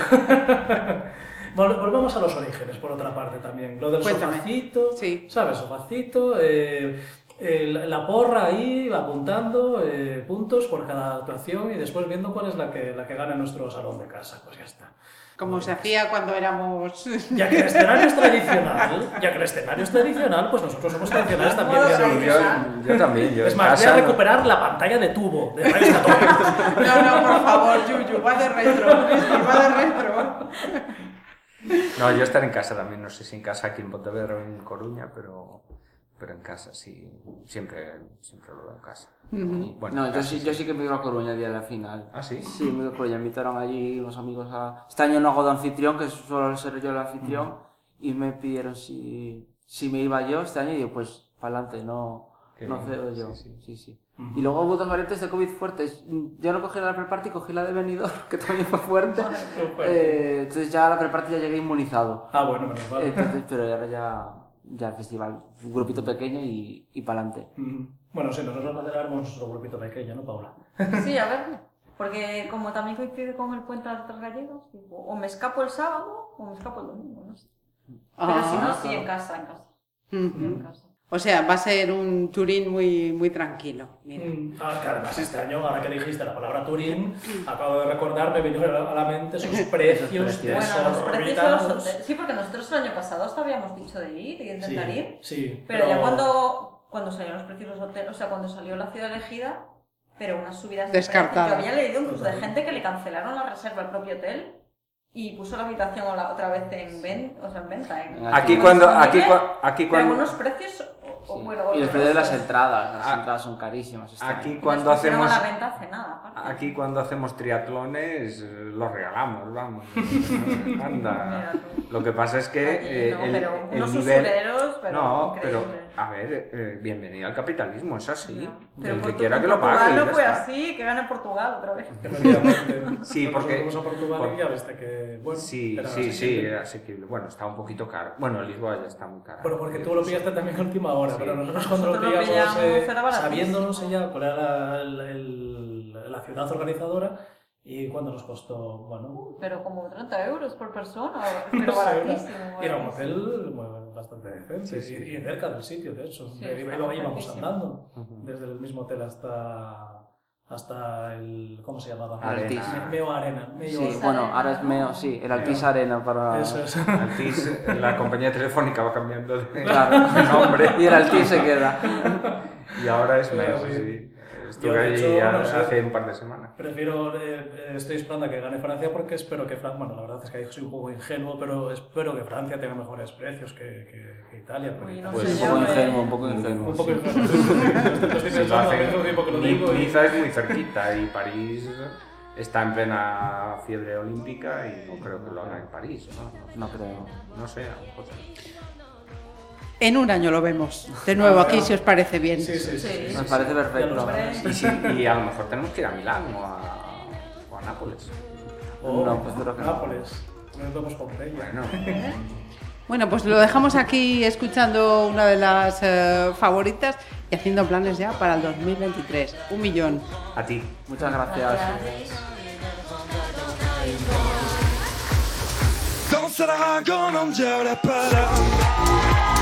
S7: Vol- Volvemos a los orígenes, por otra parte también. Lo del
S4: Cuéntame.
S7: sofacito,
S4: Sí.
S7: ¿sabes? Sofacito, eh, eh, la- la porra ahí apuntando eh, puntos por cada actuación y después viendo cuál es la que, la que gana en nuestro salón de casa. Pues ya está.
S4: Como se hacía cuando éramos.
S7: Ya que el escenario es tradicional, ya que el escenario es tradicional, pues nosotros somos tradicionales también.
S8: Modo
S7: ya
S8: soy
S7: sabes.
S8: yo.
S5: Yo, yo también, yo
S7: Es
S5: en
S7: más, voy a
S5: casa no-
S7: recuperar la pantalla de tubo de Reyes Católicos.
S4: No, no, por favor, Yuyu, va de retro. Va de retro.
S5: No, yo estar en casa también, no sé si en casa aquí en Pontevedra o en Coruña, pero, pero en casa sí, siempre, siempre lo veo en casa. Y, bueno,
S6: No,
S5: en
S6: yo
S5: casa
S6: sí, yo sí que me iba a Coruña el día de la final.
S5: Ah, ¿sí?
S6: Sí, me iba a Coruña. Invitaron allí unos amigos a... Este año no hago de anfitrión, que suelo ser yo el anfitrión, y me pidieron si, si me iba yo este año, y yo pues, pa'lante, no,
S5: Qué
S6: no
S5: bien,
S6: cedo yo.
S5: sí, sí.
S6: Sí, sí. Y luego hubo dos variantes de COVID fuertes. Yo no cogí la de preparty, cogí la de venidor, que también fue fuerte. Eh, entonces ya a la preparty ya llegué inmunizado.
S7: Ah, bueno, menos
S5: Eh,
S7: mal.
S6: Eh, Entonces, pero ahora ya, ya el festival, un grupito pequeño y, y pa'lante.
S7: Mm, Bueno, sí, nosotros aceleramos nuestro grupito pequeño, ¿no, Paula?
S8: Sí, a ver. Porque como también coincide con el puente de los Tres Gallegos, digo, o me escapo el sábado o me escapo el domingo, no sé. Pero si
S4: Ah.
S8: no, sí, en casa, en casa. En casa.
S4: mm, O sea, va a ser un Turín muy, muy tranquilo. Mira.
S7: Mm, Ah, que además este año, ahora que dijiste la palabra Turín,
S5: Mm.
S7: acabo de recordar, me vino a la mente esos precios
S6: Esos precios.
S8: Bueno, los precios de los
S7: desorbitados.
S8: hoteles. Sí, porque nosotros el año pasado hasta habíamos dicho de ir y
S7: Sí,
S8: intentar ir.
S7: sí,
S8: Pero ya cuando, cuando salieron los precios de los hoteles, o sea, cuando salió la ciudad elegida, pero unas subidas de
S4: Descartada.
S8: precios. Yo había leído incluso de gente que le cancelaron la reserva al propio hotel y puso la habitación o la- otra vez en, ven- o sea, en venta. En,
S5: Aquí
S6: Aquí
S5: cuando, aquí,
S8: Disponible,
S5: cua- aquí
S8: Pero
S5: cuando,
S8: unos precios, o- o
S6: Sí. y los
S8: bueno, otros,
S6: precios de las
S8: pues,
S6: entradas, las
S5: Ah.
S6: entradas son carísimas. este
S5: aquí
S6: año.
S5: cuando
S8: las pusieron
S5: hacemos,
S8: a la venta hace nada, aparte.
S5: aquí cuando hacemos triatlones, eh, los regalamos, vamos. Anda.
S8: Mira tú.
S5: Lo que pasa es que
S8: Allí
S5: eh,
S8: no,
S5: el,
S8: pero
S5: el
S8: unos
S5: nivel,
S8: usureros, pero
S5: no, pero
S8: increíbles.
S5: a ver, eh, bienvenido al capitalismo, es así.
S8: No.
S5: el que
S8: Portu-
S5: quiera que lo
S8: Portugal
S5: pague. y
S8: no
S5: ya
S8: fue
S5: está.
S8: así, que gane Portugal otra vez.
S7: Efectivamente.
S5: Sí,
S7: Nosotros
S5: porque-
S7: fuimos a Portugal
S5: por-
S7: y ya viste que. Bueno,
S5: Sí,
S7: era
S5: sí, sí,
S7: asequible.
S5: era asequible. Bueno, estaba un poquito caro. Bueno, Lisboa ya está muy caro.
S7: Bueno, porque tú lo pillaste también a última hora,
S5: Sí.
S7: pero nosotros cuando
S8: Nosotros
S7: lo
S8: lo
S7: pillamos,
S8: pillamos,
S7: eh,
S8: era baratísimo.
S7: sabiéndonos ya cuál era la, la- el- la ciudad organizadora y cuánto nos costó, bueno,
S8: Pero como 30 euros por persona,
S7: No
S8: pero
S7: sé, era-
S8: baratísimo.
S7: Era un
S8: baratísimo.
S7: hotel bueno, bastante
S5: Sí,
S7: decente
S5: sí.
S7: y- y cerca del sitio, de hecho.
S8: Sí,
S7: De-
S8: estaba
S7: iba- íbamos
S8: cerquísimo.
S7: andando
S5: Ujú.
S7: desde el mismo hotel hasta, hasta el. ¿Cómo se llamaba?
S5: Arena.
S7: Me- Meo Arena. Meo
S6: Sí,
S7: Arena.
S6: bueno, ahora es Meo, sí, el Altis Arena
S5: Ah.
S6: para...
S7: Eso es.
S5: Altis, la compañía telefónica va cambiando de de
S6: Claro.
S5: nombre
S6: Y el Altis se queda.
S5: y ahora es
S7: Claro,
S5: menos.
S7: sí.
S5: sí.
S7: Yo,
S5: Estuve
S7: de
S5: allí
S7: hecho,
S5: a-
S7: no sé.
S5: hace un par de semanas.
S7: Prefiero, eh, eh, estoy esperando a que gane Francia porque espero que Francia, bueno, la verdad es que ahí soy un poco ingenuo, pero espero que Francia tenga mejores precios que, que- que Italia. porque
S8: Uy, no
S7: Italia-
S5: Pues
S8: sé
S6: un
S8: yo,
S6: poco
S8: eh.
S6: ingenuo, un poco ingenuo.
S7: Un poco ingenuo. Lo estoy
S5: Sí, lo
S7: pensando al
S5: hacen-
S7: mismo tiempo que lo
S5: Ni-
S7: digo. y-
S5: Niza es muy cerquita y París está en plena fiebre olímpica y no creo que lo haga en París, ¿no?
S6: No creo.
S5: No sé, a lo mejor.
S4: En un año lo vemos. De nuevo, aquí si os parece bien.
S7: Sí, sí, sí.
S8: Sí.
S6: Me parece
S7: Ya
S6: perfecto.
S7: lo
S8: Hombre,
S7: sabes.
S5: Y, sí, y a lo mejor tenemos que ir a Milán o a, o a Nápoles.
S7: O
S6: No, pues creo que no.
S7: Oh, Nápoles. Nos vemos con Peña.
S5: Bueno,
S4: Bueno, pues lo dejamos aquí escuchando una de las eh, favoritas y haciendo planes ya para el 2023. Un millón.
S5: a ti.
S6: Muchas gracias.
S2: Danserà con un genere per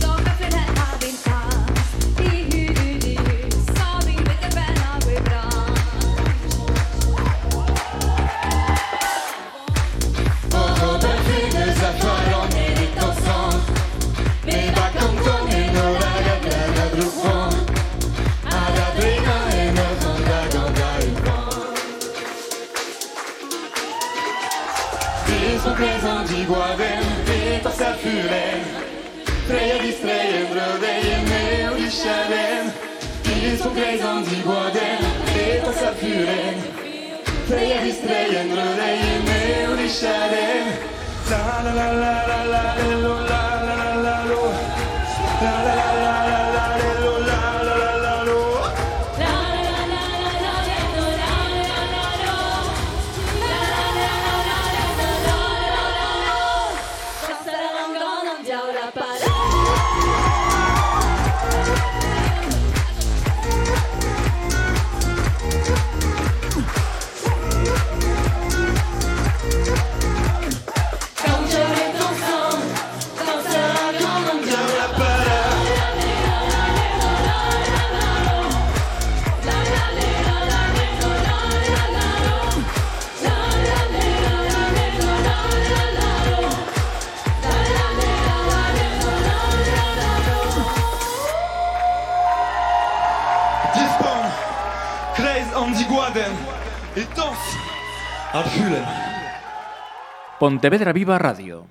S9: Som en fløyte av vind tas I huet
S1: guarden vita a fulen Träger i strejden, bröder är med och i kärlen Ingen som grejsan, de guarden vita a fulen Träger i strejden, bröder är med och i kärlen La la la la la la lo, la la la la lo. La la la la la la lo, la la la la lo. Dispon, Kreis an die Guaden, et danse, ad Hülen.
S9: Pontevedra Viva Radio.